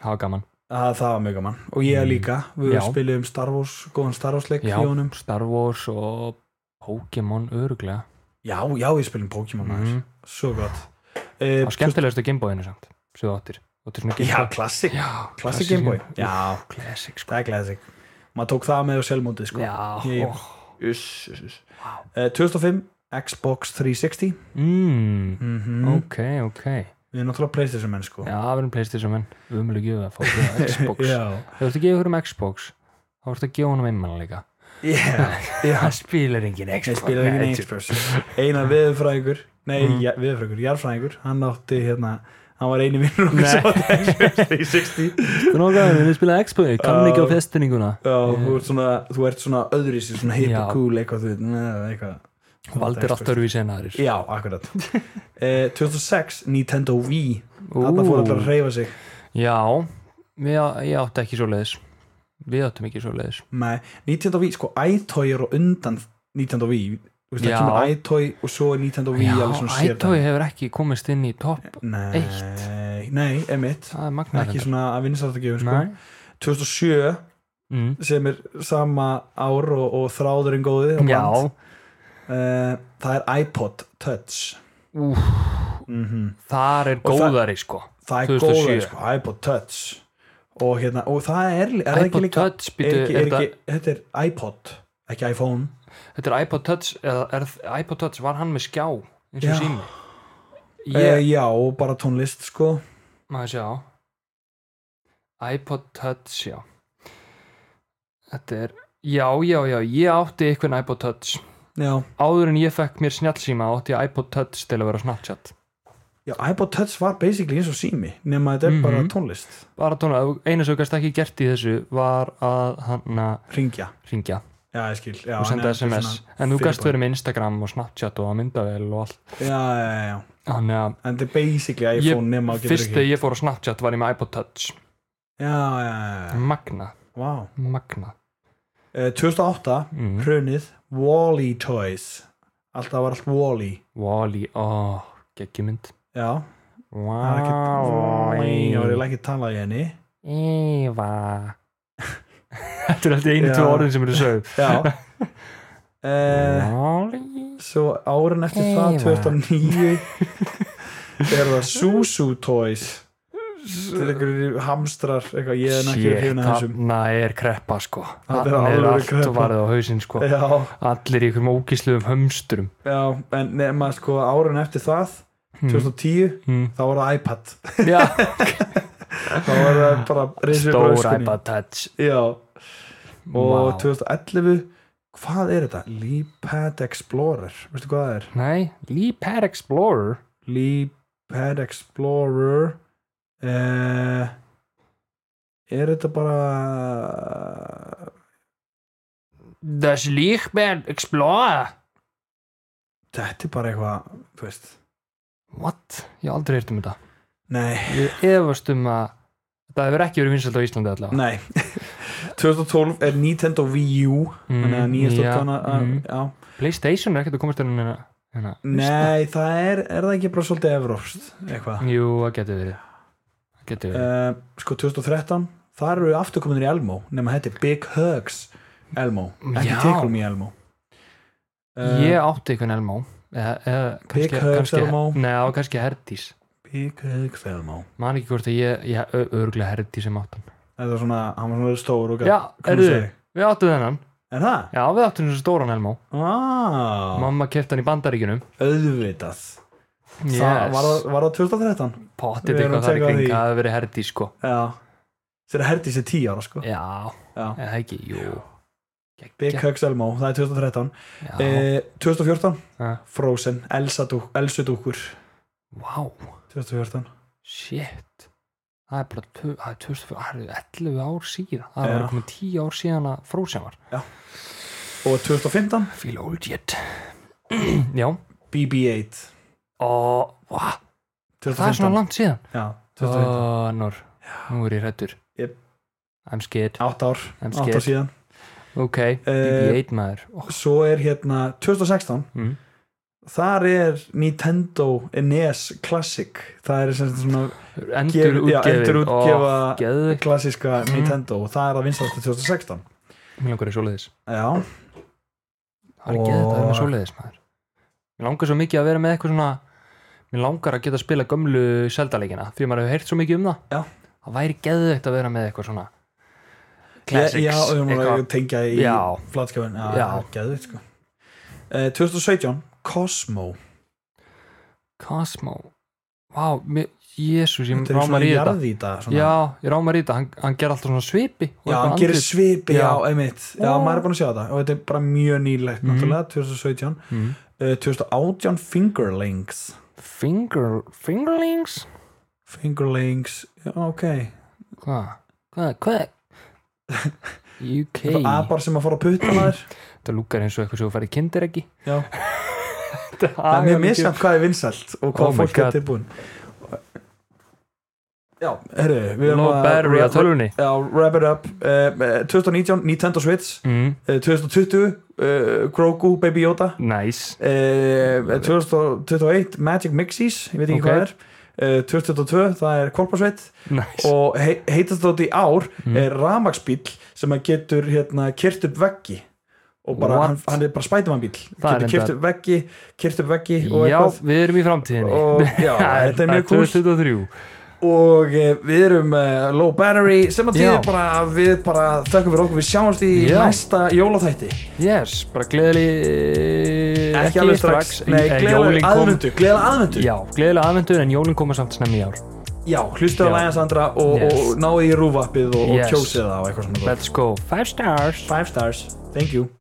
S2: Það var gaman
S1: það, það var mjög gaman Og ég líka, við
S2: Já.
S1: spilum Star Wars Góðan Star Wars leik í
S2: Já.
S1: honum
S2: Star Wars og Pokémon öruglega
S1: Já, já, við spilum Pokémon maður
S2: Mhm.
S1: Svo gott uh,
S2: Það var skemmtilegast að Gameboyinu samt sem þú áttir Áttir svona
S1: Já,
S2: Gameboy
S1: klassik
S2: Já,
S1: Classic Game Boy.
S2: Já,
S1: Já.
S2: classic sko
S1: Það er klassik Maður tók það með á sjálfmótið sko
S2: Já,
S1: Ég-
S2: ó.
S1: Uss, uss, uss. Eh, 2005 Xbox 360
S2: mm,
S1: mm
S2: Ok, ok
S1: Við erum náttúrulega Playstation menn sko
S2: Já, við erum Playstation menn Við erum alveg gefið að fá okkur á Xbox
S1: Já,
S2: Ef Þú ert að gefa okkur um Xbox Þá ertu að gefa honum einmann líka
S1: yeah.
S2: Það spilar engin
S1: Nei,
S2: Xbox
S1: spilaði
S2: Nei,
S1: ekki Xbox Einar viðurfræðingur Nei, mm. ja, viðurfræðingur, jarðfræðingur Hann átti hérna Hann var eini vinnur okkur sem átti Xbox 360
S2: Þú nokkað, við spilaði Xbox Kann ekki á festininguna
S1: Já, þú ert svona, þú ert svona öðrisi Svona hip
S2: Já.
S1: og cool eitthvað, þú veit, neða, eitthvað
S2: Valdir
S1: Xbox.
S2: allt öruvísi en aðrir
S1: Já, akkurat eh, 2006, Nintendo Wii
S2: Ú.
S1: Þarna fór allar að reyfa sig
S2: Já, við, ég átti ekki svo leiðis Við áttum ekki svo leiðis
S1: Nei, Nintendo Wii, sko, iToy er á undan Nintendo Wii Þú veist, það
S2: Já.
S1: kemur iToy og svo er Nintendo Wii alveg svona sér
S2: Ætói hefur ekki komist inn í topp
S1: Nei, Eh, nei, emitt
S2: Það er magnaður
S1: Ekki svona að vinna sátt að gefa, sko
S2: Nei,
S1: 2007
S2: mm.
S1: sem er sama ár og, og þráðurinn góði og
S2: já
S1: bland. Eh, það er iPod Touch
S2: úf,
S1: mm
S2: Þar er
S1: Og það-
S2: góðari sko
S1: það er
S2: 2007.
S1: góða sko, iPod Touch og, hérna, og það er, er það ekki
S2: iPod
S1: líka
S2: Touch
S1: er
S2: býtu,
S1: ekki,
S2: er
S1: er
S2: þetta,
S1: ekki, þetta er iPod ekki iPhone
S2: þetta er iPod Touch eða er, iPod Touch, var hann með skjá eins
S1: Já. Eh,
S2: og sími
S1: yeah.
S2: Ég,
S1: já, og bara tónlist sko
S2: maður sjá iPod Touch, já Þetta er Já, já, já, ég átti einhvern iPod Touch
S1: já.
S2: áður en ég fekk mér snjallsíma átti ég iPod Touch til að vera Snapchat
S1: já, iPod Touch var basically eins og sími nema þetta er
S2: Mhm.
S1: bara tónlist
S2: bara tóna, eina sem ég gæst ekki gert í þessu var að hann að
S1: ringja,
S2: ringja
S1: já, ég skil já,
S2: og senda
S1: nei,
S2: SMS
S1: svona
S2: en þú gæst
S1: fyrirbæri.
S2: verið með Instagram og Snapchat og myndavel og allt
S1: já, já, já, já,
S2: þannig að
S1: en þetta er basically iPhone nema að
S2: ég,
S1: getur
S2: fyrst
S1: ekki
S2: þegar ég fór á Snapchat var ég með iPod Touch
S1: já, já, já, já,
S2: magna,
S1: wow
S2: magna
S1: Eh, 2008,
S2: Mhm.
S1: hrunið Wall-E Toys alltaf var allt Wall-E
S2: Wally, ó, geggjumynd
S1: já, það er
S2: Ah,
S1: ekkert Wall-E, ég var
S2: Wally
S1: eiginlega ekki að tala í henni
S2: Eva Þetta er alltaf einu,
S1: Já.
S2: tvö orðin sem eru sögð
S1: já eh
S2: Wally
S1: Svo árun eftir það,
S2: Heiða.
S1: 2009 er það Susu Toys til einhverju hamstrar eitthvað, ég er nú ekki
S2: Shit,
S1: hérna þessum
S2: þarna er kreppa sko
S1: Þarna er
S2: Þarna er
S1: alvöru
S2: allt
S1: kreppa. Eh.
S2: og varðið á hausinn sko
S1: já,
S2: Allir í einhverjum ógísluðum hömstrum
S1: já, en nema sko árun eftir það 2010,
S2: Hmm.
S1: þá var það iPad
S2: Já,
S1: þá var það bara risið upp á
S2: stór
S1: öskunni.
S2: iPad touch
S1: já, og
S2: Vá.
S1: 2011 hvað er þetta? Leapad Explorer, veistu hvað það er?
S2: Nei, Leapad Explorer
S1: Leapad Explorer uh, eh, er þetta bara
S2: Das Lichtband Explorer
S1: þetta er bara eitthvað, þú veist
S2: What? Ég hef aldrei heyrt um þetta
S1: nei,
S2: Ég efast um að þetta hefur ekki verið vinsælt á Íslandi allavega
S1: nei 2012 er Nintendo Wii U
S2: Mm,
S1: þannig að nýjast
S2: já,
S1: útgáfan
S2: mm.
S1: já,
S2: Playstation er ekkert að komast inn hérna
S1: nei, það er er það ekki bara svolítið evrópst eitthvað
S2: Jú, það getur verið Það getur verið
S1: uh, sko 2013 þar eru aftur kominir í Elmo nema þetta er Big Hugs Elmo ekki
S2: Já.
S1: teklum í Elmo Eh,
S2: Ég átti einhvern Elmo eða, eða,
S1: Big Hugs Elmo.
S2: Nei, á kannski Herdís
S1: Big Hugs Elmo
S2: Man ekki hvort að ég, ég örgulega Herdís sem átt hann
S1: þetta er svona, hann var svona stór og
S2: Já,
S1: hvað
S2: heyrðu,
S1: segja?
S2: við áttum þennan
S1: er það?
S2: Já, við áttum þessu stóran Elmo
S1: Ah,
S2: Mamma kefti hann í bandaríkjunum
S1: auðvitað
S2: yes.
S1: það var, það- var það 2013
S2: Pottið
S1: Við erum
S2: eitthvað
S1: að
S2: þar
S1: tjekka
S2: í kring
S1: því.
S2: Það hefur verið Herdís sko
S1: já þegar herdi sér 10 ára sko
S2: Já,
S1: Já.
S2: eða ekki, jú
S1: Big
S2: Gekk-
S1: Hugs Elmo, það er 2013
S2: Já,
S1: eh, 2014,
S2: Ha.
S1: Frozen Elsa dúk, Elsu dúkur
S2: vá,
S1: 2014
S2: shit Það er bara tvö- það er 2004, það eru 11 ár síðan Það
S1: Já.
S2: er bara komið 10 ár síðan að Frozen var
S1: og 2015,
S2: Feel old yet Já,
S1: BB-8
S2: og vá, það er svona langt síðan
S1: já, 2015,
S2: Þannig, nú er ég hrættur
S1: Jep.
S2: I'm scared
S1: 8 ár,
S2: I'm
S1: 8 ár
S2: scared,
S1: síðan
S2: ok
S1: Eh,
S2: BB-8 maður oh.
S1: svo er hérna 2016
S2: mm.
S1: þar er Nintendo NES Classic það er sem sagt svona
S2: Endur útgefið
S1: útgefa
S2: Geðvik,
S1: klassíska
S2: Mm.
S1: Nintendo og það er að vinstastu 2016
S2: mér langar í svoleiðis
S1: já,
S2: Það er geðvik að vera með
S1: Og-
S2: svoleiðis maður Mér langar svo mikið að vera með eitthvað svona Mér langar að geta að spila gömlu Zelda-leikina Því að maður hefur heyrt svo mikið um það
S1: Já.
S2: Það væri geðvikt að vera með eitthvað svona
S1: Classics, já, já, um að
S2: eitthvað.
S1: tengja í
S2: Já.
S1: flatskjöfun já,
S2: Já.
S1: geðvitt sko uh, 2017, Cosmo
S2: Cosmo Vá, mér, jésús, ég
S1: þetta er
S2: rámar
S1: svona
S2: í þetta
S1: jarðýta svona.
S2: Já, ég rámar í þetta, hann, hann ger alltaf svona svipi og
S1: já,
S2: eitthvað
S1: hann gerir
S2: andlit.
S1: svipi, já,
S2: Já.
S1: einmitt já,
S2: Ó.
S1: maður er búin að sjá þetta og þetta er bara mjög nýlegt
S2: Mhm.
S1: náttúrulega, 2017
S2: Mhm.
S1: uh, 2018, Fingerlings
S2: Finger, fingerlings
S1: Fingerlings, já, ok
S2: Hvað, hvað, hvað UK
S1: hey. abar sem að fara að putta maður
S2: Þetta lúkar eins og eitthvað sem þú færi kindir ekki
S1: já, það er mjög misjant hvað er vinsælt og hvað
S2: Ah, Oh my
S1: fólk
S2: God.
S1: er tilbúin já, herru við erum
S2: Low battery á tölvunni
S1: Já, wrap it up uh, 2019, Nintendo Switch
S2: mm,
S1: uh, 2020, uh, Grogu, Baby Yoda
S2: Nice
S1: uh, 2021, Magic Mixies ég veit ekki
S2: Ok.
S1: hvað það er uh, 2022, það er Kolparsveit
S2: Nice
S1: og he heitast þótt í ár
S2: Mm.
S1: er ramaksbíl sem að getur hérna, kyrt upp veggi og bara,
S2: What?
S1: hann, hann er bara spætumann bíl
S2: Það er
S1: getur kyrt
S2: reyndar-
S1: upp veggi, kyrt upp veggi og
S2: Já, við erum í framtíðinni
S1: og já,
S2: Það
S1: þetta er mjög kúl
S2: 2023
S1: og eh, við erum eh, low battery sem að
S2: Já.
S1: þýðir bara að við bara þökkum fyrir okkur við sjáumst í
S2: Já.
S1: næsta jólaþætti
S2: Yes, bara gleðli
S1: ekki alveg strax, nei, gleðilega aðvendu gleðilega aðvendu,
S2: eh, Já, gleðilega aðvendu en jólin koma samt snemmi í ár
S1: já, hlustu
S2: Já.
S1: á lægjans andra og,
S2: Yes.
S1: og náðu í rúfappið og,
S2: Yes.
S1: og kjósið það og eitthvað svona
S2: Let's go, five stars
S1: five stars, thank you